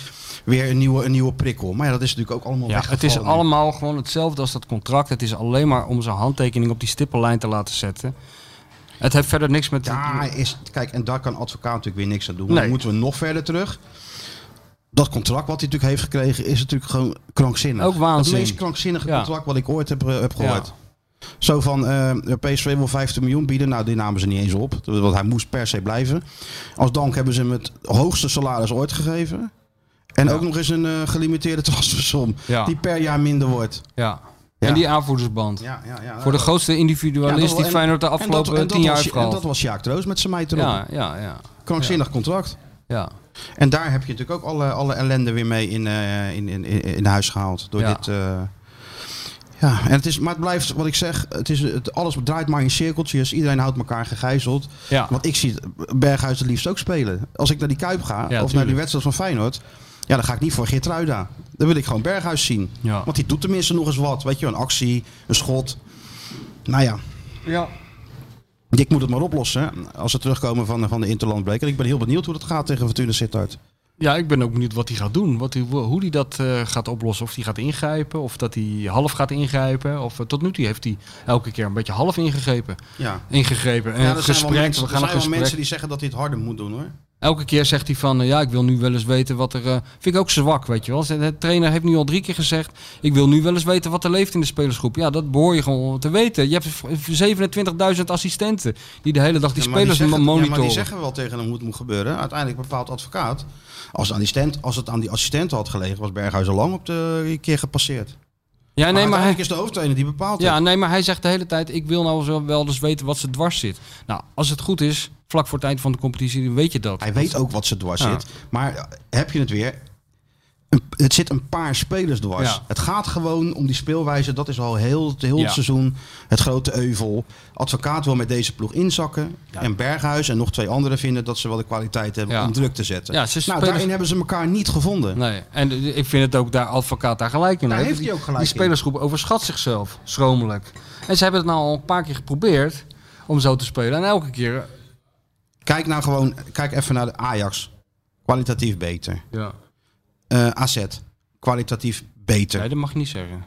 Speaker 5: weer een nieuwe, een nieuwe prikkel. Maar ja, dat is natuurlijk ook allemaal
Speaker 6: Ja, het
Speaker 5: weggevallen.
Speaker 6: is allemaal gewoon hetzelfde als dat contract. Het is alleen maar om zijn handtekening op die stippellijn te laten zetten. Het heeft verder niks met...
Speaker 5: Daar is, kijk, en daar kan advocaat natuurlijk weer niks aan doen.
Speaker 6: Nee.
Speaker 5: Dan moeten we nog verder terug. Dat contract wat hij natuurlijk heeft gekregen is natuurlijk gewoon krankzinnig.
Speaker 6: Ook waanzin.
Speaker 5: Het meest krankzinnige
Speaker 6: Ja.
Speaker 5: contract wat ik ooit heb, eh, heb gehoord. Zo van, eh PSV wil 15 miljoen bieden. Nou, die namen ze niet eens op. Want hij moest per se blijven. Als dank hebben ze hem het hoogste salaris ooit gegeven. En ook nog eens een eh, gelimiteerde *laughs* transfersom.
Speaker 6: Ja.
Speaker 5: Die per jaar minder wordt.
Speaker 6: ja.
Speaker 5: Ja.
Speaker 6: En die aanvoerdersband.
Speaker 5: Ja, ja, ja.
Speaker 6: Voor de grootste
Speaker 5: Ja,
Speaker 6: individualist
Speaker 5: dat-
Speaker 6: die
Speaker 5: en-
Speaker 6: Feyenoord de
Speaker 5: en dat-
Speaker 6: afgelopen
Speaker 5: en dat
Speaker 6: tien jaar
Speaker 5: was-
Speaker 6: heeft
Speaker 5: En dat
Speaker 6: gehad.
Speaker 5: was Sjaak Troost met zijn meid erop.
Speaker 6: Ja, ja, ja,
Speaker 5: Krankzinnig contract.
Speaker 6: ja.
Speaker 5: En daar heb je natuurlijk ook alle, alle ellende weer mee in, eh, in, in, in, in huis gehaald. Door
Speaker 6: Ja.
Speaker 5: dit. eh, ja, en het is, maar het blijft wat ik zeg. Het is, het, alles draait maar in cirkeltjes. Iedereen houdt elkaar gegijzeld.
Speaker 6: Ja.
Speaker 5: Want ik zie Berghuis het liefst ook spelen. Als ik naar die Kuip ga, of naar die
Speaker 6: tuurlijk.
Speaker 5: wedstrijd van Feyenoord. Ja, dan ga ik niet voor Geertruida. Dan wil ik gewoon Berghuis zien.
Speaker 6: Ja.
Speaker 5: Want die doet tenminste nog eens wat. Weet je, een actie, een schot. Nou ja,
Speaker 6: ja.
Speaker 5: ik moet het maar oplossen. Als ze terugkomen van, van de Interlandbreker. Ik ben heel benieuwd hoe dat gaat tegen Fortuna Sittard.
Speaker 6: Ja, ik ben ook benieuwd wat hij gaat doen. Wat hij, hoe hij dat eh, gaat oplossen. Of hij gaat ingrijpen. Of dat hij half gaat ingrijpen. Of eh, tot nu toe heeft hij elke keer een beetje half ingegrepen.
Speaker 5: Ja.
Speaker 6: Ingegrepen. En
Speaker 5: Ja, er zijn
Speaker 6: gesprek.
Speaker 5: wel, mensen,
Speaker 6: we
Speaker 5: er
Speaker 6: gaan
Speaker 5: zijn
Speaker 6: een
Speaker 5: wel
Speaker 6: gesprek.
Speaker 5: mensen die zeggen dat hij het harder moet doen hoor.
Speaker 6: Elke keer zegt hij van, eh, ja, ik wil nu wel eens weten wat er... eh, vind ik ook zwak, weet je wel. De trainer heeft nu al drie keer gezegd, ik wil nu wel eens weten wat er leeft in de spelersgroep. Ja, dat behoor je gewoon te weten. Je hebt 27.000 assistenten die de hele dag die
Speaker 5: Ja, maar
Speaker 6: spelers
Speaker 5: zeggen, ja, maar
Speaker 6: monitoren.
Speaker 5: die zeggen wel tegen hem hoe het moet gebeuren. Uiteindelijk bepaalt advocaat. Als het aan die, stand, als het aan die assistent had gelegen, was Berghuis al lang op de keer gepasseerd.
Speaker 6: ja,
Speaker 5: maar
Speaker 6: nee, maar hij,
Speaker 5: uiteindelijk is de hoofdtrainer die bepaalt.
Speaker 6: ja,
Speaker 5: het.
Speaker 6: nee, maar hij zegt de hele tijd, ik wil nou zo wel eens weten wat ze dwars zit. Nou, als het goed is, vlak voor het eind van de competitie, dan weet je dat.
Speaker 5: Hij weet ook wat ze dwars
Speaker 6: Ja.
Speaker 5: zit. Maar eh, heb je het weer? Een- Het zit een paar spelers dwars.
Speaker 6: Ja.
Speaker 5: Het gaat gewoon om die speelwijze. Dat is al heel, heel
Speaker 6: Ja.
Speaker 5: het seizoen het grote euvel. Advocaat wil met deze ploeg inzakken. En Berghuis en nog twee anderen vinden dat ze wel de kwaliteit hebben
Speaker 6: Ja.
Speaker 5: om druk te zetten.
Speaker 6: Ja, ze
Speaker 5: nou,
Speaker 6: spelen-
Speaker 5: daarin hebben ze elkaar niet gevonden.
Speaker 6: Nee, en eh, ik vind het ook daar advocaat daar gelijk in.
Speaker 5: Daar
Speaker 6: hè.
Speaker 5: heeft
Speaker 6: Die-
Speaker 5: hij ook gelijk
Speaker 6: Die spelersgroep overschat zichzelf, schromelijk. En ze hebben het nou al een paar keer geprobeerd om zo te spelen. En elke keer...
Speaker 5: Kijk nou gewoon, kijk even naar de Ajax. Kwalitatief beter.
Speaker 6: Ja.
Speaker 5: Eh AZ, kwalitatief beter.
Speaker 6: Nee, dat mag je niet zeggen.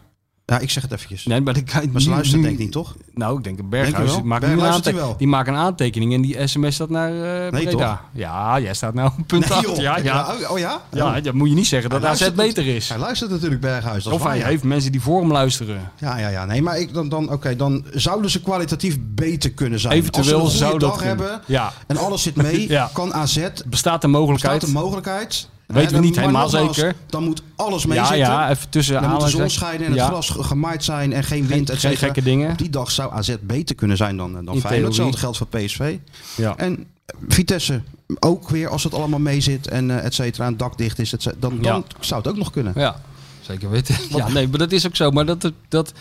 Speaker 5: Ja, ik zeg het eventjes.
Speaker 6: Nee, maar, ik,
Speaker 5: Maar ze luisteren denk ik niet, toch?
Speaker 6: Nou, ik denk een
Speaker 5: Denk je
Speaker 6: Berghuis.
Speaker 5: wel?
Speaker 6: Die maakt, nu
Speaker 5: Berg
Speaker 6: een
Speaker 5: luistert
Speaker 6: aante-
Speaker 5: hij wel.
Speaker 6: die maakt een aantekening en die sms staat naar eh
Speaker 5: Nee,
Speaker 6: Breda.
Speaker 5: toch?
Speaker 6: Ja, jij staat nou op punt
Speaker 5: Nee,
Speaker 6: 8.
Speaker 5: joh.
Speaker 6: *laughs* Ja, ja.
Speaker 5: Oh, oh ja?
Speaker 6: Ja, ja, moet je niet zeggen dat
Speaker 5: Hij
Speaker 6: AZ
Speaker 5: luistert
Speaker 6: beter
Speaker 5: natu-
Speaker 6: is.
Speaker 5: Hij luistert natuurlijk Berghuis. Dat is
Speaker 6: Of
Speaker 5: waar,
Speaker 6: hij
Speaker 5: ja.
Speaker 6: heeft mensen die voor hem luisteren.
Speaker 5: Ja, ja, ja. Nee, maar ik, dan, dan, oké, dan zouden ze kwalitatief beter kunnen zijn.
Speaker 6: Eventueel
Speaker 5: Als ze een
Speaker 6: zou
Speaker 5: goede
Speaker 6: dat
Speaker 5: dag
Speaker 6: kunnen.
Speaker 5: hebben
Speaker 6: Ja.
Speaker 5: en alles zit mee,
Speaker 6: *laughs* Ja.
Speaker 5: kan AZ...
Speaker 6: Bestaat de
Speaker 5: Staat
Speaker 6: mogelijkheid?
Speaker 5: de mogelijkheid?
Speaker 6: Weten
Speaker 5: Hè,
Speaker 6: we
Speaker 5: dan-
Speaker 6: niet
Speaker 5: maar
Speaker 6: helemaal
Speaker 5: nogmaals,
Speaker 6: zeker.
Speaker 5: Dan moet alles mee
Speaker 6: ja,
Speaker 5: zitten.
Speaker 6: ja, even tussen
Speaker 5: Dan moet de zon
Speaker 6: aanhalingstekens.
Speaker 5: schijnen en het
Speaker 6: Ja.
Speaker 5: gras ge- gemaaid zijn en geen wind.
Speaker 6: Geen-
Speaker 5: et
Speaker 6: geen
Speaker 5: cetera.
Speaker 6: gekke dingen.
Speaker 5: Op die dag zou AZ beter kunnen zijn dan, dan Feyenoord.
Speaker 6: theorie.
Speaker 5: Hetzelfde geldt voor PSV.
Speaker 6: Ja.
Speaker 5: En eh, Vitesse ook weer, als het allemaal mee zit en eh, et cetera, en het dak dicht is, et cetera, dan, dan zou het ook nog kunnen.
Speaker 6: Ja, zeker weten. *laughs* Ja, nee, maar dat is ook zo. Maar dat, dat,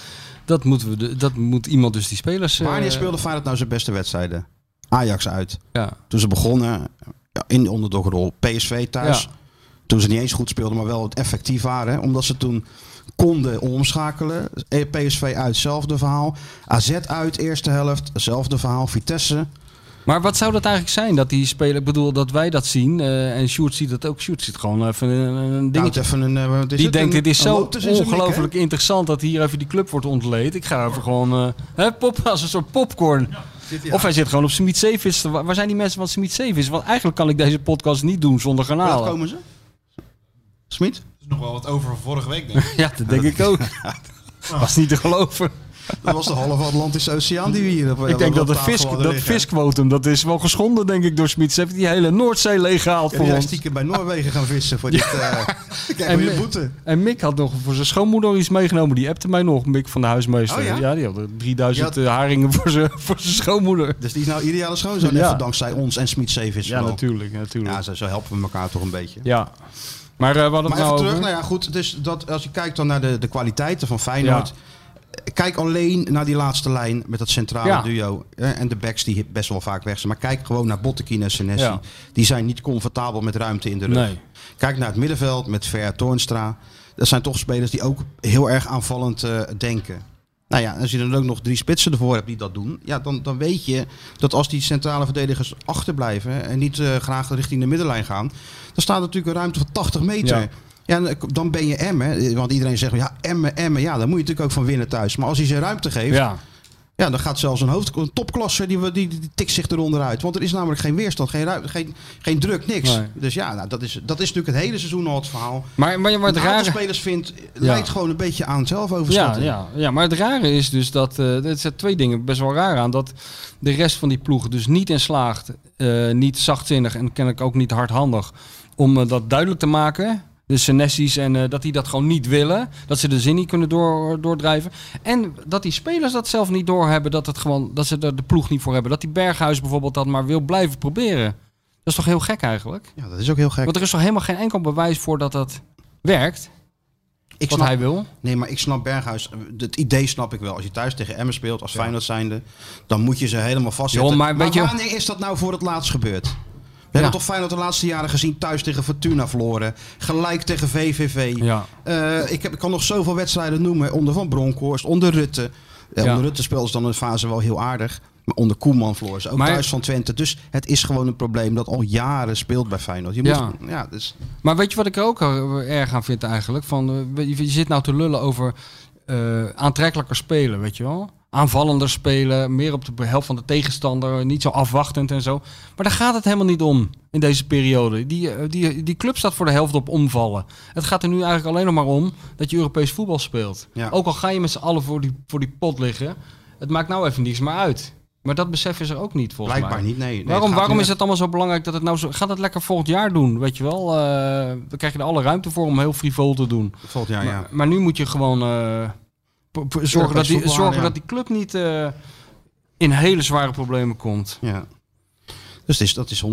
Speaker 6: dat, moeten we, de- dat moet iemand dus die spelers... eh,
Speaker 5: Wanneer speelde Feyenoord nou zijn beste wedstrijden? Ajax uit.
Speaker 6: Ja,
Speaker 5: Toen ze begonnen ja, in de onderdogrol. PSV thuis.
Speaker 6: Ja.
Speaker 5: Toen ze niet eens goed speelden, maar wel effectief waren. hè. Omdat ze toen konden omschakelen. E, PSV uit, hetzelfde verhaal. AZ uit, eerste helft, hetzelfde verhaal. Vitesse. Nou,
Speaker 6: Maar wat zou dat eigenlijk zijn dat die speler, ik bedoel dat wij dat zien eh, en Sjoerd ziet dat ook. Sjoerd ziet gewoon even een, een
Speaker 5: Nou, het
Speaker 6: dingetje.
Speaker 5: even een, eh, wat is
Speaker 6: die
Speaker 5: het?
Speaker 6: denkt
Speaker 5: Een-
Speaker 6: dit is
Speaker 5: een
Speaker 6: zo
Speaker 5: Lopez in zijn nek, hè?
Speaker 6: ongelooflijk interessant dat hier even die club wordt ontleed. Ik ga even gewoon, eh, hè, pop, als een soort popcorn. Of hij zit gewoon op Smit Zeevis. Waar waar zijn die mensen van Smit Zeevis? Want eigenlijk kan ik deze podcast niet doen zonder
Speaker 5: Hoe
Speaker 6: garnalen.
Speaker 5: laat komen ze? Smit?
Speaker 7: is nog wel wat over van vorige week, denk ik.
Speaker 6: Ja, dat denk ik ook. Was niet te geloven.
Speaker 5: Dat was de halve Atlantische Oceaan die we hier op
Speaker 6: Ik denk dat
Speaker 5: de
Speaker 6: het vis, dat visquotum, dat is wel geschonden denk ik door Smit. Ze heeft die hele Noordzee leeggehaald voor
Speaker 5: Die zijn
Speaker 6: ons.
Speaker 5: stiekem bij Noorwegen gaan vissen
Speaker 6: *laughs*
Speaker 5: voor dit... eh *laughs* kijk,
Speaker 6: En
Speaker 5: voor je
Speaker 6: me-
Speaker 5: boete.
Speaker 6: En Mick had nog voor zijn schoonmoeder iets meegenomen. Die appte mij nog, Mick van de huismeester.
Speaker 5: Oh ja?
Speaker 6: ja? die had er 3000
Speaker 5: Ja.
Speaker 6: eh, haringen voor zijn, voor zijn schoonmoeder.
Speaker 5: Dus die is nou ideale schoonzoon.
Speaker 6: Ja.
Speaker 5: Even dankzij ons en Smit Zeevis.
Speaker 6: Ja, natuurlijk. natuurlijk.
Speaker 5: Ja,
Speaker 6: Ja,
Speaker 5: zo, zo helpen we elkaar toch een beetje.
Speaker 6: Maar eh, we hadden
Speaker 5: Maar even
Speaker 6: het nou
Speaker 5: terug,
Speaker 6: over-
Speaker 5: nou ja, goed. Dus dat, als je kijkt dan naar de, de kwaliteiten van Feyenoord. eh, Kijk alleen naar die laatste lijn met dat centrale
Speaker 6: Ja.
Speaker 5: duo. eh, En de backs die best wel vaak weg zijn. Maar kijk gewoon naar Bottekin en Senesi.
Speaker 6: Ja.
Speaker 5: Die zijn niet comfortabel met ruimte in de rug.
Speaker 6: Nee.
Speaker 5: Kijk naar het middenveld met Ver Toornstra. Dat zijn toch spelers die ook heel erg aanvallend eh, denken. Nou ja, als je dan ook nog drie spitsen ervoor hebt die dat doen. Ja, dan, dan weet je dat als die centrale verdedigers achterblijven. en niet eh, graag richting de middenlijn gaan. dan staat er natuurlijk een ruimte van 80 meter. Ja.
Speaker 6: Ja.
Speaker 5: en eh, dan ben je Emmen. Want iedereen zegt ja, Emmen, Emmen. Ja, daar moet je natuurlijk ook van winnen thuis. Maar als hij ze ruimte geeft. Ja.
Speaker 6: Ja.
Speaker 5: dan gaat zelfs een, hoofd, een topklasse. Die, die, die, die tikt zich eronder uit. Want er is namelijk geen weerstand, geen, ruimte, geen, geen druk, niks.
Speaker 6: Nee.
Speaker 5: Dus ja, nou, dat, is, dat is natuurlijk het hele seizoen al het verhaal.
Speaker 6: Maar, maar, maar het
Speaker 5: Een aantal
Speaker 6: rare...
Speaker 5: spelers vindt, leidt gewoon een beetje aan
Speaker 6: Ja,
Speaker 5: zelfoverschatting.
Speaker 6: ja, ja, maar het rare is dus dat. eh er zijn twee dingen best wel raar aan. Dat de rest van die ploeg dus niet in slaagt. eh, niet zachtzinnig en kennelijk ook niet hardhandig. om eh, dat duidelijk te maken. De Senessies en eh, dat die dat gewoon niet willen. Dat ze de zin niet kunnen door, doordrijven. En dat die spelers dat zelf niet doorhebben. Dat, het gewoon, dat ze er de ploeg niet voor hebben. Dat die Berghuis bijvoorbeeld dat maar wil blijven proberen. Dat is toch heel gek eigenlijk?
Speaker 5: Ja, dat is ook heel gek.
Speaker 6: Want er is toch helemaal geen enkel bewijs voor dat dat werkt.
Speaker 5: ik
Speaker 6: Wat
Speaker 5: snap-
Speaker 6: hij wil.
Speaker 5: Nee, maar ik snap Berghuis. eh, Het idee snap ik wel. Als je thuis tegen Emmen speelt, als Feyenoord zijnde, dan moet je ze helemaal vastzetten.
Speaker 6: Joh, maar weet je-
Speaker 5: wanneer is dat nou voor het laatst gebeurd? We hebben toch Feyenoord de laatste jaren gezien thuis tegen Fortuna verloren. Gelijk tegen VVV.
Speaker 6: Ja.
Speaker 5: Eh, ik, heb, ik kan nog zoveel wedstrijden noemen. Onder Van Bronckhorst, onder Rutte. Eh,
Speaker 6: Ja.
Speaker 5: Onder Rutte speelde ze dan een fase wel heel aardig. Maar onder Koeman verloren ze ook
Speaker 6: Maar-
Speaker 5: thuis van Twente. Dus het is gewoon een probleem dat al jaren speelt bij Feyenoord. Je
Speaker 6: Ja.
Speaker 5: Moet, ja, dus,
Speaker 6: Maar weet je wat ik er ook er- erg aan vind eigenlijk? Van, eh, je je zit nou te lullen over eh, aantrekkelijker spelen, weet je wel? Aanvallender spelen, meer op de helft van de tegenstander, niet zo afwachtend en zo. Maar daar gaat het helemaal niet om in deze periode. Die, eh, die, die club staat voor de helft op omvallen. Het gaat er nu eigenlijk alleen nog maar om dat je Europees voetbal speelt.
Speaker 5: Ja.
Speaker 6: Ook al ga je met z'n allen voor die, voor die pot liggen, het maakt nou even niks meer uit. Maar dat besef is er ook niet volgens mij.
Speaker 5: blijkbaar niet. Nee, Nee,
Speaker 6: Waarom,
Speaker 5: gaat
Speaker 6: waarom
Speaker 5: nu-
Speaker 6: is het allemaal zo belangrijk dat het nou zo... Gaat het lekker volgend jaar doen, weet je wel? Eh, dan krijg je er alle ruimte voor om heel frivol te doen.
Speaker 5: Volgend jaar, ja.
Speaker 6: Maar, maar nu moet je gewoon eh, p- p- zorgen, dat die,
Speaker 5: voetbal,
Speaker 6: zorgen
Speaker 5: ja.
Speaker 6: dat die club niet eh, in hele zware problemen komt.
Speaker 5: Ja. Dus dat is, dat is 100%.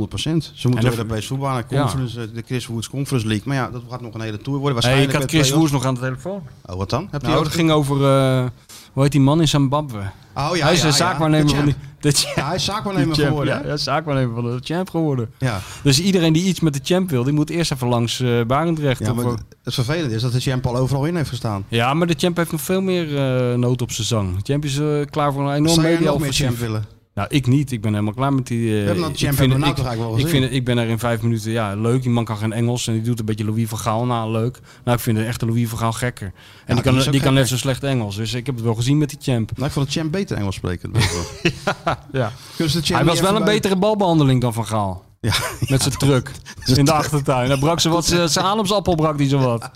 Speaker 5: Ze moeten
Speaker 6: dat-
Speaker 5: weer bij voetbal naar conference, eh, de Chris Woods Conference League. Maar ja, dat gaat nog een hele tour worden.
Speaker 6: Hey,
Speaker 5: Waarschijnlijk
Speaker 6: ik had
Speaker 5: met
Speaker 6: Chris
Speaker 5: play-offs.
Speaker 6: Woers nog aan de telefoon.
Speaker 5: Oh, wat dan? Heb je
Speaker 6: Nou, dat ging over... eh, hoe heet die man in Zimbabwe?
Speaker 5: Oh, ja,
Speaker 6: hij is
Speaker 5: ja,
Speaker 6: de
Speaker 5: ja.
Speaker 6: zaakwaarnemer
Speaker 5: De
Speaker 6: van die...
Speaker 5: champ.
Speaker 6: De
Speaker 5: *laughs*
Speaker 6: champ,
Speaker 5: Ja, hij is zaakwaarnemer
Speaker 6: champ,
Speaker 5: geworden.
Speaker 6: ja,
Speaker 5: hè?
Speaker 6: ja, zaakwaarnemer van de champ geworden.
Speaker 5: Ja.
Speaker 6: Dus iedereen die iets met de champ wil, die moet eerst even langs eh Barendrecht.
Speaker 5: Ja,
Speaker 6: of-
Speaker 5: maar het- het vervelende is dat de champ al overal in heeft gestaan.
Speaker 6: Ja, maar de champ heeft nog veel meer eh, nood op zijn zang. De champ is eh, klaar voor een enorm
Speaker 5: Zou jij
Speaker 6: media
Speaker 5: nog meer champ willen?
Speaker 6: Nou, ik niet. Ik ben helemaal klaar met die... eh,
Speaker 5: hebben dat
Speaker 6: ik
Speaker 5: champ
Speaker 6: vind
Speaker 5: hebben we nou
Speaker 6: het-
Speaker 5: toch eigenlijk wel
Speaker 6: ik,
Speaker 5: gezien?
Speaker 6: vind het- ik ben er in vijf minuten... Ja, leuk. Die man kan geen Engels en die doet een beetje Louis van Gaal na. Leuk. Nou, ik vind de echte Louis van Gaal gekker. En die,
Speaker 5: die
Speaker 6: kan,
Speaker 5: is ook
Speaker 6: die kan net
Speaker 5: gekker.
Speaker 6: zo slecht Engels. Dus ik heb het wel gezien met die champ.
Speaker 5: Nou, ik vond de champ beter Engels spreken. dat weet ik
Speaker 6: *laughs*
Speaker 5: wel.
Speaker 6: Ja.
Speaker 5: Kunnen ze de champ
Speaker 6: Hij
Speaker 5: niet
Speaker 6: was wel
Speaker 5: even
Speaker 6: een
Speaker 5: bij-
Speaker 6: betere balbehandeling dan van
Speaker 5: *laughs*
Speaker 6: Gaal.
Speaker 5: Ja,
Speaker 6: Met zijn truck in de achtertuin. Hij brak ze wat, zijn zijn ademsappel brak die zo wat.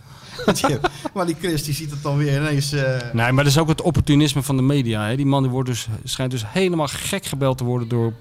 Speaker 5: die- maar die Chris die ziet het dan weer ineens... eh,
Speaker 6: Nee, maar dat is ook het opportunisme van de media. Hè. Die man die wordt dus, schijnt dus helemaal gek gebeld te worden door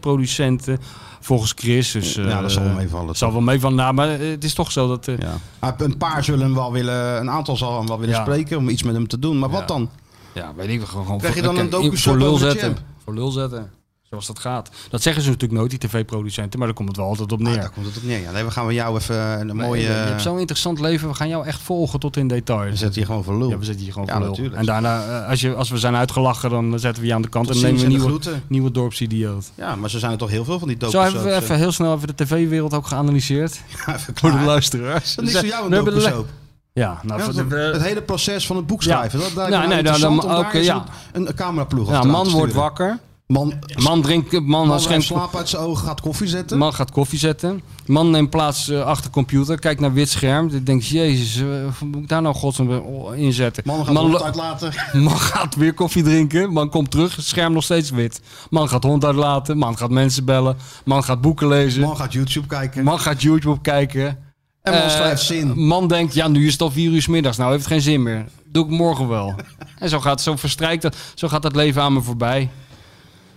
Speaker 6: tv-producenten. Volgens Chris. Dus, eh,
Speaker 5: ja, dat zal wel meevallen.
Speaker 6: zal wel mee van. Nou, maar eh, het is toch zo dat. eh,
Speaker 5: Ja. Maar Een paar zullen hem wel willen, een aantal zal hem wel willen
Speaker 6: Ja.
Speaker 5: spreken om iets met hem te doen. Maar wat
Speaker 6: Ja.
Speaker 5: dan?
Speaker 6: ja, weet ik wel, gewoon.
Speaker 5: Krijg je
Speaker 6: voor-
Speaker 5: dan een
Speaker 6: oké,
Speaker 5: docu-shot
Speaker 6: voor lul
Speaker 5: over de
Speaker 6: zetten?
Speaker 5: champ?
Speaker 6: Voor lul zetten. Zoals dat gaat. Dat zeggen ze natuurlijk nooit, die tv-producenten, maar daar komt het wel altijd op
Speaker 5: Ah,
Speaker 6: neer.
Speaker 5: daar komt het op neer. Ja, nee, we gaan we jou even een
Speaker 6: Nee,
Speaker 5: mooie...
Speaker 6: eh, je hebt zo'n interessant leven, we gaan jou echt volgen tot in detail.
Speaker 5: we zetten je gewoon voor lul.
Speaker 6: Ja, we zitten hier gewoon
Speaker 5: Ja,
Speaker 6: voor lul.
Speaker 5: natuurlijk.
Speaker 6: En daarna, eh, als, je, als we zijn uitgelachen, dan zetten we je aan de kant
Speaker 5: Tot
Speaker 6: en nemen we een
Speaker 5: ziens en de
Speaker 6: nieuwe,
Speaker 5: groeten.
Speaker 6: nieuwe dorpsidioot.
Speaker 5: Ja, maar zo zijn er toch heel veel van die
Speaker 6: Zo
Speaker 5: dopersoons.
Speaker 6: hebben we even heel snel even de tv-wereld ook geanalyseerd.
Speaker 5: *laughs*
Speaker 6: Voor de luisteraars.
Speaker 5: Dat eh, is niks voor jou een
Speaker 6: We hebben de le-
Speaker 5: dopersoon.
Speaker 6: Ja, nou,
Speaker 5: Ja,
Speaker 6: voor
Speaker 5: dat-
Speaker 6: de-
Speaker 5: het hele proces van het boek schrijven.
Speaker 6: Ja.
Speaker 5: Dat lijkt
Speaker 6: Ja,
Speaker 5: me
Speaker 6: nee,
Speaker 5: nou
Speaker 6: dan- dan-
Speaker 5: interessant om daar
Speaker 6: ook,
Speaker 5: eens
Speaker 6: ja.
Speaker 5: een, een cameraploeg
Speaker 6: ja,
Speaker 5: achteraan
Speaker 6: man
Speaker 5: te
Speaker 6: wordt
Speaker 5: sturen.
Speaker 6: wakker.
Speaker 5: Man,
Speaker 6: Man, drinkt, man,
Speaker 5: man
Speaker 6: man,
Speaker 5: heeft slaap uit zijn ogen, gaat koffie zetten.
Speaker 6: man gaat koffie zetten. Man neemt plaats eh, achter computer, kijkt naar wit scherm. Ik denk, jezus, eh, hoe moet ik daar nou godsnaam in zetten?
Speaker 5: man gaat man
Speaker 6: lo-
Speaker 5: uitlaten.
Speaker 6: *laughs* Man gaat weer koffie drinken. Man komt terug, scherm nog steeds wit. Man gaat hond uitlaten. Man gaat mensen bellen. Man gaat boeken lezen. Man,
Speaker 5: Man gaat YouTube kijken.
Speaker 6: gaat YouTube kijken.
Speaker 5: en man
Speaker 6: Eh,
Speaker 5: schrijft zin.
Speaker 6: Man denkt, ja, nu is het al vier uur 's middags. Nou heeft het geen zin meer. Doe ik morgen wel.
Speaker 5: *laughs*
Speaker 6: en zo gaat, zo verstrijkt dat, zo gaat dat leven aan me voorbij.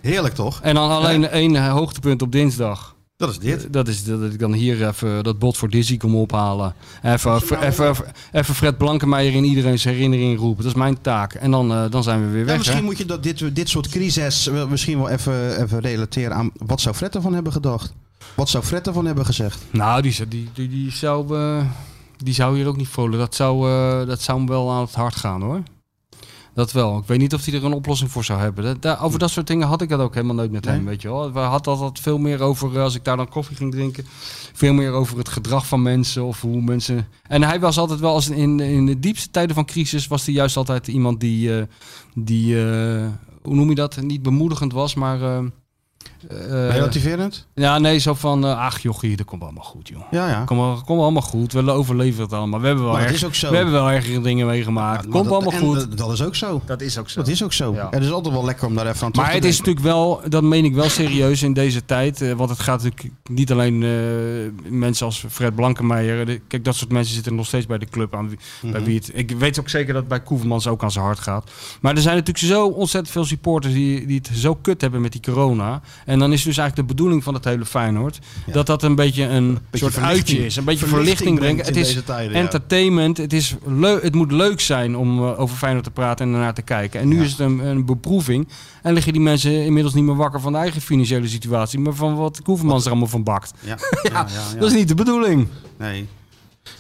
Speaker 5: Heerlijk toch?
Speaker 6: En dan alleen één eh, hoogtepunt op dinsdag.
Speaker 5: Dat is dit.
Speaker 6: Dat is dat ik dan hier even dat bot voor Dizzy kom ophalen. Even, even, even, even Fred Blankenmeijer in iedereen's herinnering roepen. Dat is mijn taak. En dan, eh, dan zijn we weer
Speaker 5: Ja,
Speaker 6: weg. hè?
Speaker 5: misschien moet je dat, dit, dit soort crises wel- misschien wel even, even relateren aan wat zou Fred ervan hebben gedacht? Wat zou Fred ervan hebben gezegd?
Speaker 6: Nou, die, zou- die, die, die, zou, eh, die zou hier ook niet voelen. Dat zou, eh, dat zou hem wel aan het hart gaan hoor. Dat wel. Ik weet niet of hij er een oplossing voor zou hebben. Dat, daar, over dat soort dingen had ik dat ook helemaal nooit met hem. Weet je wel. We hadden altijd veel meer over, eh, als ik daar dan koffie ging drinken, veel meer over het gedrag van mensen of hoe mensen. En hij was altijd wel, als in, in de diepste tijden van crisis, was hij juist altijd iemand die, eh, die eh, hoe noem je dat? Niet bemoedigend was, maar. eh, eh,
Speaker 5: Relativerend?
Speaker 6: ja, nee, zo van, eh, ach jochie, dat komt allemaal goed, joh.
Speaker 5: Ja, ja.
Speaker 6: Kom, wel- kom allemaal goed, we overleven het allemaal. We hebben wel,
Speaker 5: Maar dat
Speaker 6: erg-
Speaker 5: is ook zo.
Speaker 6: we hebben wel ergere dingen meegemaakt.
Speaker 5: Maar
Speaker 6: komt
Speaker 5: dat-
Speaker 6: allemaal
Speaker 5: en
Speaker 6: goed.
Speaker 5: Dat, dat is ook zo.
Speaker 6: dat is ook zo.
Speaker 5: Dat is ook zo.
Speaker 6: Ja.
Speaker 5: En het is altijd wel lekker om daar even aan terug
Speaker 6: maar
Speaker 5: te
Speaker 6: het is
Speaker 5: denken.
Speaker 6: natuurlijk wel, dat meen ik wel serieus in deze tijd. eh, Want het gaat natuurlijk niet alleen eh, mensen als Fred Blankenmeijer. de- Kijk, dat soort mensen zitten nog steeds bij de club. Aan wie,
Speaker 5: Mhm.
Speaker 6: bij wie het, ik weet ook zeker dat het bij Koevermans ook aan zijn hart gaat. Maar er zijn natuurlijk zo ontzettend veel supporters die, die het zo kut hebben met die corona. En dan is dus eigenlijk de bedoeling van het hele Feyenoord... dat dat een beetje een soort
Speaker 5: verlichting.
Speaker 6: uitje is. Een beetje
Speaker 5: Verlichting
Speaker 6: verlichting brengt.
Speaker 5: brengt
Speaker 6: Het
Speaker 5: in
Speaker 6: is
Speaker 5: deze tijden, ja.
Speaker 6: entertainment. Het, is leu- het moet leuk zijn om eh, over Feyenoord te praten en ernaar te kijken. En nu is het een, een beproeving. En liggen die mensen inmiddels niet meer wakker van de eigen financiële situatie, maar van wat Koevermans er allemaal van bakt. *laughs*
Speaker 5: Ja, ja, ja, ja.
Speaker 6: Dat is niet de bedoeling.
Speaker 5: Nee.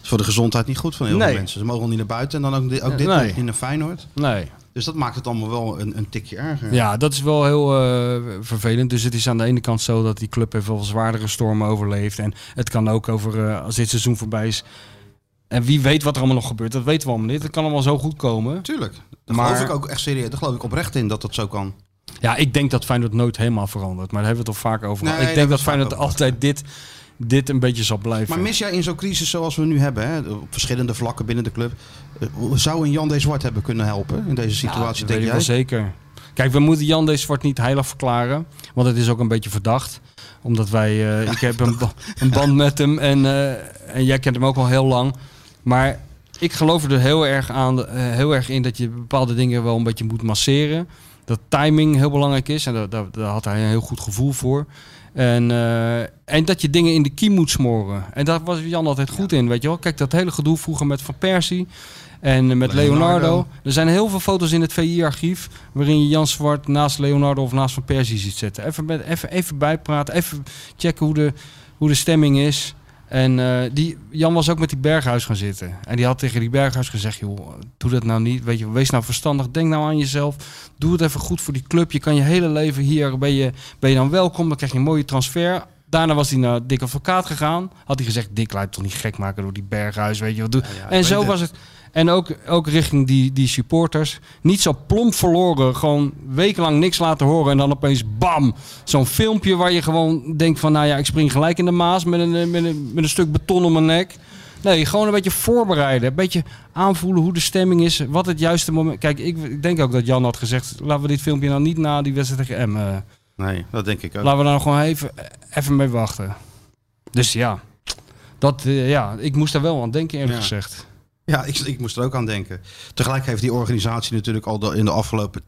Speaker 5: is voor de gezondheid niet goed van heel
Speaker 6: Nee.
Speaker 5: veel mensen. Ze mogen niet naar buiten en dan ook, di- ook dit
Speaker 6: Nee.
Speaker 5: niet naar Feyenoord.
Speaker 6: Nee.
Speaker 5: Dus dat maakt het allemaal wel een, een tikje erger.
Speaker 6: Ja, dat is wel heel eh, vervelend. Dus het is aan de ene kant zo dat die club heeft wel zwaardere stormen overleeft. En het kan ook over, eh, als dit seizoen voorbij is. En wie weet wat er allemaal nog gebeurt, dat weten we allemaal niet. Het kan allemaal zo goed komen.
Speaker 5: Tuurlijk. Daar
Speaker 6: Maar-
Speaker 5: geloof ik ook echt serieus. Daar geloof ik oprecht in dat dat zo kan.
Speaker 6: Ja, ik denk dat Feyenoord nooit helemaal verandert. Maar daar hebben we het al vaak over gehad.
Speaker 5: Nee,
Speaker 6: ik
Speaker 5: daar
Speaker 6: denk
Speaker 5: hebben
Speaker 6: dat
Speaker 5: we
Speaker 6: Feyenoord
Speaker 5: het vaak
Speaker 6: altijd dit, dit een beetje zal blijven.
Speaker 5: Maar mis jij in zo'n crisis zoals we nu hebben, hè, op verschillende vlakken binnen de club, eh, zou een Jan de Zwart hebben kunnen helpen in deze
Speaker 6: Ja,
Speaker 5: situatie, denk
Speaker 6: dat weet ik
Speaker 5: jij?
Speaker 6: wel zeker. Kijk, we moeten Jan de Zwart niet heilig verklaren. Want het is ook een beetje verdacht. Omdat wij... eh, ik heb een, ba- een band met hem. En, eh, en jij kent hem ook al heel lang. Maar ik geloof er dus heel erg, aan, eh, heel erg in dat je bepaalde dingen wel een beetje moet masseren. Dat timing heel belangrijk is. En daar, daar, daar had hij een heel goed gevoel voor. En, eh, en dat je dingen in de kiem moet smoren. En daar was Jan altijd goed in, weet je wel. Kijk, dat hele gedoe vroeger met Van Persie en eh, met Leonardo.
Speaker 5: Leonardo.
Speaker 6: Er zijn heel veel foto's in het VI-archief... waarin je Jan Zwart naast Leonardo of naast Van Persie ziet zitten. Even, met, even, even bijpraten, even checken hoe de, hoe de stemming is. En eh, die, Jan was ook met die Berghuis gaan zitten. En die had tegen die Berghuis gezegd: joh, doe dat nou niet. Weet je, wees nou verstandig. Denk nou aan jezelf. Doe het even goed voor die club. Je kan je hele leven hier. Ben je, ben je dan welkom? Dan krijg je een mooie transfer. Daarna was hij naar Dick Advocaat gegaan. Had hij gezegd: Dick, laat je toch niet gek maken door die Berghuis. Weet je wat doe.
Speaker 5: ik
Speaker 6: en
Speaker 5: weet
Speaker 6: zo
Speaker 5: het.
Speaker 6: was het. En ook, ook richting die, die supporters. Niet zo plomp verloren. Gewoon wekenlang niks laten horen. En dan opeens bam. Zo'n filmpje waar je gewoon denkt van... Nou ja, ik spring gelijk in de Maas met een, eh, met een, met een stuk beton om mijn nek. Nee, gewoon een beetje voorbereiden. Een beetje aanvoelen hoe de stemming is. Wat het juiste moment... Kijk, ik, ik denk ook dat Jan had gezegd... Laten we dit filmpje nou niet na die wedstrijd tegen Emmen. eh,
Speaker 5: Nee, dat denk ik ook.
Speaker 6: Laten we daar nou gewoon even, even mee wachten. Dus ja... Dat, eh, ja, ik moest daar wel aan denken eerlijk
Speaker 5: Ja.
Speaker 6: gezegd.
Speaker 5: Ja, ik, ik moest er ook aan denken. Tegelijk heeft die organisatie natuurlijk al de- in de afgelopen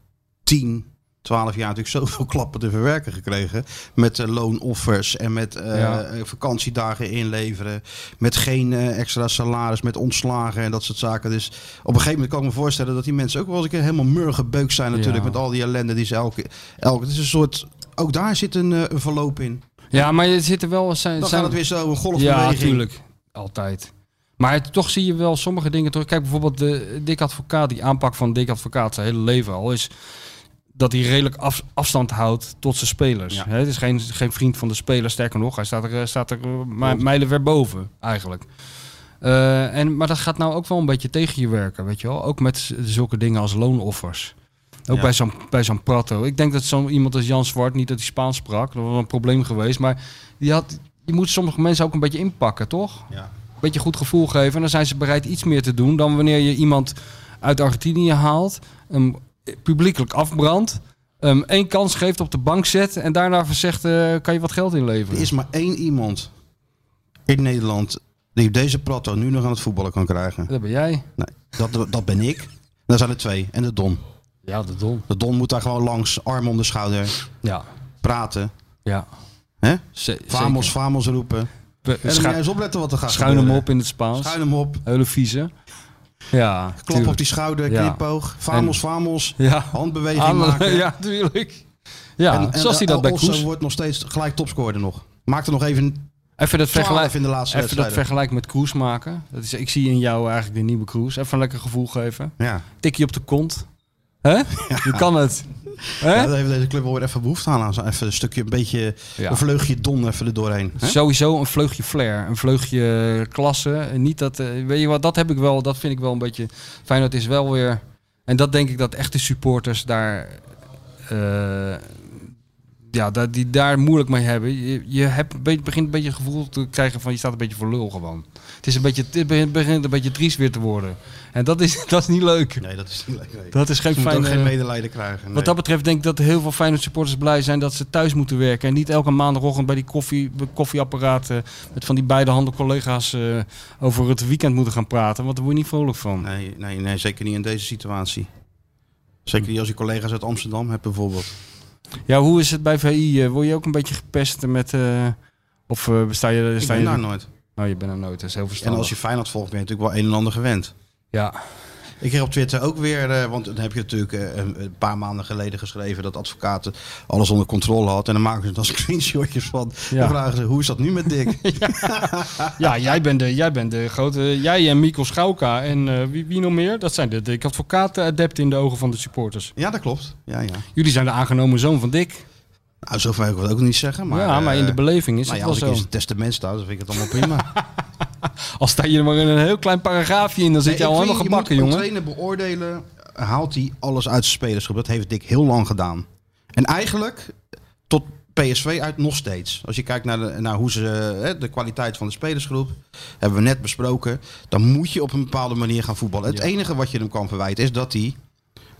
Speaker 5: 10, 12 jaar natuurlijk zoveel *laughs* klappen te verwerken gekregen. Met eh, loonoffers en met eh,
Speaker 6: Ja.
Speaker 5: eh, vakantiedagen inleveren. Met geen eh, extra salaris, met ontslagen en dat soort zaken. Dus op een gegeven moment kan ik me voorstellen dat die mensen ook wel eens een keer helemaal murgebeukt zijn natuurlijk.
Speaker 6: Ja.
Speaker 5: Met al die ellende die ze elke, elke... Het is een soort ook daar zit een, eh, een verloop in.
Speaker 6: Ja, maar je zit er wel... Zijn,
Speaker 5: Dan
Speaker 6: zijn-
Speaker 5: gaat het weer zo een golfbeweging.
Speaker 6: Ja, natuurlijk. Altijd. Maar het- toch zie je wel sommige dingen terug. Kijk bijvoorbeeld de Dick Advocaat, die aanpak van Dick Advocaat zijn hele leven al is dat hij redelijk af- afstand houdt tot zijn spelers.
Speaker 5: Ja.
Speaker 6: Hè, het is geen, geen vriend van de speler, sterker nog, hij staat er, eh, staat er eh, mi- mijlenver boven eigenlijk. Eh, en, maar dat gaat nou ook wel een beetje tegen je werken, weet je wel? Ook met z- zulke dingen als loonoffers. Ook
Speaker 5: Ja.
Speaker 6: bij zo'n bij zo'n Prato. Ik denk dat zo'n iemand als Jan Zwart, niet dat hij Spaans sprak, dat was wel een probleem geweest, maar die had, je moet sommige mensen ook een beetje inpakken, toch?
Speaker 5: Ja.
Speaker 6: Beetje goed gevoel geven. En dan zijn ze bereid iets meer te doen dan wanneer je iemand uit Argentinië haalt, hem publiekelijk afbrandt, hem één kans geeft op de bank zet en daarna zegt, eh, kan je wat geld
Speaker 5: Er
Speaker 6: inleveren?
Speaker 5: is maar één iemand in Nederland die deze plato nu nog aan het voetballen kan krijgen.
Speaker 6: Dat ben jij.
Speaker 5: Nee, dat, dat ben ik. Dan zijn er twee. En de Don.
Speaker 6: Ja, de dom.
Speaker 5: De Don moet daar gewoon langs, arm om de schouder,
Speaker 6: Ja,
Speaker 5: praten.
Speaker 6: ja.
Speaker 5: Hè?
Speaker 6: Ze-
Speaker 5: Famos,
Speaker 6: zeker.
Speaker 5: famos roepen. En
Speaker 6: We-
Speaker 5: dan moet
Speaker 6: schu-
Speaker 5: jij eens opletten wat er gaat
Speaker 6: schuin hem
Speaker 5: gebeuren.
Speaker 6: op in het Spaans.
Speaker 5: Schuin hem op.
Speaker 6: Hele vieze. Ja,
Speaker 5: Klap op
Speaker 6: tuurlijk.
Speaker 5: die schouder,
Speaker 6: Ja.
Speaker 5: knipoog. Famos, famos.
Speaker 6: Ja.
Speaker 5: Handbeweging
Speaker 6: Aan-
Speaker 5: maken.
Speaker 6: *laughs* Ja, tuurlijk. Ja,
Speaker 5: En- en
Speaker 6: zoals hij dat bij
Speaker 5: Elso
Speaker 6: Kroes.
Speaker 5: wordt nog steeds gelijk topscorer nog. Maakt er nog even
Speaker 6: Even dat
Speaker 5: 12
Speaker 6: vergelijk.
Speaker 5: in de laatste
Speaker 6: Even dat
Speaker 5: wedstrijd.
Speaker 6: vergelijk met Kroes maken. Dat is, ik zie in jou eigenlijk de nieuwe Kroes. Even een lekker gevoel geven.
Speaker 5: Ja.
Speaker 6: Tikje op de kont.
Speaker 5: *laughs*
Speaker 6: Hè? Je kan het. Hè?
Speaker 5: Ja, daar heeft deze club wel weer even behoefte aan. aan zo- Even een stukje, een beetje,
Speaker 6: Ja.
Speaker 5: een vleugje don even er doorheen. hè?
Speaker 6: Sowieso een vleugje flair, een vleugje klasse. En Niet dat, eh, weet je wat, dat heb ik wel, dat vind ik wel een beetje fijn. Dat is wel weer, en dat denk ik dat echte supporters daar, eh, ja, dat die daar moeilijk mee hebben. Je, je hebt, een beetje- begint een beetje het gevoel te krijgen van je staat een beetje voor lul gewoon. Het, is een beetje, het begint, begint een beetje triest weer te worden. En dat is, *laughs* dat is niet leuk.
Speaker 5: Nee, dat is niet leuk. nee.
Speaker 6: Dat is geen
Speaker 5: Ze moeten ook
Speaker 6: fijne...
Speaker 5: geen medelijden krijgen. nee.
Speaker 6: eh, Wat dat betreft denk ik dat heel veel Feyenoord supporters blij zijn dat ze thuis moeten werken. En niet elke maandagochtend bij die koffie, bij koffieapparaat eh, met van die beide handen collega's eh, over het weekend moeten gaan praten. Want daar word je niet vrolijk van.
Speaker 5: nee, nee, nee, zeker niet in deze situatie. Zeker niet als je collega's uit Amsterdam hebt bijvoorbeeld.
Speaker 6: Ja, hoe is het bij VI? Eh, word je ook een beetje gepest met... eh, of eh, sta je...
Speaker 5: Ik
Speaker 6: Sta
Speaker 5: ben
Speaker 6: je
Speaker 5: daar nooit.
Speaker 6: Nou, je bent er nooit. Dat is heel
Speaker 5: En
Speaker 6: verstandig.
Speaker 5: als je Feyenoord volgt, ben je natuurlijk wel een en ander gewend.
Speaker 6: Ja,
Speaker 5: Ik kreeg op Twitter ook weer, eh, want dan heb je natuurlijk eh, een een paar maanden geleden geschreven dat advocaten alles onder controle had. En dan maken ze dan *laughs* screenshotjes van.
Speaker 6: Ja.
Speaker 5: Dan vragen ze, hoe is dat nu met Dick?
Speaker 6: *laughs* *laughs* ja jij, bent de, jij bent de grote... Jij en Mikkel Schauka en eh, wie, wie nog meer? Dat zijn de, de advocaten-adepten in de ogen van de supporters.
Speaker 5: ja, dat klopt. Ja, ja.
Speaker 6: Jullie zijn de aangenomen zoon van Dick.
Speaker 5: Nou, zo wil ik het ook niet zeggen. Maar,
Speaker 6: ja, maar in de
Speaker 5: eh,
Speaker 6: beleving is
Speaker 5: nou ja,
Speaker 6: het
Speaker 5: als ik
Speaker 6: wel
Speaker 5: in
Speaker 6: zo.
Speaker 5: het testament sta, dan vind ik het allemaal prima.
Speaker 6: Als sta je er maar in een heel klein paragraafje in, dan zit je al helemaal gebakken,
Speaker 5: Je moet
Speaker 6: jongen.
Speaker 5: een trainer beoordelen, haalt hij alles uit zijn spelersgroep. Dat heeft Dick heel lang gedaan. En eigenlijk tot PSV uit nog steeds. Als je kijkt naar, de, naar hoe ze, hè, de kwaliteit van de spelersgroep, hebben we net besproken. Dan moet je op een bepaalde manier gaan voetballen. Het enige wat je hem kan verwijten is dat hij...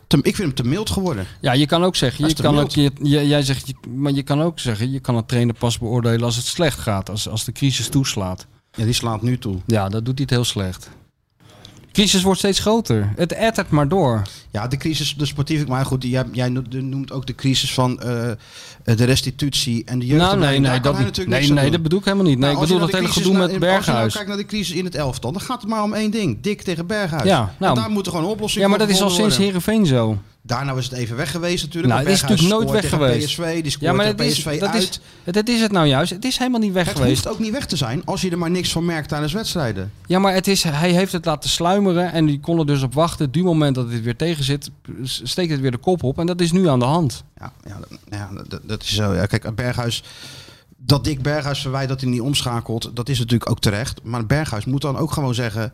Speaker 5: te- ik vind hem te mild geworden.
Speaker 6: Ja, je kan ook zeggen,
Speaker 5: Hij
Speaker 6: je
Speaker 5: is te
Speaker 6: kan ook,
Speaker 5: mild.
Speaker 6: je, je- jij zegt, je- maar je kan ook zeggen, je kan een trainer pas beoordelen als het slecht gaat, als, als de crisis toeslaat.
Speaker 5: Ja, die slaat nu toe.
Speaker 6: Ja, dat doet hij het heel slecht. De crisis wordt steeds groter. Het ettert maar door.
Speaker 5: Ja, de crisis, de sportieve... Maar goed, jij, jij noemt ook de crisis van eh, de restitutie en de jeugd.
Speaker 6: nou, nee, nee, dat, niet. nee, nee dat bedoel ik helemaal niet. Nee,
Speaker 5: Nou,
Speaker 6: ik
Speaker 5: als je
Speaker 6: bedoel
Speaker 5: naar
Speaker 6: dat hele
Speaker 5: de
Speaker 6: gedoe
Speaker 5: crisis
Speaker 6: met
Speaker 5: nou- als je nou
Speaker 6: Berghuis.
Speaker 5: kijkt naar de crisis in het elftal, dan gaat het maar om één ding. Dik tegen Berghuis.
Speaker 6: Ja,
Speaker 5: En
Speaker 6: nou.
Speaker 5: daar moeten gewoon oplossingen
Speaker 6: Ja, maar dat is al
Speaker 5: gevonden
Speaker 6: sinds
Speaker 5: worden.
Speaker 6: Heerenveen zo.
Speaker 5: Daarna is het even weg geweest natuurlijk.
Speaker 6: Nou,
Speaker 5: want
Speaker 6: het is
Speaker 5: Berghuis
Speaker 6: natuurlijk nooit
Speaker 5: scoort
Speaker 6: weg
Speaker 5: tegen PSV, die scoort
Speaker 6: Ja, maar
Speaker 5: tegen
Speaker 6: dat is,
Speaker 5: PSV
Speaker 6: dat,
Speaker 5: uit.
Speaker 6: is, dat is het nou juist. Het is helemaal niet weg
Speaker 5: het
Speaker 6: geweest.
Speaker 5: hoeft ook niet weg te zijn als je er maar niks van merkt tijdens wedstrijden.
Speaker 6: Ja, maar het is, hij heeft het laten sluimeren en die kon er dus op wachten. Het moment dat dit weer tegen zit, steekt het weer de kop op. En dat is nu aan de hand.
Speaker 5: Ja, ja, dat- ja dat, dat is zo. Ja, kijk, Berghuis... Dat Dick Berghuis verwijt dat hij niet omschakelt, dat is natuurlijk ook terecht. Maar Berghuis moet dan ook gewoon zeggen...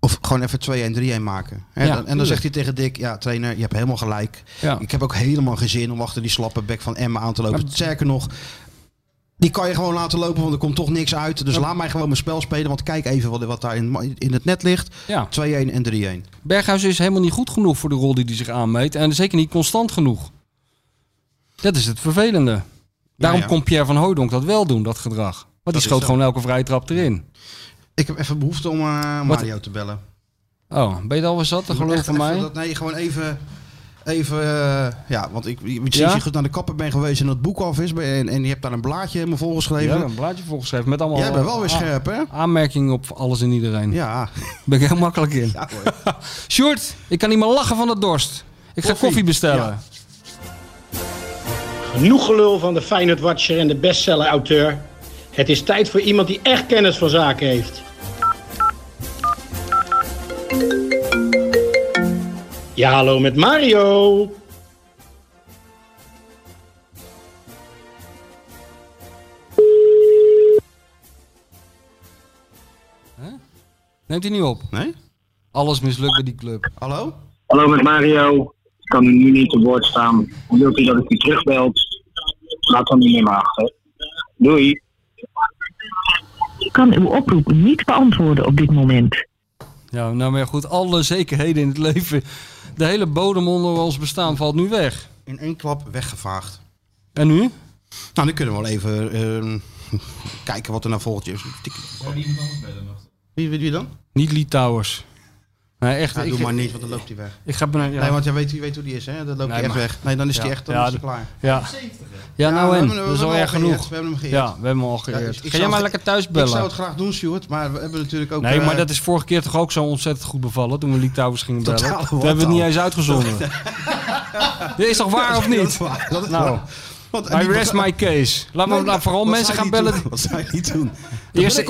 Speaker 5: Of gewoon even 2-1, 3-1 maken. Hè,
Speaker 6: Ja,
Speaker 5: dan- en dan
Speaker 6: tuurlijk.
Speaker 5: zegt hij tegen Dick, ja trainer, je hebt helemaal gelijk.
Speaker 6: Ja.
Speaker 5: Ik heb ook helemaal geen zin om achter die slappe bek van Emma aan te lopen.
Speaker 6: Maar-
Speaker 5: Sterker nog, die kan je gewoon laten lopen, want er komt toch niks uit. Dus laat mij gewoon mijn spel spelen, want kijk even wat, wat daar in, in het net ligt.
Speaker 6: Ja.
Speaker 5: 2-1 en 3-1.
Speaker 6: Berghuis is helemaal niet goed genoeg voor de rol die hij zich aanmeet. En zeker niet constant genoeg. Dat is het vervelende. Daarom
Speaker 5: ja.
Speaker 6: kon Pierre van Hooydonk dat wel doen, dat gedrag. Want die
Speaker 5: is
Speaker 6: schoot
Speaker 5: zo.
Speaker 6: gewoon elke vrije trap erin.
Speaker 5: Ik heb even behoefte om eh,
Speaker 6: Wat-
Speaker 5: Mario te bellen.
Speaker 6: Oh, ben je er alweer zat, geloof
Speaker 5: Echt
Speaker 6: van
Speaker 5: even
Speaker 6: mij?
Speaker 5: dat- nee, gewoon even... Even, eh, ja, want ik, sinds
Speaker 6: Ja?
Speaker 5: je goed naar de kapper ben geweest en dat boek af is en, en je hebt daar een blaadje helemaal
Speaker 6: Ja,
Speaker 5: volgeschreven.
Speaker 6: een blaadje volgeschreven met allemaal
Speaker 5: Jij bent wel weer
Speaker 6: eh,
Speaker 5: scherp, hè?
Speaker 6: a- aanmerkingen op alles en iedereen.
Speaker 5: Ja. *laughs*
Speaker 6: Ben ik heel makkelijk in. *laughs* Sjoerd, ik kan niet meer lachen van de dorst. Ik ga koffie bestellen.
Speaker 5: Ja.
Speaker 8: Genoeg gelul van de Feyenoord Watcher en de bestseller-auteur. Het is tijd voor iemand die echt kennis van zaken heeft. Ja, hallo met Mario.
Speaker 6: Neemt hij niet op.
Speaker 5: Nee?
Speaker 6: Alles mislukt bij die club.
Speaker 5: Hallo?
Speaker 9: Hallo met Mario. Ik kan nu niet te woord staan. Wilt u dat ik u terugbelt? Laat dan niet meer maar achter. Doei.
Speaker 10: kan uw oproep niet beantwoorden op dit moment.
Speaker 6: Ja, nou maar goed, alle zekerheden in het *laughs* leven. De hele bodem onder ons bestaan valt nu weg.
Speaker 5: In één klap weggevaagd.
Speaker 6: En nu?
Speaker 5: Nou, nu kunnen we wel even ehm, *laughs* kijken wat er naar volgt. Tik-
Speaker 7: Zou die iemand anders bellen nog?
Speaker 5: Wie, wie, wie dan?
Speaker 6: Niet Litouwers. Nee, echt.
Speaker 5: Ja,
Speaker 6: ik,
Speaker 5: doe maar niet, want dan loopt hij weg.
Speaker 6: Ik ga bijna... Ja,
Speaker 5: Nee, want jij weet, je weet hoe die is, hè? Dan loopt
Speaker 6: Nee,
Speaker 5: hij echt
Speaker 6: maar-
Speaker 5: weg. Nee, dan is hij
Speaker 6: Ja.
Speaker 5: echt dan
Speaker 6: Ja,
Speaker 5: is hij
Speaker 6: de-
Speaker 5: klaar.
Speaker 6: ja. ja nou
Speaker 5: we hebben
Speaker 6: en,
Speaker 5: hem- we
Speaker 6: dat is
Speaker 5: hebben
Speaker 6: al
Speaker 5: hem
Speaker 6: erg
Speaker 5: geëerd.
Speaker 6: genoeg.
Speaker 5: We hebben hem geëerd.
Speaker 6: Ja, we hebben hem al geëerd.
Speaker 5: Ja, ik- ik
Speaker 6: Ga
Speaker 5: zou
Speaker 6: jij maar
Speaker 5: het-
Speaker 6: lekker thuis
Speaker 5: Ik zou
Speaker 6: bellen.
Speaker 5: het graag doen, Stuart, maar we hebben natuurlijk ook...
Speaker 6: Nee,
Speaker 5: eh,
Speaker 6: maar
Speaker 5: *laughs*
Speaker 6: dat is vorige keer toch ook zo ontzettend goed bevallen toen we Litouwers gingen bellen.
Speaker 5: Totale
Speaker 6: We hebben het
Speaker 5: wartaal.
Speaker 6: niet eens
Speaker 5: *laughs*
Speaker 6: uitgezonden. Dit is toch waar of
Speaker 5: dat is
Speaker 6: niet?
Speaker 5: waar, *laughs* dat is
Speaker 6: Nou.
Speaker 5: waar. Want,
Speaker 6: I rest my case. Laat maar laat vooral mensen gaan bellen. die-
Speaker 5: Wat zou je niet
Speaker 6: *laughs*
Speaker 5: doen?
Speaker 6: Eerst-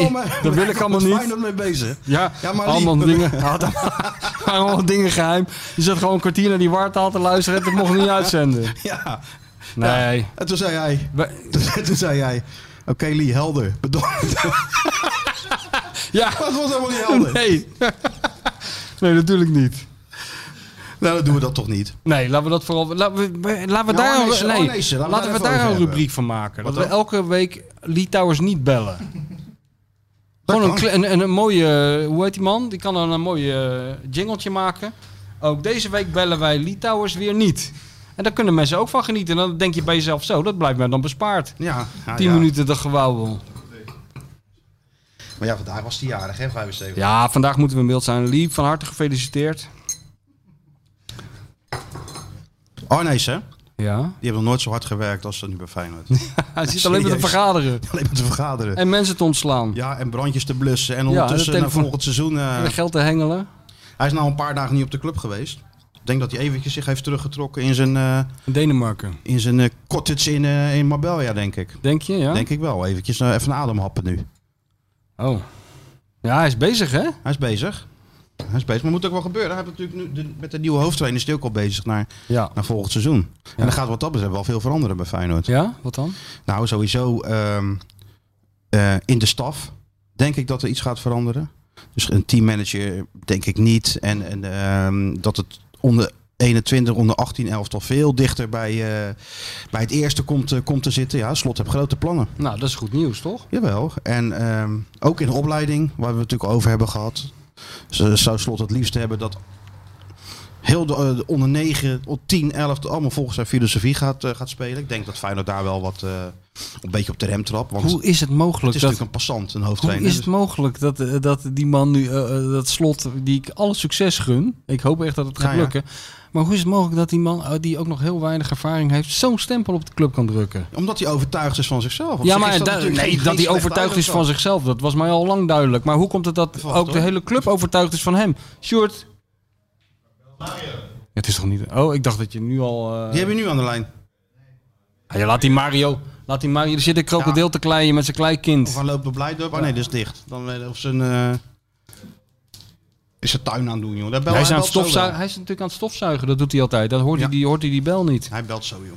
Speaker 6: *laughs* dat wil
Speaker 5: *laughs*
Speaker 6: ik allemaal niet.
Speaker 5: Ik ben mee bezig.
Speaker 6: Ja,
Speaker 5: *laughs* Ja, maar
Speaker 6: allemaal
Speaker 5: lief.
Speaker 6: dingen. Ja, dat waren *laughs* allemaal dingen geheim. Je zat gewoon een kwartier naar die wartaal te luisteren en dat mocht niet uitzenden.
Speaker 5: Ja.
Speaker 6: Nee.
Speaker 5: En toen zei hij... *laughs*
Speaker 6: We-
Speaker 5: Toen, toen zei jij... Oké, Lee, helder. *laughs* Bedankt.
Speaker 6: Ja.
Speaker 5: Dat was helemaal niet helder.
Speaker 6: Nee. *laughs* Nee, natuurlijk niet.
Speaker 5: Nou, dan doen we dat toch niet.
Speaker 6: Nee, laten we dat vooral. Laten we, we- laten we daar,
Speaker 5: Johannes,
Speaker 6: nee,
Speaker 5: Johannes, Nou, laten we
Speaker 6: laten,
Speaker 5: daar
Speaker 6: we
Speaker 5: even
Speaker 6: daar
Speaker 5: over
Speaker 6: een
Speaker 5: hebben.
Speaker 6: rubriek van maken.
Speaker 5: Wat
Speaker 6: dat we
Speaker 5: dan?
Speaker 6: elke week Litouwers niet bellen. Gewoon een,
Speaker 5: kan.
Speaker 6: kle- een, een, een mooie. eh, Hoe heet die man? Die kan dan een mooie eh, jingletje maken. Ook deze week bellen wij Litouwers weer niet. En daar kunnen mensen ook van genieten. En dan denk je bij jezelf zo, dat blijft mij dan bespaard.
Speaker 5: Ja. ja,
Speaker 6: 10
Speaker 5: ja.
Speaker 6: minuten de gewauwel.
Speaker 5: Maar ja, vandaag was hij jarig, hè? 75.
Speaker 6: Ja, vandaag moeten we in beeld zijn. Lief, van harte gefeliciteerd.
Speaker 5: Arnees, hè?
Speaker 6: Ja.
Speaker 5: Die hebben nog nooit zo hard gewerkt als ze nu bij *laughs* Feyenoord.
Speaker 6: Hij zit alleen maar te
Speaker 5: Serieus.
Speaker 6: vergaderen.
Speaker 5: Alleen maar te vergaderen.
Speaker 6: En mensen te ontslaan.
Speaker 5: Ja, en brandjes te blussen. En ondertussen
Speaker 6: de
Speaker 5: naar
Speaker 6: telefoon-
Speaker 5: volgend seizoen... eh,
Speaker 6: En geld te hengelen.
Speaker 5: hij is nou een paar dagen niet op de club geweest. Ik denk dat hij eventjes zich heeft teruggetrokken in zijn, eh,
Speaker 6: In Denemarken.
Speaker 5: in zijn eh, cottage in, eh, in Marbella, denk ik.
Speaker 6: Denk je, ja?
Speaker 5: Denk ik wel. Eventjes eh, even een ademhappen nu.
Speaker 6: Oh. Ja, hij is bezig, hè?
Speaker 5: Hij is bezig. Hij is bezig. Maar moet ook wel gebeuren. Hij heeft natuurlijk nu de- met de nieuwe hoofdtrainer is hij ook al bezig naar,
Speaker 6: Ja.
Speaker 5: naar volgend seizoen. En er gaat wat dat betreft wel veel veranderen bij Feyenoord.
Speaker 6: Ja, wat dan?
Speaker 5: Nou, sowieso ehm, eh, in de staf denk ik dat er iets gaat veranderen. Dus een teammanager denk ik niet. En, en ehm, dat het onder 21, onder 18, elftal veel dichter bij, eh, bij het eerste komt, eh, komt te zitten. Ja, Slot heeft grote plannen.
Speaker 6: Nou, dat is goed nieuws, toch?
Speaker 5: Jawel. En ehm, ook in de opleiding, waar we het natuurlijk over hebben gehad. Ze zou slot het liefst hebben dat heel de, eh, de onder 9, op 10, 11 allemaal volgens zijn filosofie gaat, eh, gaat spelen. Ik denk dat Feyenoord daar wel wat eh, een beetje op de rem trapt. Want
Speaker 6: Hoe is het
Speaker 5: het
Speaker 6: mogelijk
Speaker 5: is
Speaker 6: dat...
Speaker 5: natuurlijk een passant, een
Speaker 6: Hoe
Speaker 5: hoofdtrainer. Dus
Speaker 6: is het mogelijk dat, eh, dat die man nu, eh, eh, dat slot, die ik alle succes gun. Ik hoop echt dat het gaat
Speaker 5: Ja, ja.
Speaker 6: lukken. Maar hoe is het mogelijk dat die man, eh, die ook nog heel weinig ervaring heeft, zo'n stempel op de club kan drukken?
Speaker 5: Dus omdat hij overtuigd is van zichzelf. Op
Speaker 6: ja,
Speaker 5: zich
Speaker 6: maar
Speaker 5: is dat
Speaker 6: da-
Speaker 5: natuurlijk geen-
Speaker 6: nee,
Speaker 5: geen
Speaker 6: dat hij
Speaker 5: slecht
Speaker 6: overtuigd is van
Speaker 5: eigenschap.
Speaker 6: zichzelf, dat was mij al lang duidelijk. Maar hoe komt het dat
Speaker 5: Wacht,
Speaker 6: ook de
Speaker 5: hoor.
Speaker 6: hele club overtuigd is van hem? Sjoerd? Ja, het is toch niet... Oh, ik dacht dat je nu al... eh,
Speaker 5: Die heb je nu aan de lijn.
Speaker 6: Ah, ja, laat die Mario. Laat die Mario. Er zit een krokodil te kleien met zijn kleinkind.
Speaker 5: Of hij loopt op Blijdorp. Ah nee, dat is dicht. Dan, eh, of zijn... eh, is zijn tuin aan het doen, joh. Daar bel-
Speaker 6: Hij is, aan
Speaker 5: belt
Speaker 6: het
Speaker 5: zo
Speaker 6: stofzu-
Speaker 5: wel.
Speaker 6: hij is natuurlijk aan het stofzuigen. Dat doet hij altijd. Dan hoort,
Speaker 5: Ja.
Speaker 6: hij, die, hoort hij die bel niet.
Speaker 5: Hij belt zo, joh.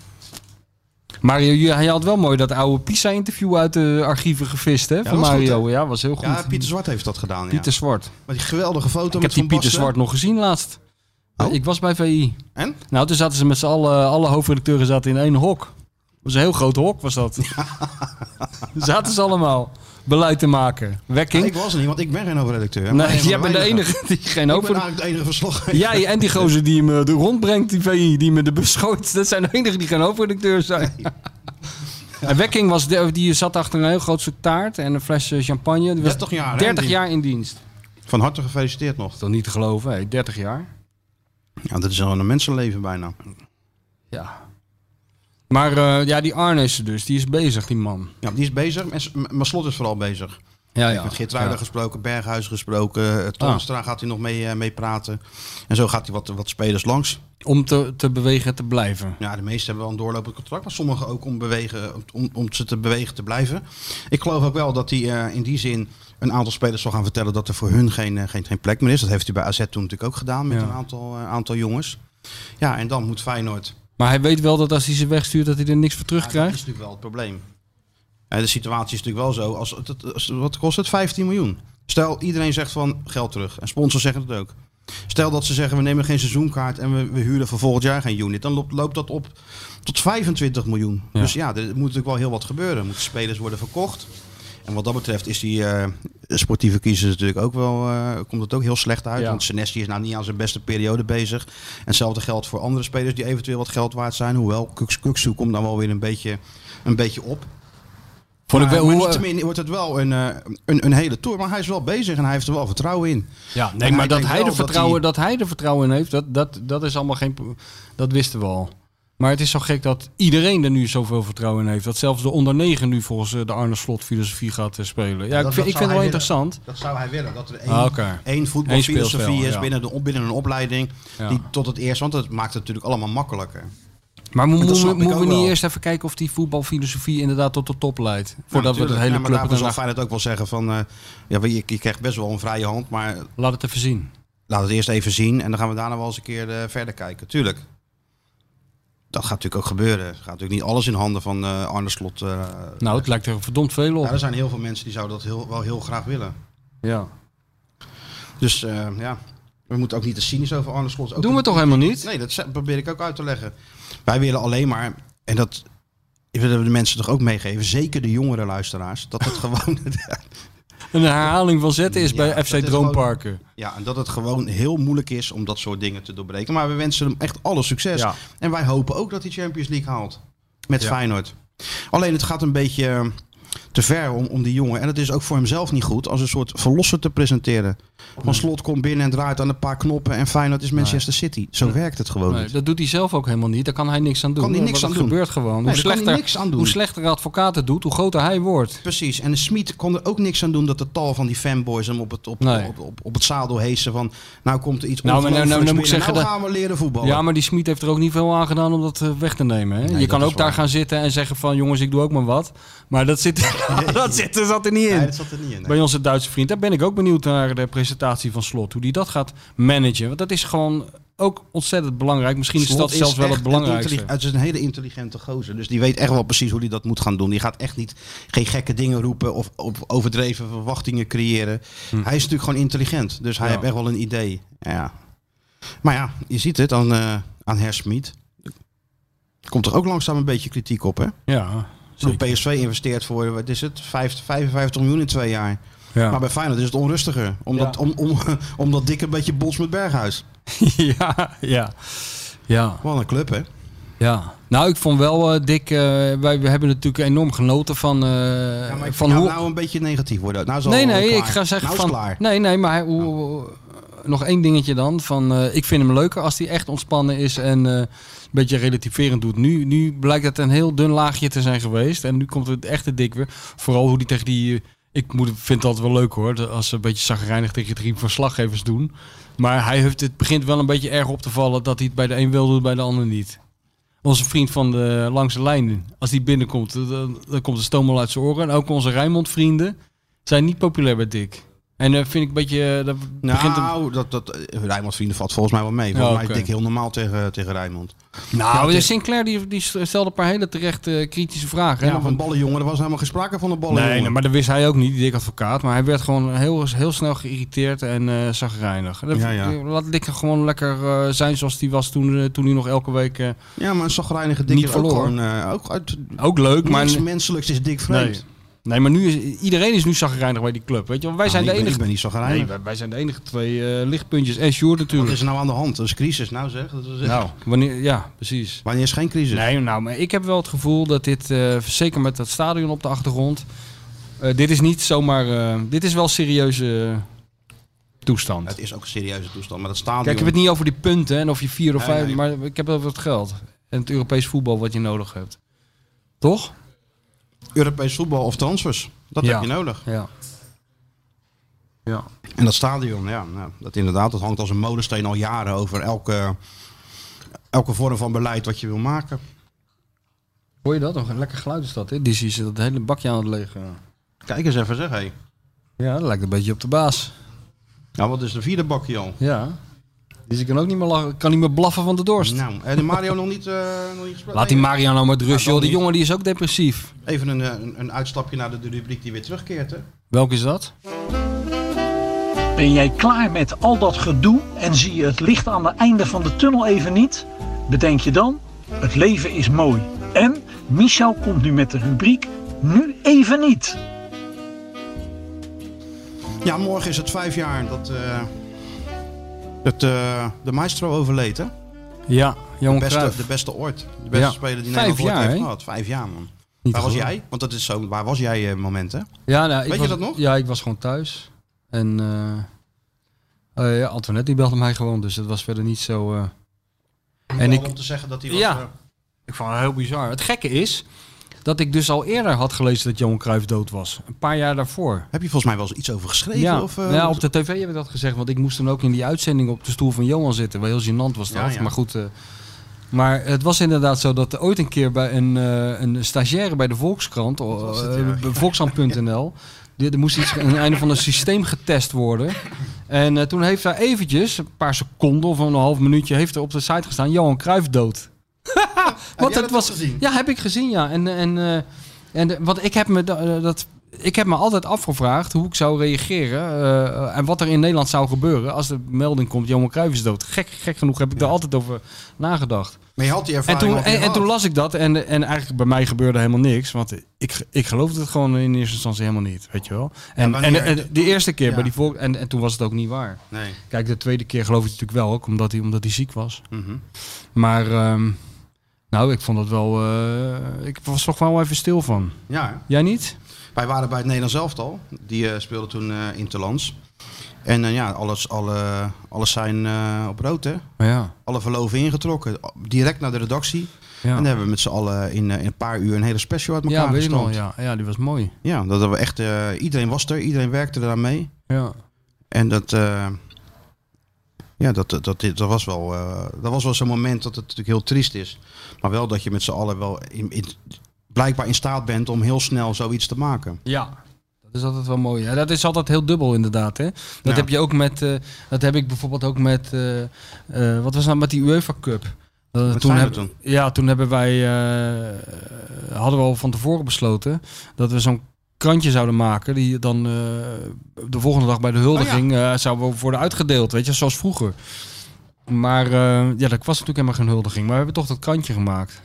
Speaker 6: Mario, je- hij had wel mooi dat oude Pisa-interview uit de archieven gevist, hè? van
Speaker 5: was goed,
Speaker 6: Mario.
Speaker 5: hè?
Speaker 6: ja, was heel goed.
Speaker 5: Ja, Pieter Zwart heeft dat gedaan, ja.
Speaker 6: Pieter Zwart.
Speaker 5: Maar die geweldige foto
Speaker 6: Ik
Speaker 5: met
Speaker 6: heb die
Speaker 5: Van
Speaker 6: Pieter
Speaker 5: Basten.
Speaker 6: Zwart nog gezien laatst.
Speaker 5: Oh.
Speaker 6: Ik was bij VI.
Speaker 5: En?
Speaker 6: Nou, toen zaten ze met z'n allen, alle hoofdredacteuren zaten in één hok. Dat was een heel groot hok, was dat. *laughs* zaten ze allemaal beleid te maken. Wekking.
Speaker 5: ik was er niet, want ik ben geen hoofdredacteur. maar
Speaker 6: nee,
Speaker 5: een
Speaker 6: jij
Speaker 5: van
Speaker 6: bent de
Speaker 5: weinigen.
Speaker 6: enige die geen
Speaker 5: Ik ben
Speaker 6: hoofdredacteur...
Speaker 5: eigenlijk de enige verslaggever.
Speaker 6: Jij en die gozer die me de rondbrengt, die VI, die me de beschoot. Dat zijn de enigen die geen hoofdredacteur
Speaker 5: *laughs*
Speaker 6: zijn. En Wekking was de, die zat achter een heel groot stuk taart en een fles eh, champagne. Die was
Speaker 5: 30 jaar, hè,
Speaker 6: 30
Speaker 5: die-
Speaker 6: jaar in dienst. Dat
Speaker 5: Van harte gefeliciteerd nog.
Speaker 6: is toch niet te geloven, hè? 30 jaar.
Speaker 5: Ja, dat is al een mensenleven bijna.
Speaker 6: Ja. Maar eh, ja, die Arnissen dus, die is bezig, die man.
Speaker 5: Ja, die is bezig, en s- maar Slot is vooral bezig.
Speaker 6: Ja,
Speaker 5: Ik heb met Geertruiden
Speaker 6: Ja. Ah.
Speaker 5: gesproken, Berghuis gesproken. eh, Toornstra gaat hij nog mee, eh, mee praten. En zo gaat hij wat, wat spelers langs.
Speaker 6: Om te, te bewegen en te blijven.
Speaker 5: Ja, de meesten hebben wel een doorlopend contract, maar sommigen ook om, bewegen, om- om, om ze te bewegen te blijven. Ik geloof ook wel dat hij eh, in die zin een aantal spelers zal gaan vertellen dat er voor hun geen, eh, geen, geen plek meer is. Dat heeft hij bij AZ toen natuurlijk ook gedaan met
Speaker 6: Ja.
Speaker 5: een aantal, eh, aantal jongens. Ja, en dan moet Feyenoord.
Speaker 6: Maar hij weet wel dat als hij ze wegstuurt, dat hij er niks voor
Speaker 5: Ja,
Speaker 6: terugkrijgt.
Speaker 5: dat is natuurlijk wel het probleem. Eh, de situatie is natuurlijk wel zo. Als, het- het- als- wat kost het? 15 miljoen. Stel, iedereen zegt van geld terug. En sponsors zeggen het ook. Stel dat ze zeggen, we nemen geen seizoenkaart en we, we huren voor volgend jaar geen unit. Dan loopt, loopt dat op tot 25 miljoen.
Speaker 6: Ja.
Speaker 5: Dus ja, er moet natuurlijk wel heel wat gebeuren. Er moeten spelers worden verkocht. En wat dat betreft is die eh, sportieve kiezer natuurlijk ook wel, eh, komt het ook heel slecht uit.
Speaker 6: Ja.
Speaker 5: Want Senesi is nou niet aan zijn beste periode bezig. En hetzelfde geldt voor andere spelers die eventueel wat geld waard zijn. Hoewel, Kuksu- Kuksu komt dan wel weer een beetje, een beetje op.
Speaker 6: Vond ik
Speaker 5: Maar,
Speaker 6: wel-
Speaker 5: maar
Speaker 6: hoe, eh,
Speaker 5: niettemin wordt het wel een, eh, een, een hele tour. Maar hij is wel bezig en hij heeft er wel vertrouwen in.
Speaker 6: Ja,
Speaker 5: En
Speaker 6: nee,
Speaker 5: hij
Speaker 6: maar dat
Speaker 5: denkt
Speaker 6: hij,
Speaker 5: wel
Speaker 6: er
Speaker 5: dat
Speaker 6: vertrouwen, dat hij er vertrouwen in heeft, dat, dat, dat is allemaal geen. pro- Dat wisten we al. Maar het is zo gek dat iedereen er nu zoveel vertrouwen in heeft. Dat zelfs de onder negen nu volgens eh, de Arne Slot filosofie gaat eh, spelen.
Speaker 5: dat-
Speaker 6: Ja, ik vind, ik
Speaker 5: dat
Speaker 6: vind het wel
Speaker 5: zou hij
Speaker 6: interessant.
Speaker 5: Dat zou hij willen. Dat er één,
Speaker 6: Ah, oké.
Speaker 5: één
Speaker 6: Eén
Speaker 5: voetbalfilosofie
Speaker 6: speelstijl,
Speaker 5: is
Speaker 6: ja.
Speaker 5: binnen, de, op- binnen een opleiding.
Speaker 6: Ja.
Speaker 5: Die tot het eerst, want dat maakt het natuurlijk allemaal makkelijker.
Speaker 6: Maar mo-
Speaker 5: Dat
Speaker 6: mo-
Speaker 5: snap ik
Speaker 6: moeten we
Speaker 5: ook
Speaker 6: niet
Speaker 5: wel.
Speaker 6: eerst even kijken of die voetbalfilosofie inderdaad tot de top leidt?
Speaker 5: Ja,
Speaker 6: Voordat we
Speaker 5: natuurlijk.
Speaker 6: de
Speaker 5: Ja,
Speaker 6: hele club
Speaker 5: maar
Speaker 6: ernaar-
Speaker 5: daarvoor zal Feyenoord ook wel zeggen van... eh, ja, je, je krijgt best wel een vrije hand, maar
Speaker 6: Laat het even zien.
Speaker 5: laat het eerst even zien. En dan gaan we daarna wel eens een keer eh, verder kijken. Tuurlijk. Dat gaat natuurlijk ook gebeuren. Er gaat natuurlijk niet alles in handen van eh Arne Slot. eh.
Speaker 6: Nou, het lijkt er verdomd veel op.
Speaker 5: ja, er zijn heel veel mensen die zouden dat heel, wel heel graag willen.
Speaker 6: Ja.
Speaker 5: Dus eh, ja, we moeten ook niet te cynisch over Arne Slot. Ook
Speaker 6: Doen we toch helemaal niet?
Speaker 5: Nee, dat ze- probeer ik ook uit te leggen. Wij willen alleen maar, en dat willen we de mensen toch ook meegeven, zeker de jongere luisteraars, dat
Speaker 6: *laughs*
Speaker 5: het gewoon, *laughs*
Speaker 6: Een herhaling van zetten is
Speaker 5: Ja,
Speaker 6: bij
Speaker 5: dat
Speaker 6: FC
Speaker 5: is gewoon-
Speaker 6: Droomparken.
Speaker 5: ja, en dat het gewoon heel moeilijk is om dat soort dingen te doorbreken. Maar we wensen hem echt alle succes.
Speaker 6: Ja.
Speaker 5: En wij hopen ook dat hij Champions League haalt met
Speaker 6: Ja.
Speaker 5: Feyenoord. Alleen het gaat een beetje eh, te ver om, om die jongen. En het is ook voor hemzelf niet goed als een soort verlosser te presenteren. Van slot komt binnen en draait aan een paar knoppen en Feyenoord is Manchester City. Zo werkt het gewoon
Speaker 6: Nee,
Speaker 5: niet.
Speaker 6: dat doet hij zelf ook helemaal niet. Daar kan hij niks aan doen.
Speaker 5: Kan hij niks
Speaker 6: Want
Speaker 5: aan
Speaker 6: dat
Speaker 5: doen.
Speaker 6: gebeurt gewoon.
Speaker 5: daar
Speaker 6: hoe,
Speaker 5: kan hij
Speaker 6: slechter,
Speaker 5: niks aan doen.
Speaker 6: hoe slechter de advocaat het doet, hoe groter hij wordt.
Speaker 5: Precies. En de Smit kon er ook niks aan doen dat de tal van die fanboys hem op het, op,
Speaker 6: Nee.
Speaker 5: op, op, op het zadel heesen van nou komt er iets
Speaker 6: Nou, maar nou- nou- nou
Speaker 5: ongelooflijks
Speaker 6: moet ik
Speaker 5: binnen.
Speaker 6: zeggen
Speaker 5: nou
Speaker 6: dat-
Speaker 5: gaan we leren voetballen.
Speaker 6: Ja, maar die Smit heeft er ook niet veel aan gedaan om dat eh, weg te nemen. Hè? je
Speaker 5: dat
Speaker 6: kan
Speaker 5: is
Speaker 6: ook daar
Speaker 5: waar.
Speaker 6: gaan zitten en zeggen van jongens, ik doe ook maar wat. Maar dat zit, *laughs* dat zit er, zat er niet in.
Speaker 5: Nee, dat zat er niet in. nee.
Speaker 6: Bij onze Duitse vriend. Daar ben ik ook benieuwd naar de presentatie van Slot. Hoe die dat gaat managen. Want dat is gewoon ook ontzettend belangrijk. Misschien is
Speaker 5: Slot
Speaker 6: dat zelfs wel
Speaker 5: echt
Speaker 6: het
Speaker 5: een
Speaker 6: belangrijkste.
Speaker 5: intelli- Het is een hele intelligente gozer. Dus die weet echt wel precies hoe hij dat moet gaan doen. Die gaat echt niet geen gekke dingen roepen of, of overdreven verwachtingen creëren. Hij is natuurlijk gewoon intelligent. Dus hij
Speaker 6: Hm. Ja.
Speaker 5: heeft echt wel een idee. Ja. Maar ja, je ziet het aan, eh aan Her Smit. Er komt toch ook langzaam een beetje kritiek op, hè?
Speaker 6: Ja,
Speaker 5: Zeker.
Speaker 6: zeker.
Speaker 5: PSV investeert voor, wat is het, vijf- 55 miljoen in twee jaar. Maar
Speaker 6: Ja.
Speaker 5: bij Feyenoord is het onrustiger. Omdat,
Speaker 6: Ja.
Speaker 5: om, om, *laughs* omdat Dick een beetje bots met Berghuis.
Speaker 6: *laughs* ja, ja, ja.
Speaker 5: Wat een club, hè?
Speaker 6: Ja, nou ik vond wel eh Dick, eh, wij, we hebben natuurlijk enorm genoten van, eh, van hoe...
Speaker 5: nou een beetje negatief worden. Nou is al
Speaker 6: nee, nee,
Speaker 5: klaar.
Speaker 6: ik ga zeggen
Speaker 5: nou is
Speaker 6: van...
Speaker 5: klaar.
Speaker 6: Nee, nee, maar hij- hoe, hoe- nog één dingetje dan. Van, eh, ik vind hem leuker als hij echt ontspannen is en eh, een beetje relativerend doet. Nu, nu blijkt het een heel dun laagje te zijn geweest en nu komt het echte Dick weer. Vooral hoe die tegen die... eh, ik moet, vind dat wel leuk hoor, dat als ze een beetje zagrijnig tegen drie verslaggevers doen. Maar hij heeft, het begint wel een beetje erg op te vallen dat hij het bij de een wel doet, bij de ander niet. Onze vriend van de Langse Lijn, als die binnenkomt, dan, dan komt de stoom al uit zijn oren. En ook onze Rijnmond-vrienden zijn niet populair bij Dick. En dat vind ik een beetje... eh, Dat begint hem-
Speaker 5: Nou, dat, dat, eh, Rijnmond vrienden valt volgens mij wel mee. Volgens
Speaker 6: Ja,
Speaker 5: mij is
Speaker 6: oké.
Speaker 5: Dick heel normaal tegen, tegen Rijnmond.
Speaker 6: nou, de Sinclair die, die stelde een paar hele terecht eh, kritische vragen. hè.
Speaker 5: Ja, van ballenjongen, er was helemaal geen sprake van een ballenjongen.
Speaker 6: nee, nee, maar dat wist hij ook niet, die Dick advocaat. Maar hij werd gewoon heel, heel snel geïrriteerd en eh zagrijnig. Dat- eh,
Speaker 5: Ja, ja.
Speaker 6: Laat Dick gewoon lekker eh, zijn zoals hij was toen, eh, toen hij nog elke week... eh,
Speaker 5: Ja, maar een zagrijnige Dick
Speaker 6: Niet
Speaker 5: is ook
Speaker 6: verloren.
Speaker 5: gewoon... eh, ook uit,
Speaker 6: ook leuk, maar...
Speaker 5: niks menselijks is Dick vreemd.
Speaker 6: Nee. Nee, maar nu is, iedereen is nu zagrijnig bij die club. Weet je? wel. Wij
Speaker 5: Nou,
Speaker 6: zijn de
Speaker 5: ik ben-
Speaker 6: enige
Speaker 5: Ik ben niet zagrijnig.
Speaker 6: Nee, wij, wij zijn de enige twee eh, lichtpuntjes. En Sjoerd
Speaker 5: Wat
Speaker 6: natuurlijk.
Speaker 5: is er nou aan de hand? Dat is crisis nou zeg. Dat is echt-
Speaker 6: Nou, wanneer, ja, precies.
Speaker 5: Wanneer is geen crisis?
Speaker 6: Nee, nou, maar ik heb wel het gevoel dat dit, eh, zeker met dat stadion op de achtergrond, eh, dit is niet zomaar, eh, dit is wel serieuze toestand.
Speaker 5: Het is ook een serieuze toestand, maar dat stadion...
Speaker 6: Kijk, ik heb het niet over die punten en of je vier of
Speaker 5: Nee,
Speaker 6: vijf,
Speaker 5: nee.
Speaker 6: maar ik heb het over het geld. En het Europees voetbal wat je nodig hebt. Toch?
Speaker 5: Europees voetbal of transfers, dat
Speaker 6: Ja.
Speaker 5: heb je nodig.
Speaker 6: Ja. Ja.
Speaker 5: En dat stadion, ja, nou, dat inderdaad, dat hangt als een molensteen al jaren over elke, elke vorm van beleid wat je wil maken.
Speaker 6: Hoor je dat? Nog een lekker geluid is dat, hè? Dizzy is dat hele bakje aan het legen.
Speaker 5: Kijk eens even, zeg hé. Hey.
Speaker 6: Ja, dat lijkt een beetje op de baas.
Speaker 5: Ja, wat is de vierde bakje al?
Speaker 6: Ja. Dizzy kan ook niet meer lachen, kan niet meer blaffen van de dorst.
Speaker 5: Nou, en de Mario nog niet, eh, nog niet gespeeld?
Speaker 6: Laat die
Speaker 5: Nee.
Speaker 6: Mario nou maar met rust,
Speaker 5: Ja, dan
Speaker 6: joh. Die
Speaker 5: niet.
Speaker 6: jongen die is ook depressief.
Speaker 5: Even een, eh, een, een uitstapje naar de, de rubriek die weer terugkeert, hè?
Speaker 6: Welk is dat?
Speaker 11: Ben jij klaar met al dat gedoe en zie je het licht aan het einde van de tunnel even niet? Bedenk je dan, het leven is mooi. En Michel komt nu met de rubriek Nu even niet.
Speaker 5: Ja, morgen is het vijf jaar dat, eh, dat eh, de maestro overleed, hè?
Speaker 6: Ja,
Speaker 5: De
Speaker 6: Johan
Speaker 5: beste,
Speaker 6: Cruijff.
Speaker 5: de beste ooit. De beste
Speaker 6: Ja.
Speaker 5: speler die
Speaker 6: Vijf
Speaker 5: Nederland ooit
Speaker 6: jaar,
Speaker 5: heeft
Speaker 6: hè?
Speaker 5: gehad. Vijf jaar, man.
Speaker 6: Niet
Speaker 5: waar was
Speaker 6: gewoon.
Speaker 5: jij? Want dat is zo, waar was jij eh, moment, hè?
Speaker 6: Ja, nou, ik
Speaker 5: Weet je
Speaker 6: was,
Speaker 5: dat nog?
Speaker 6: Ja, ik was gewoon thuis. En eh, eh, ja, Antoinette die belde mij gewoon, dus dat was verder niet zo... eh. En ik,
Speaker 5: om te zeggen dat hij was...
Speaker 6: Ja.
Speaker 5: eh,
Speaker 6: ik vond het heel bizar. Het gekke is dat ik dus al eerder had gelezen dat Johan Cruijff dood was. Een paar jaar daarvoor.
Speaker 5: heb je volgens mij wel eens iets over geschreven?
Speaker 6: Ja,
Speaker 5: of, eh,
Speaker 6: ja, op de tv heb ik dat gezegd, want ik moest toen ook in die uitzending op de stoel van Johan zitten. Wel heel gênant was dat,
Speaker 5: Ja, ja.
Speaker 6: maar goed... eh, maar het was inderdaad zo dat er ooit een keer bij een, eh, een stagiaire bij de Volkskrant,
Speaker 5: was
Speaker 6: eh
Speaker 5: het, ja.
Speaker 6: bij volkskrant.nl, die- er moest iets een einde van een systeem getest worden. En eh, toen heeft daar eventjes, een paar seconden of een half minuutje, heeft er op de site gestaan Johan Cruijff dood.
Speaker 5: jij
Speaker 6: Want
Speaker 5: dat
Speaker 6: het was
Speaker 5: ook gezien?
Speaker 6: Ja, heb ik gezien, ja. En, en, eh, en de- wat ik heb me da- eh, dat. Ik heb me altijd afgevraagd hoe ik zou reageren eh, en wat er in Nederland zou gebeuren als de melding komt, Johan Cruijff is dood. Gek, gek genoeg heb ik daar altijd over nagedacht.
Speaker 5: Maar je had die
Speaker 6: En
Speaker 5: ervaring
Speaker 6: toen,
Speaker 5: al
Speaker 6: en, en
Speaker 5: gehad.
Speaker 6: toen las ik dat en, en eigenlijk bij mij gebeurde helemaal niks. Want ik, ik geloofde het gewoon in eerste instantie helemaal niet, weet je wel. En,
Speaker 5: Ja,
Speaker 6: en,
Speaker 5: wanneer-
Speaker 6: en de eerste keer
Speaker 5: Ja.
Speaker 6: bij die volk... En, en toen was het ook niet waar.
Speaker 5: Nee.
Speaker 6: Kijk, de tweede keer geloof ik het natuurlijk wel ook, omdat hij, omdat hij ziek was.
Speaker 5: Mhm.
Speaker 6: Maar ehm, nou, ik vond het wel... eh, ik was toch wel even stil van.
Speaker 5: Ja, hè?
Speaker 6: Jij niet?
Speaker 5: Wij waren bij het Nederlands elftal. Die eh, speelde toen eh Interlands. En eh, ja, alles, alle, alles zijn eh, op rood, hè?
Speaker 6: Maar ja.
Speaker 5: Alle verloven ingetrokken. Direct naar de redactie. En
Speaker 6: Ja,
Speaker 5: dan hebben we met z'n allen in, eh, in een paar uur een hele special uit elkaar
Speaker 6: ja weet ik
Speaker 5: gestampt.
Speaker 6: nog. Ja. ja, die was mooi.
Speaker 5: Ja, dat hebben we echt, eh, iedereen was er, iedereen werkte eraan mee.
Speaker 6: Ja.
Speaker 5: En dat, eh, ja, dat, dat, dat, dat was wel, eh, dat was wel zo'n moment dat het natuurlijk heel triest is. Maar wel dat je met z'n allen wel in, in- blijkbaar in staat bent om heel snel zoiets te maken.
Speaker 6: Ja. Dat is altijd wel mooi. Ja, dat is altijd heel dubbel inderdaad. Hè? Dat
Speaker 5: Ja.
Speaker 6: heb je ook met. eh, dat heb ik bijvoorbeeld ook met. eh, eh, wat was nou met die UEFA Cup? Eh,
Speaker 5: Met
Speaker 6: heb-
Speaker 5: Feyenoord
Speaker 6: Ja, toen hebben wij. eh, hadden we al van tevoren besloten dat we zo'n krantje zouden maken die dan eh, de volgende dag bij de huldiging eh, zou worden uitgedeeld, weet je, zoals vroeger. Maar eh, ja, dat was natuurlijk helemaal geen huldiging, maar we hebben toch dat krantje gemaakt.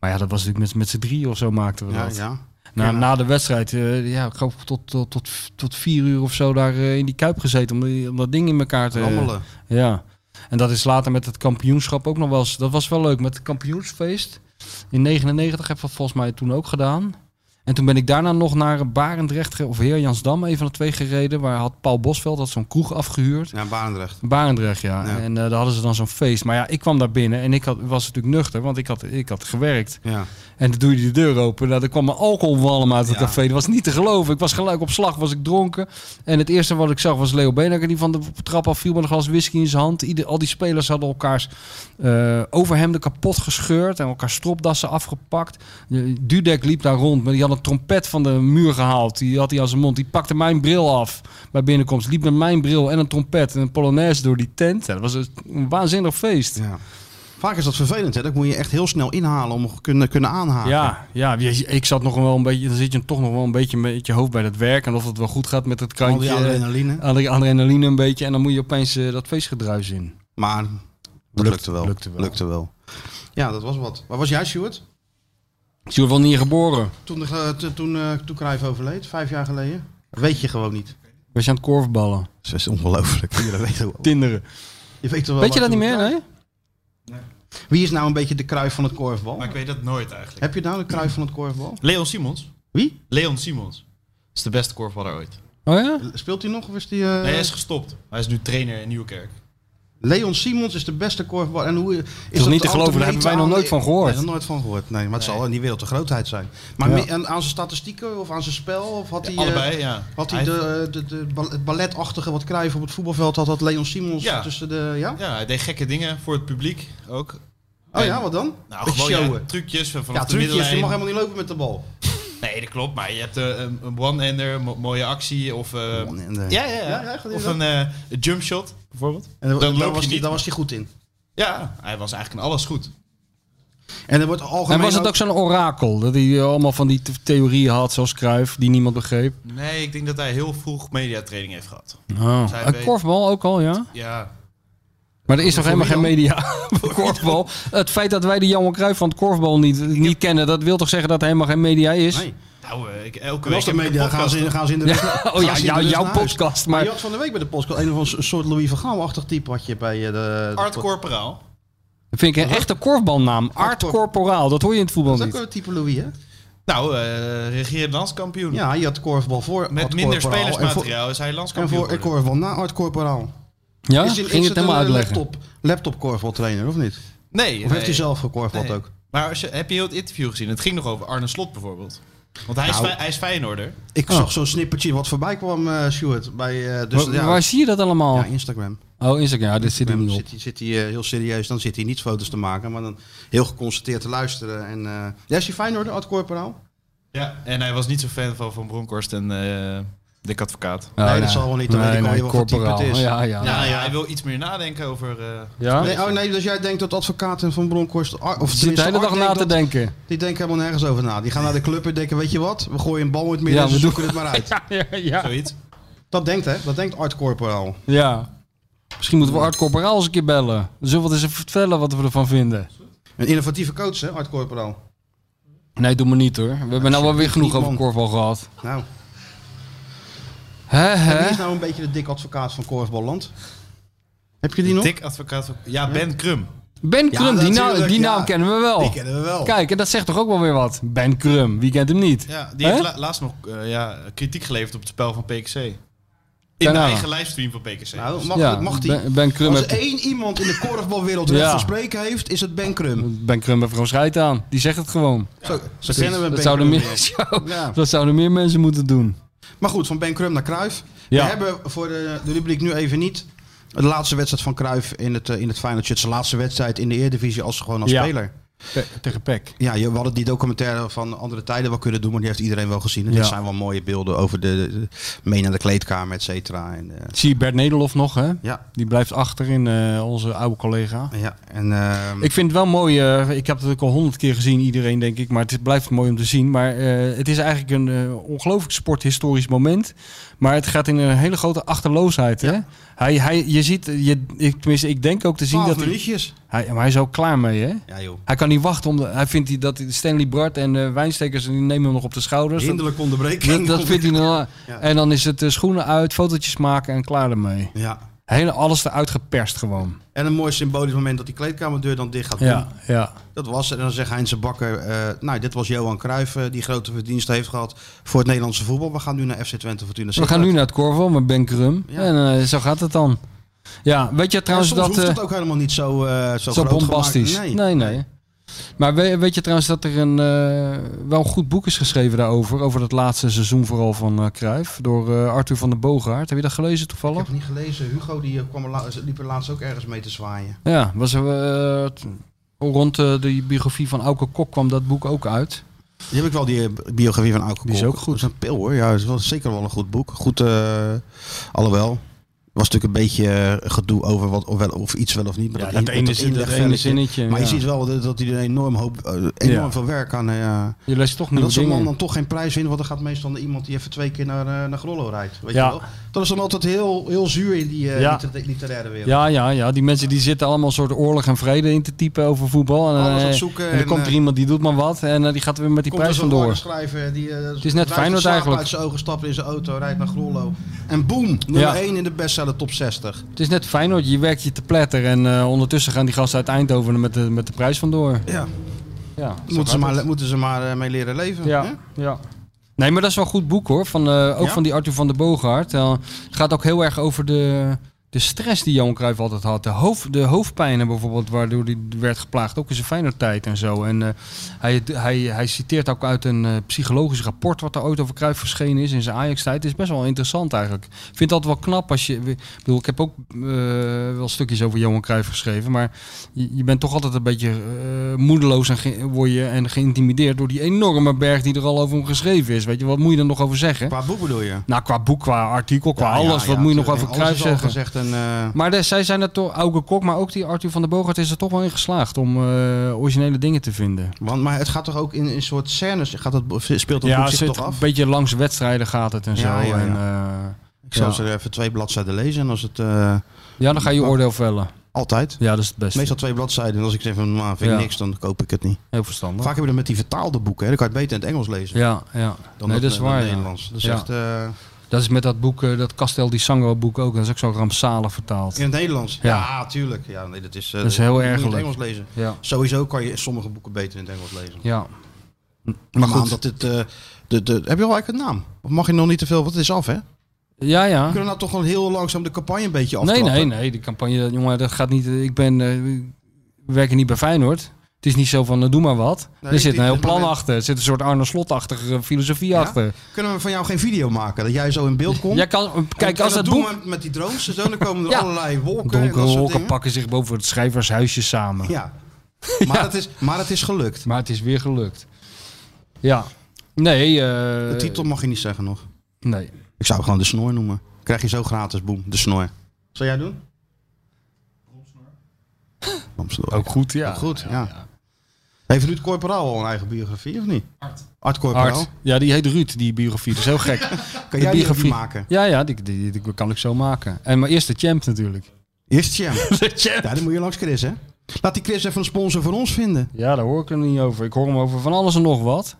Speaker 6: Maar ja, dat was natuurlijk met, met z'n drie of zo maakten we
Speaker 5: Ja,
Speaker 6: dat.
Speaker 5: ja.
Speaker 6: Na,
Speaker 5: Ja.
Speaker 6: na de wedstrijd, eh, ja, ik geloof tot, tot, tot, tot vier uur of zo daar eh, in die kuip gezeten om, die- om dat ding in elkaar te
Speaker 5: Rammelen.
Speaker 6: Ja. En dat is later met het kampioenschap ook nog wel eens. Dat was wel leuk met het kampioensfeest. In 99 heb ik dat volgens mij toen ook gedaan. En toen ben ik daarna nog naar Barendrecht ge- of Heerjansdam, een van de twee gereden. Waar had Paul Bosveld had zo'n kroeg afgehuurd.
Speaker 5: Ja, Barendrecht.
Speaker 6: Barendrecht, ja.
Speaker 5: Ja.
Speaker 6: En eh, daar hadden ze dan zo'n feest. Maar ja, ik kwam daar binnen en ik had, was natuurlijk nuchter, want ik had, ik had gewerkt.
Speaker 5: Ja.
Speaker 6: En toen doe je de deur open. Nou, er kwam een alcoholwalm uit het
Speaker 5: Ja.
Speaker 6: café. Dat was niet te geloven. Ik was gelijk op slag, was ik dronken. En het eerste wat ik zag was Leo Beenhakker die van de trap af viel met een glas whisky in zijn hand. Ieder, al die spelers hadden elkaars eh, overhemden kapot gescheurd en elkaar stropdassen afgepakt. Eh, Dudek liep daar rond, maar die had een trompet van de muur gehaald. Die had hij aan zijn mond. Die pakte mijn bril af bij binnenkomst. Liep met mijn bril en een trompet en een polonaise door die tent. Ja, dat was een- een waanzinnig feest.
Speaker 5: Ja. Vaak is dat vervelend, hè? Dat moet je echt heel snel inhalen om te kunnen, kunnen aanhaken.
Speaker 6: Ja, ja, je- ik zat nog wel een beetje. Dan zit je toch nog wel een beetje met je hoofd bij dat werk. En of het wel goed gaat met het
Speaker 5: Al
Speaker 6: krantje.
Speaker 5: die adrenaline.
Speaker 6: Al die adrenaline een beetje. En dan moet je opeens eh, dat feestgedruis in.
Speaker 5: Maar dat
Speaker 6: Lukt-
Speaker 5: lukte, wel.
Speaker 6: lukte wel.
Speaker 5: wel. Ja, dat was wat. Waar was jij, Stuart?
Speaker 6: Is je wel niet geboren?
Speaker 5: Toen, de- eh, toen, eh, toen Cruijff overleed, vijf jaar geleden? Dat weet je gewoon niet.
Speaker 6: Was je aan het korfballen?
Speaker 5: Dat is *laughs* ongelooflijk. Jullie weten wel.
Speaker 6: Tinderen.
Speaker 5: Je weet, toch wel
Speaker 6: Weet je
Speaker 5: waar
Speaker 6: dat niet
Speaker 5: toen
Speaker 6: meer?
Speaker 5: Cruijff-
Speaker 6: Nee?
Speaker 5: Wie is nou een beetje de Cruijff van het korfbal?
Speaker 7: Maar ik weet dat nooit eigenlijk.
Speaker 5: Heb je nou de Cruijff van het korfbal?
Speaker 7: Leon Simons.
Speaker 5: Wie?
Speaker 7: Leon Simons. Dat is de beste korfballer ooit.
Speaker 6: Oh ja?
Speaker 5: Speelt hij nog of is die... eh,
Speaker 7: Nee, hij is gestopt. Hij is nu trainer in Nieuwkerk.
Speaker 5: Leon Simons is de beste korfbal. En hoe is
Speaker 6: niet te
Speaker 5: al
Speaker 6: geloven, daar hebben wij
Speaker 5: meten
Speaker 6: nog
Speaker 5: aan-
Speaker 6: nooit van gehoord.
Speaker 5: Nee, daar nooit van gehoord. Nee, maar het zal in die wereld de grootheid zijn. Maar
Speaker 6: Ja.
Speaker 5: mi- en aan zijn statistieken of aan zijn spel? Of had hij, eh,
Speaker 7: allebei, ja.
Speaker 5: Had hij
Speaker 7: Hij-
Speaker 5: de, de, de, bal- het balletachtige wat Cruijff op het voetbalveld had, had Leon Simons
Speaker 7: Ja.
Speaker 5: tussen de... Ja?
Speaker 7: Ja, hij deed gekke dingen voor het publiek ook.
Speaker 5: Oh
Speaker 7: En-
Speaker 5: ja, wat dan?
Speaker 7: Nou,
Speaker 5: Het
Speaker 7: gewoon ja,
Speaker 5: showen.
Speaker 7: trucjes van vanaf
Speaker 5: Ja,
Speaker 7: de
Speaker 5: trucjes. Je
Speaker 7: middenlijn.
Speaker 5: mag helemaal niet lopen met de bal.
Speaker 7: Nee, dat klopt. Maar je hebt eh, een, een one-hander, een mo- mooie actie of... eh,
Speaker 5: One-hander.
Speaker 7: Ja, ja, ja.
Speaker 5: Ja, ja, gaat hij
Speaker 7: of
Speaker 5: dat?
Speaker 7: een eh, een jump shot bijvoorbeeld.
Speaker 5: En dan,
Speaker 7: Dan
Speaker 5: daar
Speaker 7: loop
Speaker 5: was
Speaker 7: je
Speaker 5: hij-
Speaker 7: niet.
Speaker 5: daar was hij goed in.
Speaker 7: Ja, hij was eigenlijk in alles goed.
Speaker 5: En er wordt algemeen
Speaker 6: en was het ook zo'n orakel? Dat hij eh, allemaal van die th- theorieën had, zoals Cruijff, die niemand begreep.
Speaker 7: Nee, ik denk dat hij heel vroeg mediatraining heeft gehad.
Speaker 6: Oh.
Speaker 7: Zij
Speaker 6: En
Speaker 7: weet-
Speaker 6: korfbal ook al, ja?
Speaker 7: Ja.
Speaker 6: Maar er is nog
Speaker 7: Voor
Speaker 6: helemaal geen
Speaker 7: wie
Speaker 6: media *laughs* voor korfbal. Het feit dat wij de Jan Cruijff van het korfbal niet, niet kennen, dat wil toch zeggen dat er helemaal geen media is?
Speaker 5: Nee.
Speaker 7: Nou, eh, ik, elke
Speaker 5: En
Speaker 7: week
Speaker 5: als de
Speaker 7: heb ik
Speaker 5: media
Speaker 7: een
Speaker 5: gaan ze, in,
Speaker 7: podcast.
Speaker 5: gaan ze in de
Speaker 6: Ja,
Speaker 5: rust-
Speaker 6: *laughs* oh
Speaker 5: gaan ze
Speaker 6: ja,
Speaker 5: in de rust
Speaker 6: jou- jouw
Speaker 5: dus naar huis. Oh,
Speaker 6: podcast, maar-
Speaker 5: Je had van de week bij de podcast een of een soort Louis van Gaal-achtig type had je bij eh, de...
Speaker 7: Art
Speaker 5: de-
Speaker 7: Corporaal.
Speaker 6: Dat vind ik een echte korfbalnaam. Art
Speaker 5: Cor-
Speaker 6: Corporaal, dat hoor je in het voetbal
Speaker 5: Dat is ook
Speaker 6: niet.
Speaker 5: een type Louis, hè?
Speaker 7: Nou, eh regeerde landskampioen.
Speaker 5: Ja, je had korfbal voor
Speaker 7: Met
Speaker 5: Art
Speaker 7: minder
Speaker 5: Corporaal en voor-
Speaker 7: spelersmateriaal is hij
Speaker 5: En
Speaker 7: landskampioen
Speaker 5: voor en
Speaker 7: geworden.
Speaker 5: korfbal na Art Corporaal.
Speaker 6: Ja?
Speaker 5: Is,
Speaker 6: Ging je het helemaal
Speaker 5: een eh,
Speaker 6: uitleggen?
Speaker 5: laptop, laptop korfbaltrainer, of niet? Of
Speaker 7: Nee. nee.
Speaker 5: heeft hij zelf gekorfbald
Speaker 7: Nee.
Speaker 5: ook?
Speaker 7: Maar als je, heb je heel het interview gezien? Het ging nog over Arne Slot bijvoorbeeld. Want hij, is,
Speaker 5: Nou.
Speaker 7: Fey- hij is Feyenoorder.
Speaker 6: Oh.
Speaker 5: Ik zag zo'n snippertje wat voorbij kwam, eh, Stuart. Bij, eh, dus,
Speaker 6: Waar,
Speaker 5: ja,
Speaker 6: waar zie je dat allemaal?
Speaker 5: ja, Instagram.
Speaker 6: Oh, Instagram. Ja, dit zit er
Speaker 5: Dan
Speaker 6: niet op.
Speaker 5: zit, hij- zit hij eh, heel serieus, dan zit hij niet foto's te maken, maar dan heel geconcentreerd te luisteren. En, eh ja, is hij Feyenoord, Art Corporaal?
Speaker 7: Ja. En hij was niet zo fan van Van Bronkhorst en eh Dick Advocaat.
Speaker 6: Oh,
Speaker 5: nee, dat zal wel niet, dan weet ik al heel wat voor type het
Speaker 6: Corporaal.
Speaker 5: is.
Speaker 6: Ja, ja.
Speaker 7: Ja,
Speaker 6: ja.
Speaker 7: ja, hij wil iets meer nadenken over... eh,
Speaker 6: Ja?
Speaker 5: Nee, oh nee, dus jij denkt dat advocaten van Bronkhorst... Ar- Of
Speaker 6: Zit de
Speaker 5: tenminste,
Speaker 6: hele
Speaker 5: Art
Speaker 6: dag na
Speaker 5: denkt
Speaker 6: te
Speaker 5: dat-
Speaker 6: denken.
Speaker 5: Die denken helemaal nergens over na. Die gaan naar de club en denken, weet je wat? We gooien een bal in het
Speaker 6: Ja,
Speaker 5: midden en
Speaker 6: we
Speaker 5: we
Speaker 6: doen-
Speaker 5: zoeken het maar
Speaker 6: *laughs*
Speaker 5: uit.
Speaker 6: Ja, ja.
Speaker 7: Zoiets.
Speaker 5: Dat denkt hè, dat denkt Art Corporaal.
Speaker 6: ja. Misschien moeten we Art Corporaal eens een keer bellen. Dan zullen we het eens even vertellen wat we ervan vinden.
Speaker 5: Een innovatieve coach hè, Art Corporaal.
Speaker 6: Nee, doe maar niet hoor. We hebben nou wel weer genoeg
Speaker 5: niet,
Speaker 6: over
Speaker 5: man.
Speaker 6: korfbal gehad.
Speaker 5: Nou,
Speaker 6: Hè,
Speaker 5: en wie
Speaker 6: hè?
Speaker 5: is nou een beetje de dik advocaat van Korfballand? Heb je die nog?
Speaker 7: Dick Advocaat... van- Ja, Ben Krum.
Speaker 6: Ben
Speaker 5: Ja,
Speaker 6: Krum, die, naam,
Speaker 5: natuurlijk,
Speaker 6: die
Speaker 5: ja.
Speaker 6: naam kennen we wel.
Speaker 5: Die kennen we wel.
Speaker 6: Kijk, en dat zegt toch ook wel weer wat. Ben Krum, wie kent hem niet?
Speaker 7: Ja, die
Speaker 6: Hè?
Speaker 7: heeft la- laatst nog eh, ja, kritiek geleverd op het spel van PKC. In de
Speaker 6: Daarna.
Speaker 7: eigen livestream van PKC.
Speaker 5: Nou, mag,
Speaker 6: Ja,
Speaker 5: mag die?
Speaker 6: Ben- Ben Krum
Speaker 5: Als
Speaker 6: heeft-
Speaker 5: één iemand in de korfbalwereld
Speaker 6: Ja.
Speaker 5: recht van spreken heeft, is het Ben Krum.
Speaker 6: Ben Krum heeft gewoon scheid aan. Die zegt het gewoon.
Speaker 5: Zo, ze kennen we
Speaker 6: dat,
Speaker 5: Ben
Speaker 6: zouden
Speaker 5: Krum.
Speaker 6: meer, *laughs*
Speaker 5: weer. Ja.
Speaker 6: dat zouden meer mensen moeten doen.
Speaker 5: Maar goed, van Ben Krum naar Kruif.
Speaker 6: Ja.
Speaker 5: We hebben voor de, de rubriek nu even niet de laatste wedstrijd van Kruif in het, eh, in het Final Shirt. Zijn laatste wedstrijd in de Eredivisie als gewoon als
Speaker 6: Ja.
Speaker 5: speler.
Speaker 6: tegen Peck.
Speaker 5: Ja, je- we hadden die documentaire van andere tijden wel kunnen doen, maar die heeft iedereen wel gezien. En
Speaker 6: Ja.
Speaker 5: dit zijn wel mooie beelden over de, de mee naar de kleedkamer, et cetera. En, eh,
Speaker 6: Zie je Bert Nederlof nog, hè?
Speaker 5: ja,
Speaker 6: Die blijft achter in eh, onze oude collega.
Speaker 5: ja. En, ehm,
Speaker 6: Ik vind het wel mooi. eh, ik heb het natuurlijk al honderd keer gezien, iedereen denk ik. Maar het is- blijft mooi om te zien. Maar eh, het is eigenlijk een eh, ongelooflijk sporthistorisch moment. Maar het gaat in een hele grote achterloosheid. Hè? Hij, hij, je ziet, je, ik, tenminste, ik denk ook te zien
Speaker 5: 12
Speaker 6: dat hij,
Speaker 5: minuutjes.
Speaker 6: hij. Maar hij is ook klaar mee, hè?
Speaker 5: Ja joh,
Speaker 6: Hij kan niet wachten. Om de- hij vindt die, dat Stanley Bart en eh, Wijnstekers die nemen hem nog op de schouders. Dat-
Speaker 5: hinderlijk onderbreken.
Speaker 6: Dat, dat vindt hij dan.
Speaker 5: Ja.
Speaker 6: En dan is het eh, schoenen uit, fotootjes maken en klaar ermee.
Speaker 5: Ja.
Speaker 6: Hele, alles eruit geperst gewoon.
Speaker 5: En een mooi symbolisch moment dat die kleedkamerdeur dan dicht gaat.
Speaker 6: Ja, ja.
Speaker 5: Dat was het. En dan zegt Heinze Bakker, eh, nou dit was Johan Cruijff eh, die grote verdiensten heeft gehad voor het Nederlandse voetbal. We gaan nu naar FC Twente Fortuna
Speaker 6: We gaan nu naar het Corvo met Ben Krum.
Speaker 5: Ja.
Speaker 6: En eh, zo gaat het dan. Ja, weet je trouwens
Speaker 5: dat,
Speaker 6: dat...
Speaker 5: hoeft
Speaker 6: eh,
Speaker 5: het ook helemaal niet zo, eh zo,
Speaker 6: zo
Speaker 5: groot gemaakt.
Speaker 6: bombastisch. nee, nee. Maar we- weet, je trouwens dat er een, eh, wel een goed boek is geschreven daarover? Over dat laatste seizoen vooral van eh Cruijff. Door eh, Arthur van der Boogaard. Heb je dat gelezen
Speaker 5: Ik
Speaker 6: toevallig?
Speaker 5: heb het niet gelezen. Hugo die eh, kwam er la- liep er laatst ook ergens mee te zwaaien.
Speaker 6: Ja, was er, eh, t- rond eh, de biografie van Auke Kok kwam dat boek ook uit.
Speaker 5: Die heb ik wel, die eh, biografie van Auke
Speaker 6: Die is
Speaker 5: Kok.
Speaker 6: ook goed.
Speaker 5: Dat is een pil hoor. Ja, dat is wel, zeker wel een goed boek. Goed, eh, alhoewel. Er was natuurlijk een beetje eh, gedoe over wat, of, wel, of iets wel of niet. Maar
Speaker 6: Ja,
Speaker 5: dat,
Speaker 6: dat
Speaker 5: in-
Speaker 6: ene zin- dat
Speaker 5: inlegvelletje.
Speaker 6: ene zinnetje,
Speaker 5: Maar je
Speaker 6: ja.
Speaker 5: ziet wel dat, dat hij er een enorm, hoop, eh, enorm
Speaker 6: Ja.
Speaker 5: veel werk aan... eh, ja.
Speaker 6: Je leest toch
Speaker 5: en
Speaker 6: nieuwe
Speaker 5: dat zo'n man
Speaker 6: dingen.
Speaker 5: dan toch geen prijs wint, want dan gaat meestal iemand die even twee keer naar, eh, naar Grollo rijdt. Weet
Speaker 6: Ja.
Speaker 5: je wel? Dat is dan altijd heel, heel zuur in die eh,
Speaker 6: Ja.
Speaker 5: liter- literaire wereld.
Speaker 6: Ja, ja, ja. Die mensen die zitten allemaal een soort oorlog en vrede in te typen over voetbal. En,
Speaker 5: Alles aan
Speaker 6: eh,
Speaker 5: het zoeken
Speaker 6: en dan
Speaker 5: en,
Speaker 6: komt er
Speaker 5: eh,
Speaker 6: iemand die doet maar wat en eh, die gaat weer met die
Speaker 5: Komt er
Speaker 6: prijs
Speaker 5: zo'n
Speaker 6: vandoor.
Speaker 5: schrijver die eh,
Speaker 6: is net
Speaker 5: ruikt
Speaker 6: Feyenoord
Speaker 5: de slaap
Speaker 6: eigenlijk.
Speaker 5: uit zijn ogen, stapt in zijn auto, rijdt naar Grollo. En boem, nummer
Speaker 6: Ja.
Speaker 5: 1 in de bestseller top 60.
Speaker 6: Het is net Feyenoord, je werkt je te pletter en eh, ondertussen gaan die gasten uit Eindhoven er met de, met de prijs vandoor.
Speaker 5: Ja,
Speaker 6: Ja, zo
Speaker 5: moeten, ze
Speaker 6: gaat
Speaker 5: maar,
Speaker 6: het.
Speaker 5: moeten ze maar eh, mee leren leven. hè?
Speaker 6: Ja, ja. Nee, maar dat is wel een goed boek hoor. Van, eh, ook
Speaker 5: Ja?
Speaker 6: van die Arthur van der Boogaard. Eh, het gaat ook heel erg over de, de stress die Johan Cruijff altijd had, de, hoofd, de hoofdpijnen bijvoorbeeld, waardoor hij werd geplaagd, ook in zijn Feyenoord-tijd en zo. En eh, hij, hij, hij citeert ook uit een eh, psychologisch rapport wat er ooit over Cruijff eh, verschenen is in zijn Ajax-tijd. Het is best wel interessant eigenlijk. Ik vind dat wel knap als je... Ik bedoel, ik heb ook eh, wel stukjes over Johan Cruijff geschreven, maar je, je bent toch altijd een beetje eh, moedeloos en, ge- word je, en geïntimideerd door die enorme berg die er al over hem geschreven is. Weet je, wat moet je er nog over zeggen?
Speaker 5: Qua boek bedoel je?
Speaker 6: Nou, qua boek, qua artikel, qua
Speaker 5: Ja, ja,
Speaker 6: alles. wat
Speaker 5: ja,
Speaker 6: moet je nog
Speaker 5: tuurlijk. Alles
Speaker 6: over Cruijff
Speaker 5: is al
Speaker 6: zeggen?
Speaker 5: gezegd en, eh,
Speaker 6: Maar de- zij zijn er toch, Auke Kok, maar ook die Arthur van der Bogart is er toch wel in geslaagd om eh, originele dingen te vinden.
Speaker 5: want, maar het gaat toch ook in een soort scènes, gaat dat, speelt dat boek zich
Speaker 6: zit
Speaker 5: toch af?
Speaker 6: een beetje langs wedstrijden gaat het en zo.
Speaker 5: Ja, ja, ja.
Speaker 6: En, eh,
Speaker 5: Ik zal
Speaker 6: ja.
Speaker 5: ze even twee bladzijden lezen en als het... eh,
Speaker 6: ja, dan ga je je oordeel vellen.
Speaker 5: Altijd.
Speaker 6: Ja, dat is het beste.
Speaker 5: Meestal twee bladzijden en als ik zeg van, nou, vind ik
Speaker 6: Ja.
Speaker 5: niks, dan koop ik het niet.
Speaker 6: Heel verstandig.
Speaker 5: Vaak heb je dat met die vertaalde boeken, hè? dan kan je het beter in het Engels lezen.
Speaker 6: Ja, ja.
Speaker 5: Dan
Speaker 6: nee,
Speaker 5: dat,
Speaker 6: dat is
Speaker 5: eh,
Speaker 6: waar.
Speaker 5: dan
Speaker 6: ja.
Speaker 5: Nederlands. Dat is
Speaker 6: Ja.
Speaker 5: echt, eh,
Speaker 6: Dat is met dat boek, eh, dat Castel di Sango boek ook. Dat is ook zo rampzalig vertaald.
Speaker 5: In het Nederlands?
Speaker 6: Ja.
Speaker 5: Ja, tuurlijk. Ja, nee, dat is, eh,
Speaker 6: Dat is heel
Speaker 5: moet je
Speaker 6: erg
Speaker 5: in het
Speaker 6: leuk.
Speaker 5: Engels lezen.
Speaker 6: Ja.
Speaker 5: Sowieso kan je sommige boeken beter in het Engels lezen.
Speaker 6: Ja.
Speaker 5: Maar
Speaker 6: goed.
Speaker 5: goed. Dat het, eh, de, de, heb je al eigenlijk een naam? Of mag je nog niet te veel? Want het is af, hè?
Speaker 6: Ja, ja.
Speaker 5: We kunnen nou toch gewoon heel langzaam de campagne een beetje
Speaker 6: Nee,
Speaker 5: aftrappen.
Speaker 6: nee, nee. Die campagne, jongen, dat gaat niet. eh, Ik ben, eh, we werken niet bij Feyenoord. Het is niet zo van, eh, doe maar wat.
Speaker 5: Nee,
Speaker 6: er zit
Speaker 5: die-
Speaker 6: een heel
Speaker 5: dit
Speaker 6: plan
Speaker 5: moment-
Speaker 6: achter. Er zit een soort Arne Slot-achtige filosofie
Speaker 5: Ja?
Speaker 6: achter.
Speaker 5: Kunnen we van jou geen video maken? Dat jij zo in beeld komt?
Speaker 6: Jij kan,
Speaker 5: En-
Speaker 6: kijk,
Speaker 5: en
Speaker 6: als dat
Speaker 5: doen
Speaker 6: boek...
Speaker 5: we met die drones en zo, dan komen er
Speaker 6: Ja.
Speaker 5: allerlei wolken en
Speaker 6: Donkere
Speaker 5: dat soort
Speaker 6: wolken
Speaker 5: dingen.
Speaker 6: pakken zich boven het schrijvershuisje samen.
Speaker 5: Ja. Maar, Het is, maar het is gelukt.
Speaker 6: Maar het is weer gelukt. Ja. Nee, eh,
Speaker 5: De titel mag je niet zeggen nog.
Speaker 6: Nee.
Speaker 5: Ik zou gewoon de snor noemen. Krijg je zo gratis, boem, de snor. Zal jij doen? Romsnor.
Speaker 6: Ook goed, ja.
Speaker 5: Ook goed, ja. Heeft Ruud Corporaal al een eigen biografie of niet? Art. Art Corporaal.
Speaker 6: Art. Ja, die heet Ruud, die biografie. Dat is heel gek.
Speaker 5: Kan jij
Speaker 6: De
Speaker 5: die
Speaker 6: biografie
Speaker 5: maken?
Speaker 6: Ja, ja, die, die, die kan ik zo maken. En maar eerst de champ natuurlijk.
Speaker 5: Eerst Jam.
Speaker 6: *laughs* De champ.
Speaker 5: Ja, dan moet je langs Chris, hè? Laat die Chris even een sponsor voor ons vinden.
Speaker 6: Ja, daar hoor ik hem niet over. Ik hoor hem over van alles en nog wat.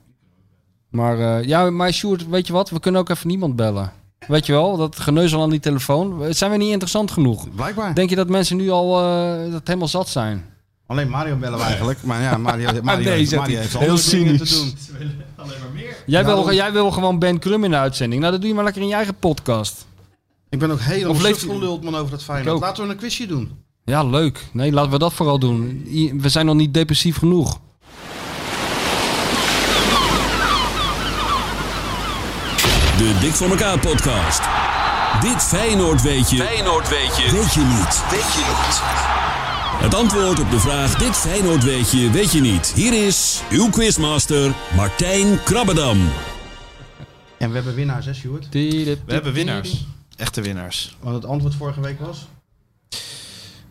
Speaker 6: Maar, eh, ja, maar Sjoerd, weet je wat? We kunnen ook even niemand bellen. Weet je wel, dat geneuzel aan die telefoon. Eh, Zijn we niet interessant genoeg?
Speaker 5: Blijkbaar.
Speaker 6: Denk je dat mensen nu al eh, dat helemaal zat zijn?
Speaker 5: Alleen Mario bellen we eigenlijk. Maar ja, Mario, Mario,
Speaker 6: *laughs* nee, zegt
Speaker 5: Mario
Speaker 6: hij.
Speaker 5: heeft
Speaker 6: Heel
Speaker 5: andere dingen te
Speaker 6: cynisch.
Speaker 5: doen.
Speaker 6: Jij,
Speaker 5: Nou,
Speaker 6: wil,
Speaker 5: dan-
Speaker 6: jij wil gewoon Ben Crum in de uitzending. Nou, dat doe je maar lekker in je eigen podcast.
Speaker 5: Ik ben ook helemaal
Speaker 6: Of leeft-
Speaker 5: stuk geluld man over dat
Speaker 6: Ik
Speaker 5: Feyenoord.
Speaker 6: ook.
Speaker 5: Laten we een quizje doen.
Speaker 6: Ja, leuk. Nee, laten we dat vooral doen. I- We zijn nog niet depressief genoeg.
Speaker 12: De Dik voor elkaar podcast. Dit Feyenoord weet je. Feyenoord weet je. Weet je niet. Weet je niet. Het antwoord op de vraag Dit Feyenoord weet je, weet je niet. Hier is uw quizmaster Martijn Krabbedam.
Speaker 5: En we hebben winnaars, hè, Sjoerd?
Speaker 6: We
Speaker 7: We hebben winnaars. Echte winnaars.
Speaker 5: Wat het antwoord vorige week was?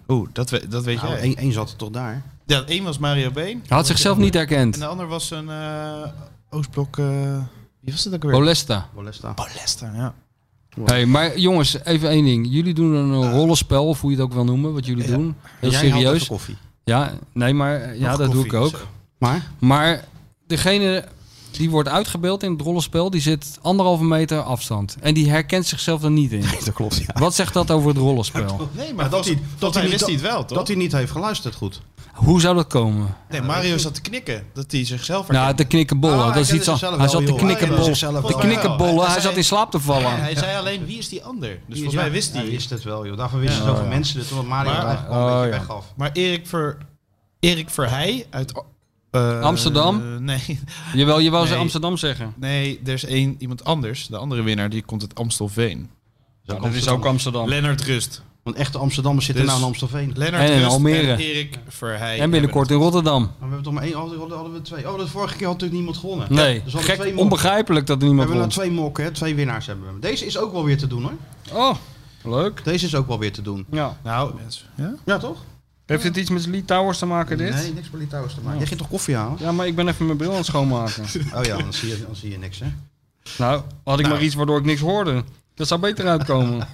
Speaker 7: Oeh, dat, we, dat weet
Speaker 5: Nou,
Speaker 7: jij.
Speaker 5: één, één zat er toch daar.
Speaker 7: Ja, één was Mario Been.
Speaker 6: Hij had zichzelf niet
Speaker 7: En
Speaker 6: herkend.
Speaker 5: Nou,
Speaker 7: de ander was een eh, Oostblok... eh, wie was dat ook weer?
Speaker 6: Bolesta.
Speaker 5: Bolesta.
Speaker 7: Bolesta, Oh, ja.
Speaker 6: Hey, maar jongens, even één ding. Jullie doen een eh, rollenspel, of hoe je het ook wil noemen, wat jullie doen. Heel
Speaker 5: Ah. Jij haalt
Speaker 6: serieus.
Speaker 5: even koffie.
Speaker 6: Ja, nee, maar eh, ja,
Speaker 5: Nog
Speaker 6: dat doe ik
Speaker 5: koffie,
Speaker 6: ook.
Speaker 5: zo. Maar?
Speaker 6: Maar degene die wordt uitgebeeld in het rollenspel, die zit anderhalve meter afstand. En die herkent zichzelf er niet in.
Speaker 5: Dat klopt, *laughs* ja.
Speaker 6: Wat zegt dat over het rollenspel?
Speaker 7: Nee,
Speaker 5: Maar
Speaker 7: maar dat,
Speaker 5: hij-
Speaker 7: dat, hij wist hij het wel, toch?
Speaker 5: Dat hij niet heeft geluisterd goed.
Speaker 6: Hoe zou dat komen?
Speaker 7: nee, Mario zat te knikken. Dat hij zichzelf
Speaker 6: Nou,
Speaker 7: herkende.
Speaker 6: te knikkenbollen.
Speaker 5: Ah, hij
Speaker 6: dat is
Speaker 5: kende
Speaker 6: iets aan.
Speaker 5: zichzelf
Speaker 6: Hij
Speaker 5: wel,
Speaker 6: zat te
Speaker 5: joh. Hij kende
Speaker 6: knikkenbollen.
Speaker 5: zichzelf
Speaker 6: Die
Speaker 5: wel, ja.
Speaker 6: knikkenbollen,
Speaker 7: Hij
Speaker 6: hij
Speaker 7: zei-
Speaker 6: zat in slaap te vallen.
Speaker 7: hij zei alleen, wie is die ander? Dus volgens mij wist hij.
Speaker 5: Hij wist het wel, joh. Daarvoor wisten zoveel mensen het, omdat Mario
Speaker 7: Maar-
Speaker 5: het eigenlijk wel een
Speaker 6: Oh,
Speaker 5: beetje
Speaker 6: ja.
Speaker 5: weggaf.
Speaker 7: Maar Erik, Ver, Erik Verheij uit... eh,
Speaker 6: Amsterdam?
Speaker 7: nee, *laughs*
Speaker 6: Jawel, je wou ze
Speaker 7: Nee.
Speaker 6: Amsterdam zeggen.
Speaker 7: nee, er is één, iemand anders. De andere winnaar, die komt uit Amstelveen.
Speaker 5: Zo
Speaker 6: dat is ook Amsterdam.
Speaker 7: Lennart Rust.
Speaker 5: Want echte Amsterdammers zitten
Speaker 7: Dus-
Speaker 5: nou in Amstelveen. Maar
Speaker 7: Lennart
Speaker 6: En in
Speaker 7: Rust
Speaker 6: Almere.
Speaker 7: en Erik Verheij.
Speaker 6: En binnenkort in Rotterdam.
Speaker 5: we hebben toch maar één, hadden, hadden we twee. Oh, dat vorige keer had natuurlijk niemand gewonnen.
Speaker 6: Nee,
Speaker 5: Dus we hadden twee
Speaker 6: gek,
Speaker 5: mokken.
Speaker 6: onbegrijpelijk dat er
Speaker 5: We
Speaker 6: niemand
Speaker 5: hebben nou
Speaker 6: komt.
Speaker 5: twee mokken, hè. twee winnaars hebben we. Deze is ook wel weer te doen, hoor.
Speaker 6: Oh, leuk.
Speaker 5: Deze is ook wel weer te doen.
Speaker 6: Ja.
Speaker 7: Nou, mensen, ja?
Speaker 5: Ja, toch?
Speaker 6: Heeft dit iets met Lee Towers te maken, dit?
Speaker 5: Nee, niks met Litouwers te maken. Jij ging toch koffie halen?
Speaker 6: Ja, maar ik ben even mijn bril aan het schoonmaken.
Speaker 5: *laughs* Oh ja, dan zie je, dan zie je niks, hè.
Speaker 6: nou, had ik maar iets waardoor ik niks hoorde. Dat zou
Speaker 5: *laughs*
Speaker 6: beter uitkomen.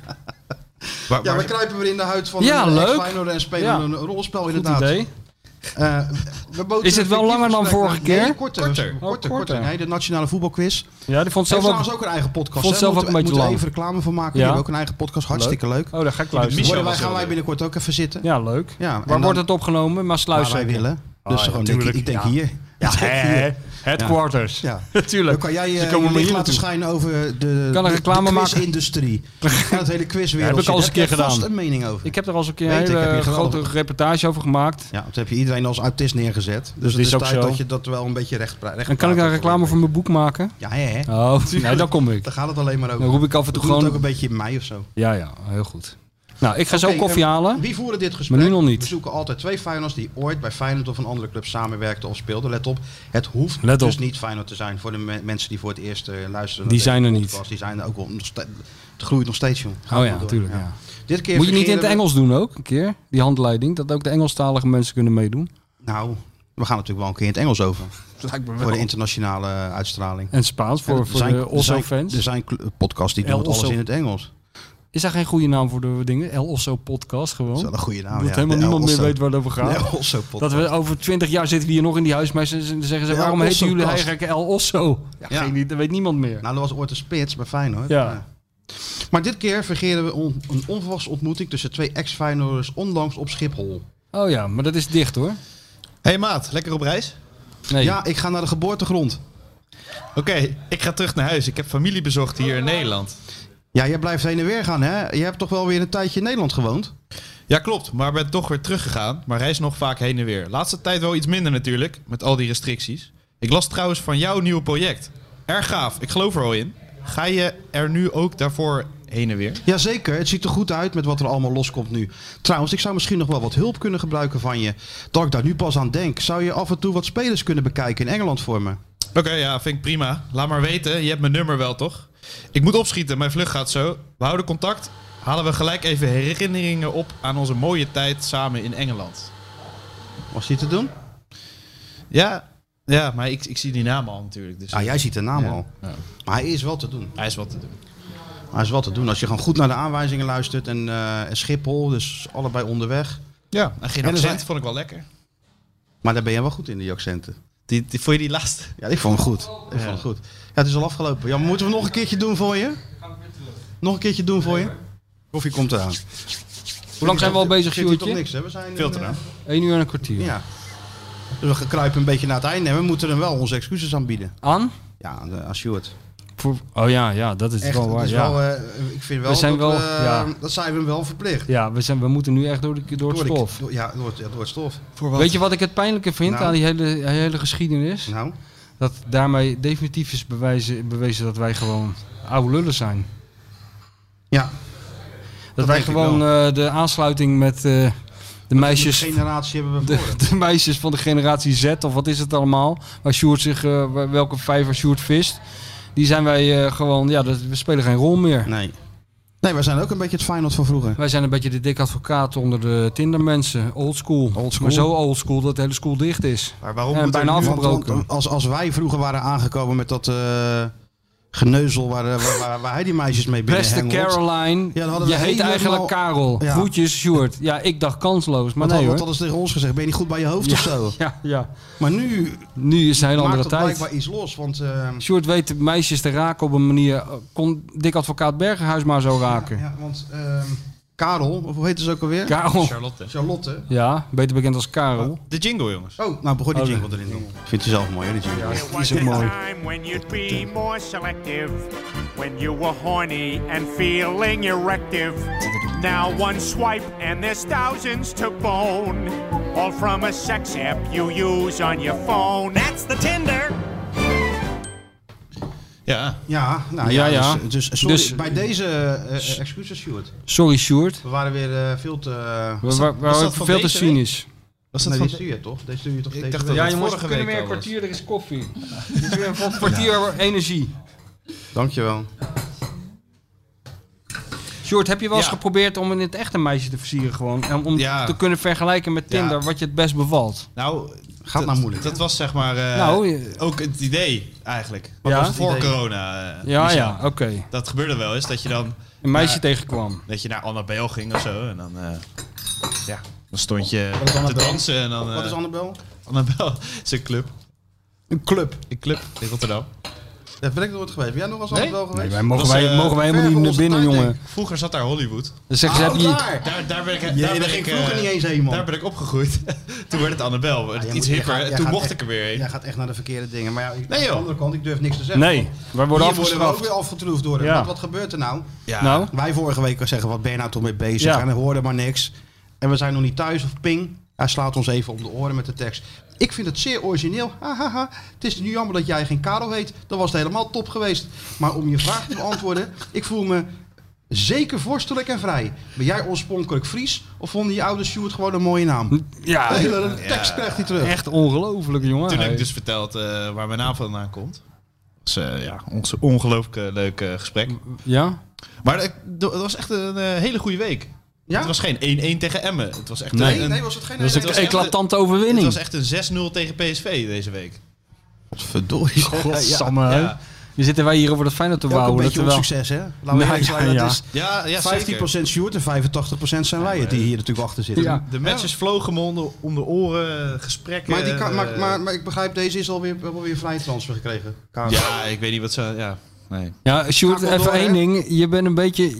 Speaker 7: Waar-
Speaker 5: Ja,
Speaker 7: waar-
Speaker 5: we kruipen weer in de huid van
Speaker 6: Ja,
Speaker 5: een
Speaker 6: leuk.
Speaker 5: ex-Feyenoord en spelen
Speaker 6: Ja.
Speaker 5: een rolspel,
Speaker 6: Goed
Speaker 5: inderdaad.
Speaker 6: idee.
Speaker 5: Eh, we boten
Speaker 6: Is het wel
Speaker 5: een
Speaker 6: langer dan
Speaker 5: gesprek
Speaker 6: vorige
Speaker 5: naar- Nee,
Speaker 6: keer?
Speaker 5: korter.
Speaker 7: Korter.
Speaker 5: Korter,
Speaker 6: Oh,
Speaker 5: korter.
Speaker 6: korter.
Speaker 5: Nee, de nationale voetbalquiz. Zelf
Speaker 6: Ja, die vond
Speaker 5: heeft
Speaker 6: het zelf
Speaker 5: trouwens
Speaker 6: ook...
Speaker 5: ook een eigen podcast.
Speaker 6: Vond
Speaker 5: hè?
Speaker 6: zelf ook
Speaker 5: Moeten we-
Speaker 6: een beetje
Speaker 5: moeten we
Speaker 6: lang.
Speaker 5: even reclame van maken.
Speaker 6: Ja.
Speaker 5: Die hebben ook een eigen podcast. Hartstikke leuk.
Speaker 6: Oh, daar ga ik
Speaker 7: Michel
Speaker 6: luisteren.
Speaker 5: Worden wij,
Speaker 7: was
Speaker 5: gaan
Speaker 7: heel
Speaker 5: wij
Speaker 7: leuk.
Speaker 5: binnenkort ook even zitten.
Speaker 6: Ja, leuk.
Speaker 5: Ja, en
Speaker 6: Waar
Speaker 5: dan-
Speaker 6: wordt het opgenomen? Maar
Speaker 5: Waar wij
Speaker 6: sluizen.
Speaker 5: willen. Dus
Speaker 6: Ah, ja,
Speaker 5: gewoon, denk, ik-
Speaker 6: tuurlijk.
Speaker 5: ik denk
Speaker 6: Ja.
Speaker 5: hier. Ja,
Speaker 13: hè, headquarters.
Speaker 6: *laughs*
Speaker 5: Ja,
Speaker 13: natuurlijk.
Speaker 5: Dan kan jij
Speaker 13: Ze
Speaker 5: eh,
Speaker 13: komen
Speaker 5: je
Speaker 13: maar
Speaker 5: licht
Speaker 13: hier
Speaker 5: laten
Speaker 13: naartoe.
Speaker 5: schijnen over de,
Speaker 6: Kan een
Speaker 5: de-
Speaker 6: reclame
Speaker 5: de
Speaker 6: maken.
Speaker 5: quizindustrie.
Speaker 6: *laughs*
Speaker 5: En het hele
Speaker 6: Ja,
Speaker 5: quizwereld.
Speaker 6: heb ik al eens een keer
Speaker 5: Daar heb je vast
Speaker 6: gedaan.
Speaker 5: een mening over.
Speaker 6: Ik heb er al eens een keer
Speaker 5: Weet ik,
Speaker 6: een
Speaker 5: heb je
Speaker 6: hele
Speaker 5: geweldig.
Speaker 6: grote reportage over gemaakt.
Speaker 5: Ja, dat heb je iedereen als autist neergezet. Dus
Speaker 6: Dat
Speaker 5: het
Speaker 6: is
Speaker 5: is,
Speaker 6: ook
Speaker 5: tijd
Speaker 6: zo.
Speaker 5: dat je dat wel een beetje recht, pra- recht
Speaker 6: En kan ik daar reclame voor mijn boek maken?
Speaker 5: Ja, hè, hè.
Speaker 6: Oh, *laughs* nee, dan kom ik.
Speaker 5: Daar gaat het alleen maar over.
Speaker 6: Dan roep ik af en
Speaker 5: We doen
Speaker 6: toe
Speaker 5: het
Speaker 6: gewoon-
Speaker 5: ook een beetje in mei of zo.
Speaker 6: Ja, ja, heel goed. Nou, ik ga
Speaker 5: Oké,
Speaker 6: zo koffie
Speaker 5: eh,
Speaker 6: halen.
Speaker 5: Wie voeren dit gesprek?
Speaker 6: Maar nu nog niet.
Speaker 5: We zoeken altijd twee Feyenoords die ooit bij Feyenoord of een andere club samenwerkten of speelden. Let op, het hoeft
Speaker 6: Let
Speaker 5: dus
Speaker 6: op.
Speaker 5: niet Feyenoord te zijn voor de me- mensen die voor het eerst eh, luisteren.
Speaker 6: Die
Speaker 5: naar
Speaker 6: zijn
Speaker 5: deze
Speaker 6: er niet.
Speaker 5: podcast. Die zijn er ook wel nog steeds. Het groeit nog steeds, jong. Gaat
Speaker 6: Oh ja,
Speaker 5: maar door.
Speaker 6: natuurlijk. Ja.
Speaker 5: Dit keer
Speaker 6: Moet je niet in het
Speaker 5: verkeren we-
Speaker 6: Engels doen ook, een keer? Die handleiding, dat ook de Engelstalige mensen kunnen meedoen.
Speaker 5: Nou, we gaan natuurlijk wel een keer in het Engels over.
Speaker 6: Lijkt me wel.
Speaker 5: Voor de internationale eh, uitstraling.
Speaker 6: En Spaans voor-
Speaker 5: er
Speaker 6: voor
Speaker 5: zijn-
Speaker 6: de
Speaker 5: er
Speaker 6: Osso
Speaker 5: zijn-
Speaker 6: fans.
Speaker 5: Er zijn cl- podcasts die doen
Speaker 6: El
Speaker 5: het alles
Speaker 6: Osso.
Speaker 5: in het Engels.
Speaker 6: Is daar geen goede naam voor de dingen? El Osso Podcast gewoon.
Speaker 5: Dat is wel een goede naam,
Speaker 6: Dat
Speaker 5: ja.
Speaker 6: helemaal
Speaker 5: De El
Speaker 6: niemand meer
Speaker 5: Osso.
Speaker 6: weet waar het over gaat.
Speaker 5: De El Osso Podcast.
Speaker 6: Dat we over twintig jaar zitten we hier nog in die huismeisjes en dan zeggen ze...
Speaker 5: De El
Speaker 6: waarom heten jullie
Speaker 5: Osso-cast.
Speaker 6: eigenlijk El Osso? Ja,
Speaker 5: Ja.
Speaker 6: Geen, idee, dat weet niemand meer.
Speaker 5: Nou, dat was ooit een spits bij Feyenoord.
Speaker 6: Ja.
Speaker 5: Maar dit keer vergeren we on- een onverwachte ontmoeting tussen twee ex-Feyenoorders onlangs op Schiphol.
Speaker 6: Oh ja, maar dat is dicht hoor.
Speaker 7: hey maat, lekker op reis?
Speaker 6: Nee.
Speaker 5: Ja, ik ga naar de geboortegrond.
Speaker 7: Oké, ik ga terug naar huis. dus Ik heb familie bezocht hier in Nederland.
Speaker 5: Ja, jij blijft heen en weer gaan, hè? Je hebt toch wel weer een tijdje in Nederland gewoond?
Speaker 7: Ja, klopt, maar ben toch weer teruggegaan. Maar reis nog vaak heen en weer. Laatste tijd wel iets minder natuurlijk, met al die restricties. Ik las trouwens van jouw nieuwe project. Erg gaaf, ik geloof er al in. Ga je er nu ook daarvoor heen en weer?
Speaker 5: Jazeker, het ziet er goed uit met wat er allemaal loskomt nu. Trouwens, ik zou misschien nog wel wat hulp kunnen gebruiken van je. Dat ik daar nu pas aan denk, zou je af en toe wat spelers kunnen bekijken in Engeland voor me?
Speaker 7: Oké, ja, vind ik prima. Laat maar weten, je hebt mijn nummer wel toch? Ik moet opschieten, mijn vlucht gaat zo. We houden contact. Halen we gelijk even herinneringen op aan onze mooie tijd samen in Engeland.
Speaker 5: Was die te doen?
Speaker 7: Ja, ja maar ik, ik zie die naam al natuurlijk. Dus
Speaker 5: Ah, jij ziet de naam
Speaker 7: Ja.
Speaker 5: al.
Speaker 7: Ja.
Speaker 5: Maar hij is wel te doen.
Speaker 7: Hij is wat te doen.
Speaker 5: Maar is wat te doen. Als je gewoon goed naar de aanwijzingen luistert en, eh, en Schiphol, dus allebei onderweg.
Speaker 7: Ja, en geen
Speaker 5: En er
Speaker 7: accent
Speaker 5: zijn-
Speaker 7: vond ik wel lekker.
Speaker 5: Maar daar ben je wel goed in, die accenten.
Speaker 7: Die, die, vond je die laatste?
Speaker 5: Ja, ik vond hem goed. Ik vond hem goed. Ja, het is al afgelopen. Ja, moeten we nog een keertje doen voor je? Nog een keertje doen voor je? Koffie komt eraan.
Speaker 6: Hoe lang zijn we al bezig,
Speaker 5: Zit hier toch
Speaker 6: Sjoerdje?
Speaker 5: niks, hè? We zijn
Speaker 6: Veel
Speaker 5: in,
Speaker 6: te
Speaker 5: eh,
Speaker 6: lang. Eén uur en een kwartier.
Speaker 5: Ja. Dus we kruipen een beetje naar het einde en we moeten hem wel onze excuses aanbieden.
Speaker 6: Aan?
Speaker 5: Ja, aan de- aan Sjoerd.
Speaker 6: Voor- oh ja, ja, dat is
Speaker 5: Echt,
Speaker 6: wel
Speaker 5: dat
Speaker 6: waar.
Speaker 5: is
Speaker 6: ja.
Speaker 5: wel, eh, ik vind wel,
Speaker 6: We zijn
Speaker 5: dat,
Speaker 6: wel-
Speaker 5: we- eh,
Speaker 6: ja.
Speaker 5: dat zijn we hem wel verplicht.
Speaker 6: ja, we, zijn, we moeten nu echt door, de, door het
Speaker 5: Door de-
Speaker 6: stof.
Speaker 5: door- ja, door, het- ja, door het stof.
Speaker 6: Weet je wat ik het pijnlijke vind
Speaker 5: Nou.
Speaker 6: aan die hele, hele geschiedenis?
Speaker 5: Nou?
Speaker 6: Dat daarmee definitief is bewijzen, bewezen dat wij gewoon oude lullen zijn.
Speaker 5: Ja.
Speaker 6: Dat,
Speaker 5: Dat
Speaker 6: wij
Speaker 5: denk ik
Speaker 6: gewoon eh, de aansluiting met eh, de meisjes...
Speaker 5: De generatie hebben we voor.
Speaker 6: de, de meisjes van de generatie Z, of wat is het allemaal? Waar Sjoerd zich, eh, waar- welke vijver Sjoerd vist. Die zijn wij eh, gewoon, ja, dat, we spelen geen rol meer.
Speaker 5: Nee. Nee, wij zijn ook een beetje het Feyenoord van vroeger.
Speaker 6: Wij zijn een beetje de dik advocaat onder de Tindermensen. Old school.
Speaker 5: school.
Speaker 6: Maar zo old school dat de hele school dicht is.
Speaker 7: Maar waarom
Speaker 6: en
Speaker 7: moet er
Speaker 6: bijna
Speaker 7: nu-
Speaker 5: Want,
Speaker 6: afgebroken.
Speaker 5: want als, als wij vroeger waren aangekomen met dat eh, geneuzel waar, eh, waar, waar, waar hij die meisjes mee binnen
Speaker 6: Beste Caroline,
Speaker 5: Ja, dan hadden we
Speaker 6: je heet
Speaker 5: helemaal-
Speaker 6: eigenlijk Karel.
Speaker 5: Ja.
Speaker 6: Groetjes, Sjoerd. Ja, ik dacht kansloos, maar
Speaker 5: Maar
Speaker 6: nee
Speaker 5: nee,
Speaker 6: hoor.
Speaker 5: dat is tegen ons gezegd. Ben je niet goed bij je hoofd of zo?
Speaker 6: Ja, ja.
Speaker 5: Maar nu
Speaker 6: Nu is het een hele
Speaker 5: maakt
Speaker 6: andere
Speaker 5: het
Speaker 6: tijd.
Speaker 5: blijkbaar iets los. Want eh,
Speaker 6: Sjoerd weet de meisjes te raken op een manier... eh, kon dik advocaat Bergenhuis maar zo raken. Ja,
Speaker 5: ja, want ehm, Karel, of hoe heet ze ook alweer?
Speaker 6: Karel.
Speaker 7: Charlotte.
Speaker 5: Charlotte.
Speaker 6: beter bekend als Karel.
Speaker 7: De jingle, jongens.
Speaker 5: Oh, nou begon die
Speaker 6: Oh,
Speaker 5: jingle erin dan. Vindt je zelf mooi, hè, die jingle?
Speaker 14: There
Speaker 5: is
Speaker 14: was
Speaker 5: ook
Speaker 14: a
Speaker 5: mooi.
Speaker 14: time when you'd be more selective, when you were horny and feeling erective. Now one swipe and there's thousands to bone, all from a sex app you use on your phone. That's the Tinder.
Speaker 7: Ja.
Speaker 5: Ja, nou
Speaker 6: Ja,
Speaker 5: ja.
Speaker 6: ja.
Speaker 5: Dus, dus, sorry,
Speaker 6: Dus-
Speaker 5: bij deze eh, eh, excuses, Stuart.
Speaker 6: Sorry, Sjoerd.
Speaker 5: We waren weer eh, veel te... eh,
Speaker 6: We waren veel te cynisch.
Speaker 7: Was
Speaker 5: nee, die stuur je toch? Deze stuur je toch
Speaker 7: Ik
Speaker 5: deze
Speaker 7: dacht
Speaker 5: week?
Speaker 7: dat het vorige week al was.
Speaker 6: er is koffie. Het is weer een kwartier energie.
Speaker 5: Dankjewel.
Speaker 6: Sjoerd, heb je wel eens
Speaker 7: Ja.
Speaker 6: geprobeerd om in het echte meisje te versieren gewoon? En om
Speaker 7: Ja.
Speaker 6: te kunnen vergelijken met Tinder
Speaker 7: Ja.
Speaker 6: wat je het best bevalt?
Speaker 7: Nou,
Speaker 5: Gaat nou moeilijk.
Speaker 7: dat was zeg maar eh,
Speaker 6: Nou, je-
Speaker 7: ook het idee eigenlijk. Wat
Speaker 6: Ja?
Speaker 7: was het voor
Speaker 6: Idee.
Speaker 7: corona? eh,
Speaker 6: Ja,
Speaker 7: Michel?
Speaker 6: ja, oké.
Speaker 7: Dat gebeurde wel eens, dat je dan...
Speaker 6: Een meisje
Speaker 7: naar-
Speaker 6: tegenkwam.
Speaker 7: Dat je naar Annabel ging of zo. En dan, eh, ja, dan stond je
Speaker 5: Wat is
Speaker 7: te
Speaker 5: Annabel?
Speaker 7: dansen. En dan, eh,
Speaker 5: Wat is Annabel?
Speaker 7: *laughs* Annabel is een club.
Speaker 5: Een club.
Speaker 7: Een club in Rotterdam.
Speaker 5: Ja, ben ik nooit geweest. Ben jij nog als
Speaker 7: Nee?
Speaker 5: altijd wel geweest? Oh,
Speaker 6: Nee, wij mogen wij- mogen wij helemaal
Speaker 5: ver
Speaker 6: niet
Speaker 5: voor
Speaker 6: naar
Speaker 5: onze
Speaker 6: binnen,
Speaker 5: tijd,
Speaker 6: jongen.
Speaker 5: denk ik.
Speaker 7: Vroeger zat daar Hollywood.
Speaker 6: Dan zeggen ze,
Speaker 5: Ah,
Speaker 6: heb je-
Speaker 5: ook daar?
Speaker 7: Daar, daar ben ik,
Speaker 5: Jee,
Speaker 7: daar
Speaker 5: daar
Speaker 7: ben ik,
Speaker 5: ging ik vroeger
Speaker 7: eh,
Speaker 5: niet eens heen, man. Ah,
Speaker 7: Daar ben ik opgegroeid. *laughs* Toen werd het Annabel.
Speaker 5: jij
Speaker 7: iets
Speaker 5: moet-
Speaker 7: hipper.
Speaker 5: jij gaat-
Speaker 7: en
Speaker 5: jij
Speaker 7: toen
Speaker 5: gaat
Speaker 7: mocht
Speaker 5: echt-
Speaker 7: ik er weer heen.
Speaker 5: Jij gaat echt naar de verkeerde dingen. Maar ja, ik-
Speaker 7: Nee,
Speaker 5: aan de
Speaker 7: joh.
Speaker 5: andere kant, ik durf niks te zeggen.
Speaker 6: Nee,
Speaker 5: want
Speaker 6: wij
Speaker 5: hier
Speaker 6: worden
Speaker 5: worden we
Speaker 6: afgestraft.
Speaker 5: ook weer afgetroefd door hem.
Speaker 6: Ja.
Speaker 5: Want wat gebeurt er nou?
Speaker 7: Ja.
Speaker 6: Nou?
Speaker 5: Wij vorige week zeggen, wat ben je nou toch mee bezig?
Speaker 6: Ja.
Speaker 5: En we hoorden maar niks. En we zijn nog niet thuis of ping. Hij slaat ons even om de oren met de tekst. Ik vind het zeer origineel. Hahaha. Het is nu jammer dat jij geen Karel heet. Dan was het helemaal top geweest. Maar om je vraag te beantwoorden. Ik voel me zeker vorstelijk en vrij. Ben jij oorspronkelijk Fries? Of vonden je ouders Stuart gewoon een mooie naam?
Speaker 6: Ja.
Speaker 5: De hele tekst krijgt hij terug.
Speaker 6: Echt ongelooflijk, jongen.
Speaker 7: Toen heb
Speaker 6: Hij-
Speaker 7: ik dus verteld eh, waar mijn naam vandaan komt. Dat is eh, ja, ons ongelooflijk eh, leuk eh, gesprek.
Speaker 6: Ja?
Speaker 7: Maar het het was echt een eh, hele goede week.
Speaker 5: Ja?
Speaker 7: Het was geen 1-1 tegen Emmen. Het was echt
Speaker 6: Nee.
Speaker 7: een,
Speaker 5: Nee, was het geen
Speaker 6: Dat is een
Speaker 7: was echt
Speaker 6: eclatante overwinning.
Speaker 7: Het was echt een 6-0 tegen PSV deze week.
Speaker 5: Verdorie.
Speaker 6: Godsamme.
Speaker 7: Ja.
Speaker 6: hè. Nu zitten wij hier over dat Feyenoord te
Speaker 5: Ook een
Speaker 6: wouwen.
Speaker 5: beetje
Speaker 6: terwijl-
Speaker 5: onsucces, hè? Laten we
Speaker 6: Nou,
Speaker 5: eerlijk zijn,
Speaker 6: ja,
Speaker 5: dat
Speaker 6: ja.
Speaker 5: is
Speaker 7: Ja, ja, zeker.
Speaker 5: 15% Sjoerd en 85% zijn wij het die hier natuurlijk achter zitten.
Speaker 6: eh, Ja.
Speaker 7: De matches vlogen me onder, om de oren, gesprekken.
Speaker 5: Maar, die kan, maar,
Speaker 7: eh,
Speaker 5: maar, maar ik begrijp, deze is alweer, alweer vrij transfer gekregen. Karel.
Speaker 7: Ja, ik weet niet wat ze... Ja, nee.
Speaker 6: Ja, Sjoerd,
Speaker 5: Ga ik wel
Speaker 6: even
Speaker 5: door,
Speaker 6: één
Speaker 5: hè?
Speaker 6: ding. Je bent een beetje...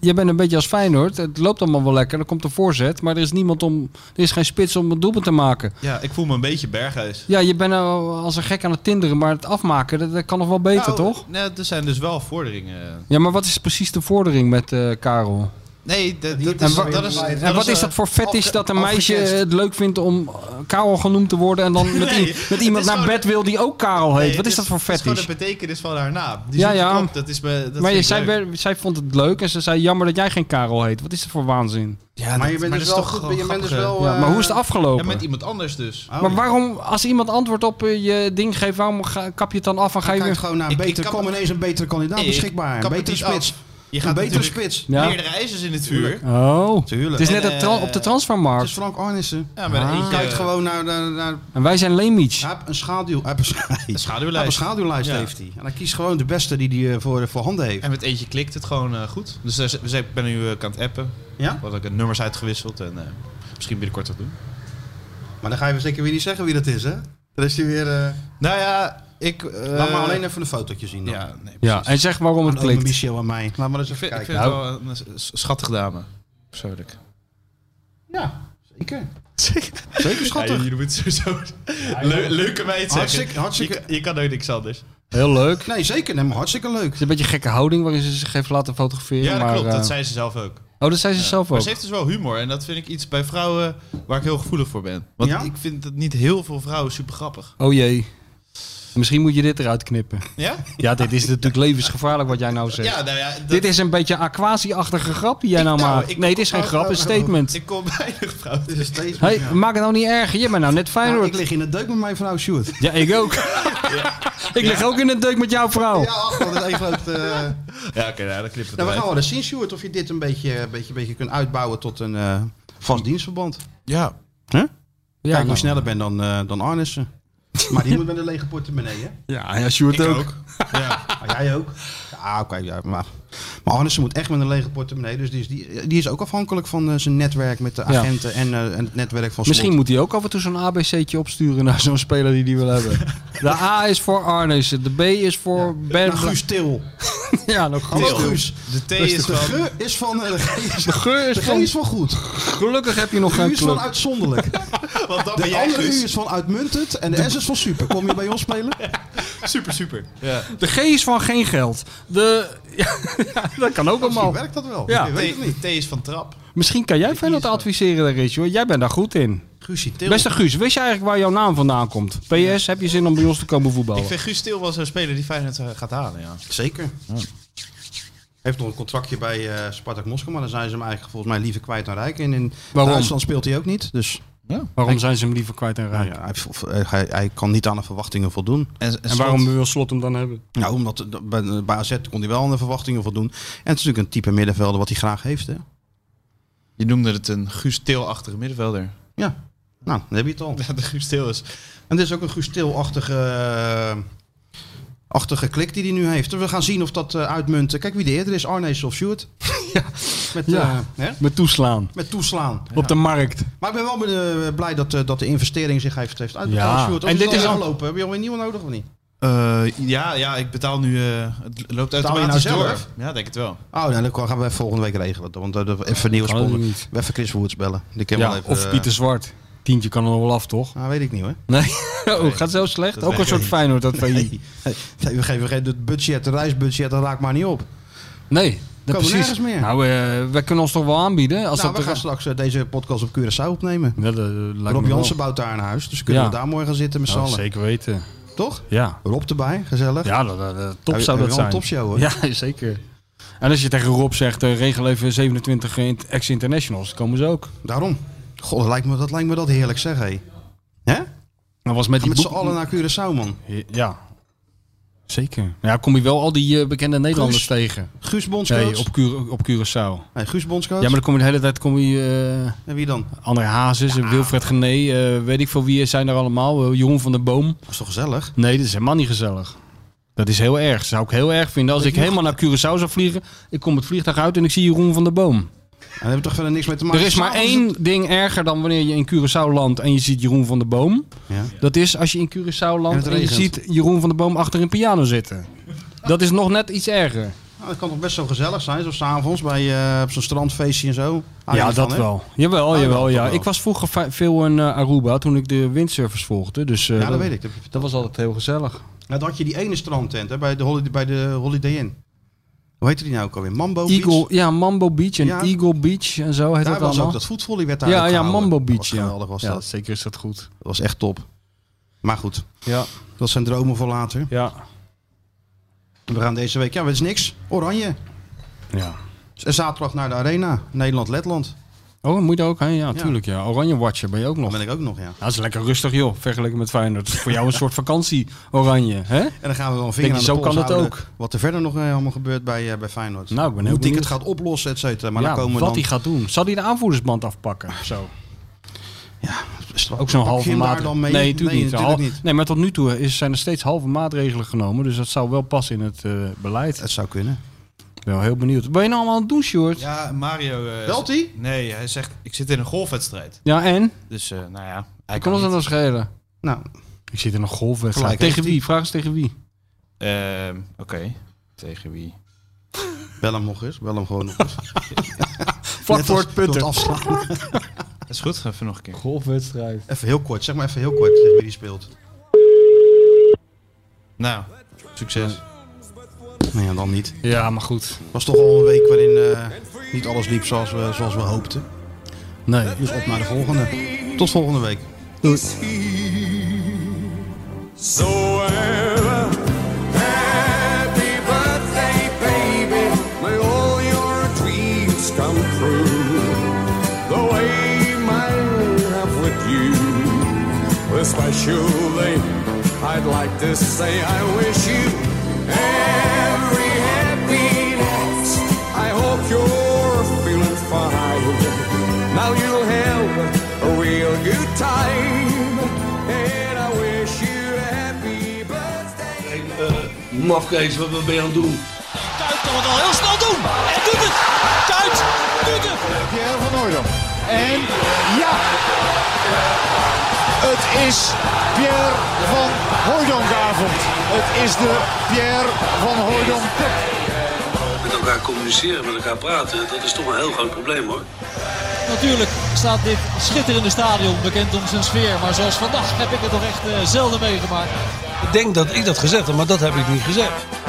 Speaker 6: Je bent een beetje als Feyenoord. Het loopt allemaal wel lekker. Er komt een voorzet. Maar er is niemand om... Er is geen spits om een doelpunt te maken.
Speaker 7: ja, ik voel me een beetje berghuis.
Speaker 6: Ja, je bent nou als een gek aan het tinderen. Maar het afmaken, dat, dat kan nog wel beter,
Speaker 7: Nou,
Speaker 6: toch?
Speaker 7: Nee, er zijn dus wel vorderingen.
Speaker 6: Ja, maar wat is precies de vordering met eh, Karel?
Speaker 7: Nee, dat, dat
Speaker 5: En
Speaker 7: is...
Speaker 5: wa-
Speaker 7: Dat is
Speaker 5: en
Speaker 6: En wat
Speaker 7: eh,
Speaker 6: is dat voor vet is
Speaker 5: afge-
Speaker 6: dat een meisje
Speaker 5: afgeketst.
Speaker 6: het leuk vindt om eh, Karel genoemd te worden en dan met, i-
Speaker 7: Nee,
Speaker 6: met
Speaker 7: het
Speaker 6: iemand
Speaker 7: is
Speaker 6: naar
Speaker 7: gewoon-
Speaker 6: bed wil die ook Karel heet?
Speaker 7: nee,
Speaker 6: wat
Speaker 7: het
Speaker 6: is dat voor
Speaker 7: Het is
Speaker 6: fetish?
Speaker 7: gewoon de betekenis van haar naam. Dus Die
Speaker 6: Ja,
Speaker 7: ja,
Speaker 6: ja.
Speaker 7: ja. Klopt. Dat is me, dat
Speaker 6: Maar
Speaker 7: vind
Speaker 6: je-
Speaker 7: ik
Speaker 6: zij,
Speaker 7: leuk.
Speaker 6: werd- zij vond het leuk en ze zei jammer dat jij geen Karel heet. Wat is dat voor waanzin?
Speaker 7: Ja,
Speaker 5: maar
Speaker 7: dat-
Speaker 5: je bent
Speaker 7: maar
Speaker 5: dus
Speaker 7: dat
Speaker 5: wel
Speaker 7: is
Speaker 5: goed.
Speaker 7: toch
Speaker 5: Je bent dus
Speaker 7: grappig,
Speaker 5: wel.
Speaker 6: Ja, maar
Speaker 5: eh,
Speaker 6: hoe is het afgelopen?
Speaker 7: Ja, met iemand anders dus.
Speaker 5: oh,
Speaker 6: maar waarom, als iemand antwoord op eh, je ding geeft, waarom ga- kap je het dan af en ga
Speaker 5: Hij
Speaker 6: je
Speaker 5: kijkt
Speaker 6: weer...
Speaker 5: gewoon naar een
Speaker 7: Ik- ik
Speaker 5: betere.
Speaker 7: kap
Speaker 5: kwam
Speaker 7: het-
Speaker 5: ineens een betere kandidaat
Speaker 7: Nee, ik
Speaker 5: beschikbaar. Een
Speaker 7: kap het dus
Speaker 5: betere
Speaker 7: niet af.
Speaker 5: spits.
Speaker 7: Je
Speaker 5: Een
Speaker 7: gaat
Speaker 5: betere
Speaker 7: natuurlijk
Speaker 5: spits.
Speaker 6: Ja.
Speaker 7: meerdere ijzers in het vuur.
Speaker 6: Oh,
Speaker 5: Tuurlijk.
Speaker 6: het is net
Speaker 7: En,
Speaker 6: een tra-
Speaker 7: eh,
Speaker 6: op de
Speaker 5: Het is
Speaker 6: transfermarkt.
Speaker 5: Frank Arnissen.
Speaker 7: Ja, maar eh,
Speaker 6: Ah.
Speaker 7: eentje-
Speaker 5: Je kijkt gewoon naar, naar, naar
Speaker 6: En wij zijn Lemits.
Speaker 5: hij heeft een schaduw. Hij heeft een-
Speaker 7: Een schaduwlijst.
Speaker 5: hij heeft een schaduwlijst
Speaker 7: Ja.
Speaker 5: heeft hij. En hij kiest gewoon de beste die, die hij eh, voor, voor handen heeft.
Speaker 7: En met eentje klikt het gewoon eh, goed. Dus daar z- we zijn- ik ben nu eh, aan het appen.
Speaker 5: Ja?
Speaker 7: Wat ik de nummers uitgewisseld en eh, misschien binnenkort wat doen.
Speaker 5: Maar dan ga je zeker weer niet zeggen wie dat is, hè? Dan is hij weer. eh,
Speaker 7: Nou ja, ik... eh,
Speaker 5: Laat maar alleen even een fotootje zien. Dan.
Speaker 7: Ja, nee,
Speaker 6: Ja, nou. en zeg waarom het
Speaker 5: Aan ome
Speaker 6: klikt.
Speaker 5: Michel aan mij. Laat maar eens
Speaker 7: Ik
Speaker 5: even
Speaker 7: vind, ik
Speaker 5: kijken.
Speaker 7: vind het wel een s- s- schattige dame. Persoonlijk.
Speaker 5: Ja, zeker.
Speaker 7: *laughs*
Speaker 5: Zeker
Speaker 7: Ja,
Speaker 5: schattig.
Speaker 7: jullie moeten sowieso Leu- leuke meid zeggen.
Speaker 5: Hartstikke- hartstikke-
Speaker 7: Je, kan- je kan nooit niks anders.
Speaker 6: Heel leuk. Het
Speaker 5: Nee, zeker. Nee, maar hartstikke leuk.
Speaker 6: is een beetje een gekke houding waarin ze zich heeft laten fotograferen.
Speaker 7: Ja, dat
Speaker 6: maar,
Speaker 7: klopt.
Speaker 6: eh,
Speaker 7: Dat zei ze zelf ook.
Speaker 6: Oh, dat zei ze zelf
Speaker 7: Maar
Speaker 6: ook.
Speaker 7: ze heeft dus wel humor. En dat vind ik iets bij vrouwen waar ik heel gevoelig voor ben. Want
Speaker 5: Ja?
Speaker 7: ik vind dat niet heel veel vrouwen super grappig.
Speaker 6: Oh jee. Misschien moet je dit eruit knippen.
Speaker 7: Ja?
Speaker 6: Ja, dit is natuurlijk levensgevaarlijk wat jij nou zegt.
Speaker 7: Ja, nou ja. dat-
Speaker 6: Dit is een beetje een aquasi-achtige grap die jij nou,
Speaker 7: nou,
Speaker 6: maakt.
Speaker 7: ik-
Speaker 6: Nee, het is geen grap, het is een statement.
Speaker 7: Ik kom weinig vrouwen.
Speaker 5: Dit is steeds
Speaker 6: Hey,
Speaker 5: ja.
Speaker 6: maak het nou niet erg. Je bent nou net
Speaker 5: Nou, ik
Speaker 6: Feyenoord.
Speaker 5: lig in de deuk met mijn vrouw Sjoerd.
Speaker 6: Ja, ik ook. ik lig ook in een deuk met jouw vrouw.
Speaker 5: Ja, ach, dat is één groot... eh,
Speaker 7: Ja, oké, nou, dan knippen we
Speaker 5: Nou, we
Speaker 7: het
Speaker 5: gaan
Speaker 7: eruit.
Speaker 5: wel eens zien, Sjoerd, of je dit een beetje, een beetje, een beetje kunt uitbouwen tot een eh, vast dienstverband.
Speaker 7: Ja.
Speaker 6: Ja,
Speaker 5: Kijk hoe
Speaker 6: nou.
Speaker 5: sneller ben dan, eh, dan Arnissen. Maar die moet met een lege portemonnee, hè?
Speaker 6: Ja, ja Sjoerd
Speaker 7: Ik
Speaker 6: ook.
Speaker 7: ook. Ja.
Speaker 5: Maar Ah, jij ook? Ja, oké. ja, maar, maar Arnissen moet echt met een lege portemonnee. Dus die is, die, die is ook afhankelijk van eh, zijn netwerk met de
Speaker 6: Ja.
Speaker 5: agenten en, eh, en het netwerk van
Speaker 6: Misschien
Speaker 5: Slot.
Speaker 6: moet hij ook af en toe zo'n ABC'tje opsturen naar zo'n speler die die wil
Speaker 5: *laughs*
Speaker 6: hebben. De A is voor Arnesen, de B is voor Ben.
Speaker 5: Nou, Guus Til.
Speaker 6: *laughs* Ja, nou, nog
Speaker 5: Hallo,
Speaker 6: goed.
Speaker 5: Guus.
Speaker 7: De T
Speaker 5: De
Speaker 7: is van...
Speaker 5: geur is van... eh, De G is-
Speaker 6: De geur
Speaker 5: de
Speaker 6: is
Speaker 5: G
Speaker 6: van...
Speaker 5: is van goed.
Speaker 6: Gelukkig heb je nog
Speaker 5: De U
Speaker 6: geen
Speaker 5: is van
Speaker 6: club.
Speaker 5: uitzonderlijk. *laughs*
Speaker 7: Want dan ben
Speaker 5: De
Speaker 7: jij
Speaker 5: andere
Speaker 7: dus
Speaker 5: U is van uitmuntend en de S is van super. Kom je bij ons spelen?
Speaker 7: super, super. Ja.
Speaker 6: De G is van geen geld. De... *laughs* Ja, dat kan ook allemaal.
Speaker 5: Misschien werkt dat wel.
Speaker 6: Ja.
Speaker 5: Ik weet het
Speaker 7: T,
Speaker 5: niet.
Speaker 7: T is van trap.
Speaker 6: Misschien kan jij Feyenoord adviseren, daar, Rich, hoor. Jij bent daar goed in.
Speaker 5: Guusie Til.
Speaker 6: Beste Guus, wist je eigenlijk waar jouw naam vandaan komt? PS, heb je zin om bij ons te komen voetballen?
Speaker 7: Ik vind Guus Stil wel zo'n speler die Feyenoord eh, gaat halen, ja.
Speaker 5: Zeker. Heeft nog een contractje bij eh, Spartak Moskou, maar dan zijn ze hem eigenlijk volgens mij liever kwijt dan rijk. En in
Speaker 6: Waarom?
Speaker 5: Duitsland speelt hij ook niet. Dus
Speaker 6: Waarom zijn ze hem liever kwijt en
Speaker 5: nou
Speaker 6: rijk?
Speaker 5: ja, hij, v- eh, hij, hij kan niet aan de verwachtingen voldoen.
Speaker 7: En,
Speaker 6: En waarom wil Slot hem dan hebben?
Speaker 5: Nou, omdat eh, bij, bij AZ kon hij wel aan de verwachtingen voldoen. En het is natuurlijk een type middenvelder wat hij graag heeft. Hè?
Speaker 7: Je noemde het een Guus Til-achtige middenvelder.
Speaker 5: Ja, nou, dan heb je het
Speaker 6: *laughs*
Speaker 5: al.
Speaker 7: Ja, de Guus Til is...
Speaker 5: En dit is ook een Gustil-achtige eh, achtige klik die hij nu heeft. We gaan zien of dat eh, uitmunt. Kijk wie de eerder is, Arnees of
Speaker 6: *laughs*
Speaker 5: Sjoerd. Met,
Speaker 6: Ja.
Speaker 5: eh, hè?
Speaker 6: Met toeslaan.
Speaker 5: Met toeslaan.
Speaker 6: Op de markt.
Speaker 5: Maar ik ben wel eh, blij dat, eh, dat de investering zich heeft, heeft uitbetaald.
Speaker 6: Ja.
Speaker 5: Sjoerd. Als het
Speaker 6: En dit
Speaker 5: al
Speaker 6: is al-
Speaker 5: afgelopen. Heb je alweer een nieuwe nodig of niet?
Speaker 7: Eh, ja, ja, ik betaal nu. eh, het loopt
Speaker 5: Betaal je
Speaker 7: automatisch
Speaker 5: nou
Speaker 7: door.
Speaker 5: zelf?
Speaker 7: Ja, denk het wel.
Speaker 5: Oh, nou, dan gaan we even volgende week regelen. Want eh, even Niels
Speaker 6: Kan ook
Speaker 5: Polder.
Speaker 6: niet.
Speaker 5: Even Chris Woods bellen. Die kan
Speaker 6: Ja,
Speaker 5: wel even,
Speaker 6: of
Speaker 5: eh,
Speaker 6: Pieter Zwart. Tientje kan er nog wel af, toch?
Speaker 5: Nou, weet ik niet hoor.
Speaker 6: *laughs*
Speaker 5: *laughs*
Speaker 6: Nee, oh, gaat zo slecht.
Speaker 5: Dat
Speaker 6: Ook
Speaker 5: weet
Speaker 6: een
Speaker 5: ik
Speaker 6: soort
Speaker 5: niet.
Speaker 6: Feyenoord, dat van
Speaker 5: Nee. Nee, we geven geen het budget, het reisbudget, dat raakt maar niet op.
Speaker 6: Nee, dat
Speaker 5: Komen
Speaker 6: precies.
Speaker 5: nergens meer.
Speaker 6: Nou, eh, wij kunnen ons toch wel aanbieden. Als
Speaker 5: nou,
Speaker 6: dat
Speaker 5: we gaan
Speaker 6: er-
Speaker 5: straks eh, deze podcast op Curaçao opnemen.
Speaker 6: Ja, dat, eh, lijkt me
Speaker 5: Rob
Speaker 6: wel.
Speaker 5: Jansen bouwt daar een huis, dus kunnen
Speaker 6: Ja.
Speaker 5: we daar mooi gaan zitten met z'n
Speaker 6: Nou,
Speaker 5: allen.
Speaker 6: Zeker weten.
Speaker 5: Toch?
Speaker 6: Ja.
Speaker 5: Rob erbij, gezellig.
Speaker 6: Ja, dat, dat- dat- top
Speaker 5: Ja,
Speaker 6: zou
Speaker 5: we-
Speaker 6: dat
Speaker 5: we hebben wel
Speaker 6: zijn.
Speaker 5: een topshow, hoor.
Speaker 6: *laughs* Ja, zeker. En als je tegen Rob zegt, eh, regel even 27 in- ex-internationals, komen ze ook.
Speaker 5: Daarom. God, dat lijkt me dat, lijkt me dat heerlijk zeg, hé. Hè?
Speaker 6: Dat was met
Speaker 5: Ga
Speaker 6: die
Speaker 5: met z'n
Speaker 6: boek-
Speaker 5: allen naar Curaçao, man.
Speaker 6: Ja. Zeker. Nou Ja, kom je wel al die eh, bekende Nederlanders
Speaker 5: Guus-
Speaker 6: tegen.
Speaker 5: Guus Bondscoach?
Speaker 6: Nee, op, Cura- op Curaçao.
Speaker 5: Nee, Guus Bondscoach?
Speaker 6: Ja, maar dan kom je de hele tijd... Kom je, eh,
Speaker 5: En wie dan?
Speaker 6: André Hazes, en Wilfred Gené, eh, weet ik veel wie zijn er allemaal. Eh, Jeroen van der Boom.
Speaker 5: Dat is toch gezellig?
Speaker 6: Nee, dat is helemaal niet gezellig. Dat is heel erg. Dat zou ik heel erg vinden als
Speaker 5: Weet
Speaker 6: ik
Speaker 5: je nog-
Speaker 6: helemaal naar Curaçao zou vliegen. Ik kom het vliegtuig uit en ik zie Jeroen van der Boom.
Speaker 5: En daar hebben we toch verder niks mee te maken.
Speaker 6: Er is maar
Speaker 5: S'avonds-
Speaker 6: één ding erger dan wanneer je in Curaçao landt en je ziet Jeroen van der Boom.
Speaker 5: Ja.
Speaker 6: Dat is als je in Curaçao
Speaker 5: En
Speaker 6: landt
Speaker 5: het
Speaker 6: en, je
Speaker 5: regent.
Speaker 6: ziet Jeroen van der Boom achter een piano zitten. Dat is nog net iets erger.
Speaker 5: Nou, dat kan toch best zo gezellig zijn, zo s'avonds bij eh, op zo'n strandfeestje en zo. Hou je
Speaker 6: Ah, ja,
Speaker 5: niet
Speaker 6: dat
Speaker 5: van, hè?
Speaker 6: wel. Jawel,
Speaker 5: Ah,
Speaker 6: jawel,
Speaker 5: wel,
Speaker 6: ja.
Speaker 5: wel.
Speaker 6: Ik was vroeger va- veel in eh, Aruba toen ik de windsurfers volgde. Dus, eh,
Speaker 5: Ja, dat weet ik. Dat, heb je
Speaker 6: Dat was altijd heel gezellig.
Speaker 5: Nou, dan had je die ene strandtent hè, bij, de Holiday, bij de Holiday Inn. Hoe heette die nou ook alweer? Mambo
Speaker 6: Eagle,
Speaker 5: Beach?
Speaker 6: ja, Mambo Beach en
Speaker 5: Ja.
Speaker 6: Eagle Beach en zo heet
Speaker 5: Daar
Speaker 6: dat
Speaker 5: was
Speaker 6: allemaal.
Speaker 5: ook dat voetvolley werd daar
Speaker 6: ja,
Speaker 5: ook
Speaker 6: ja,
Speaker 5: gehouden.
Speaker 6: Mambo
Speaker 5: Dat
Speaker 6: Beach.
Speaker 5: was
Speaker 6: ja.
Speaker 5: geweldig was
Speaker 6: ja,
Speaker 5: dat.
Speaker 6: Zeker is dat goed.
Speaker 5: Dat was echt top. Maar goed,
Speaker 6: Ja.
Speaker 5: dat zijn dromen voor later.
Speaker 6: Ja.
Speaker 5: We gaan deze week, ja, dat is niks. Oranje.
Speaker 6: ja.
Speaker 5: En zaterdag naar de Arena. Nederland-Letland.
Speaker 6: Oh, moet je daar ook heen? Ja, tuurlijk. Ja. Oranje Watcher ben je ook nog.
Speaker 5: ben ik ook nog, ja.
Speaker 6: Ja, dat is lekker rustig, joh. Vergeleken met Feyenoord. Dat is voor jou een soort vakantie, Oranje. Hè?
Speaker 5: En dan gaan we wel een
Speaker 6: Denk
Speaker 5: vinger
Speaker 6: je,
Speaker 5: aan de
Speaker 6: zo
Speaker 5: pols
Speaker 6: kan dat
Speaker 5: houden
Speaker 6: ook?
Speaker 5: Wat er verder nog eh, allemaal gebeurt bij, eh, bij Feyenoord.
Speaker 6: Nou, ik ben heel
Speaker 5: Hoe die het
Speaker 6: benieuwd.
Speaker 5: gaat oplossen, et cetera. Maar
Speaker 6: ja,
Speaker 5: dan komen we
Speaker 6: wat
Speaker 5: dan...
Speaker 6: hij gaat doen. Zal hij de aanvoerdersband afpakken of zo?
Speaker 5: Strak-
Speaker 6: Ook zo'n
Speaker 5: pak je
Speaker 6: halve
Speaker 5: hem daar
Speaker 6: maatregel.
Speaker 5: dan mee?
Speaker 6: Nee, natuurlijk niet.
Speaker 5: natuurlijk
Speaker 6: Hal-
Speaker 5: niet.
Speaker 6: Nee, maar tot nu toe is, zijn er steeds halve maatregelen genomen. Dus dat zou wel passen in het eh, beleid.
Speaker 5: Het zou kunnen.
Speaker 6: Ik ben wel heel benieuwd. Ben je nou allemaal aan het doen, Sjoerd?
Speaker 7: Ja, Mario. eh,
Speaker 5: Belt hij?
Speaker 7: Nee, hij zegt: Ik zit in een golfwedstrijd.
Speaker 6: Ja, en?
Speaker 7: Dus, eh, nou ja. Hij
Speaker 6: Ik kan ons dat nou schelen.
Speaker 5: Nou,
Speaker 6: Ik zit in een golfwedstrijd.
Speaker 5: Gelijk
Speaker 6: Tegen
Speaker 5: heeft
Speaker 6: wie? Vraag eens tegen wie.
Speaker 7: Ehm, Oké. Tegen wie?
Speaker 5: bel hem nog eens. Bel hem gewoon
Speaker 6: *laughs*
Speaker 5: nog eens.
Speaker 6: Vlak voor het putten.
Speaker 5: afslaan.
Speaker 7: Dat is goed, even nog een keer.
Speaker 6: Golfwedstrijd.
Speaker 5: Even heel kort, zeg maar even heel kort tegen wie die speelt.
Speaker 7: Nou, succes.
Speaker 5: Nee, ja, dan niet.
Speaker 6: Ja, maar goed.
Speaker 5: Het was toch al een week waarin eh, niet alles liep zoals we, zoals we hoopten.
Speaker 6: Nee.
Speaker 5: Dus op naar de volgende. Tot volgende week.
Speaker 6: Doei.
Speaker 15: So ever eh, happy birthday, baby. May all your dreams come true. The way mine have with you. Especially, I'd like to say I wish you every happiness. I hope you're feeling fine. Now you'll have a real good time. And I wish you a happy birthday.
Speaker 2: eh, Mafkees, wat wat ben je aan het doen?
Speaker 3: Kuit kan het al heel snel doen. En doet het. Kuit doet het.
Speaker 4: Pierre van Hooydonk. En ja, het is Pierre van Hooydonkavond. Het is de Pierre van Hooydonk Cup.
Speaker 2: Met elkaar communiceren, met elkaar praten, dat is toch een heel groot probleem hoor.
Speaker 3: Natuurlijk staat dit schitterende stadion bekend om zijn sfeer. Maar zoals vandaag heb ik het toch echt eh, zelden meegemaakt.
Speaker 16: Ik denk dat ik dat gezegd heb, maar dat heb ik niet gezegd.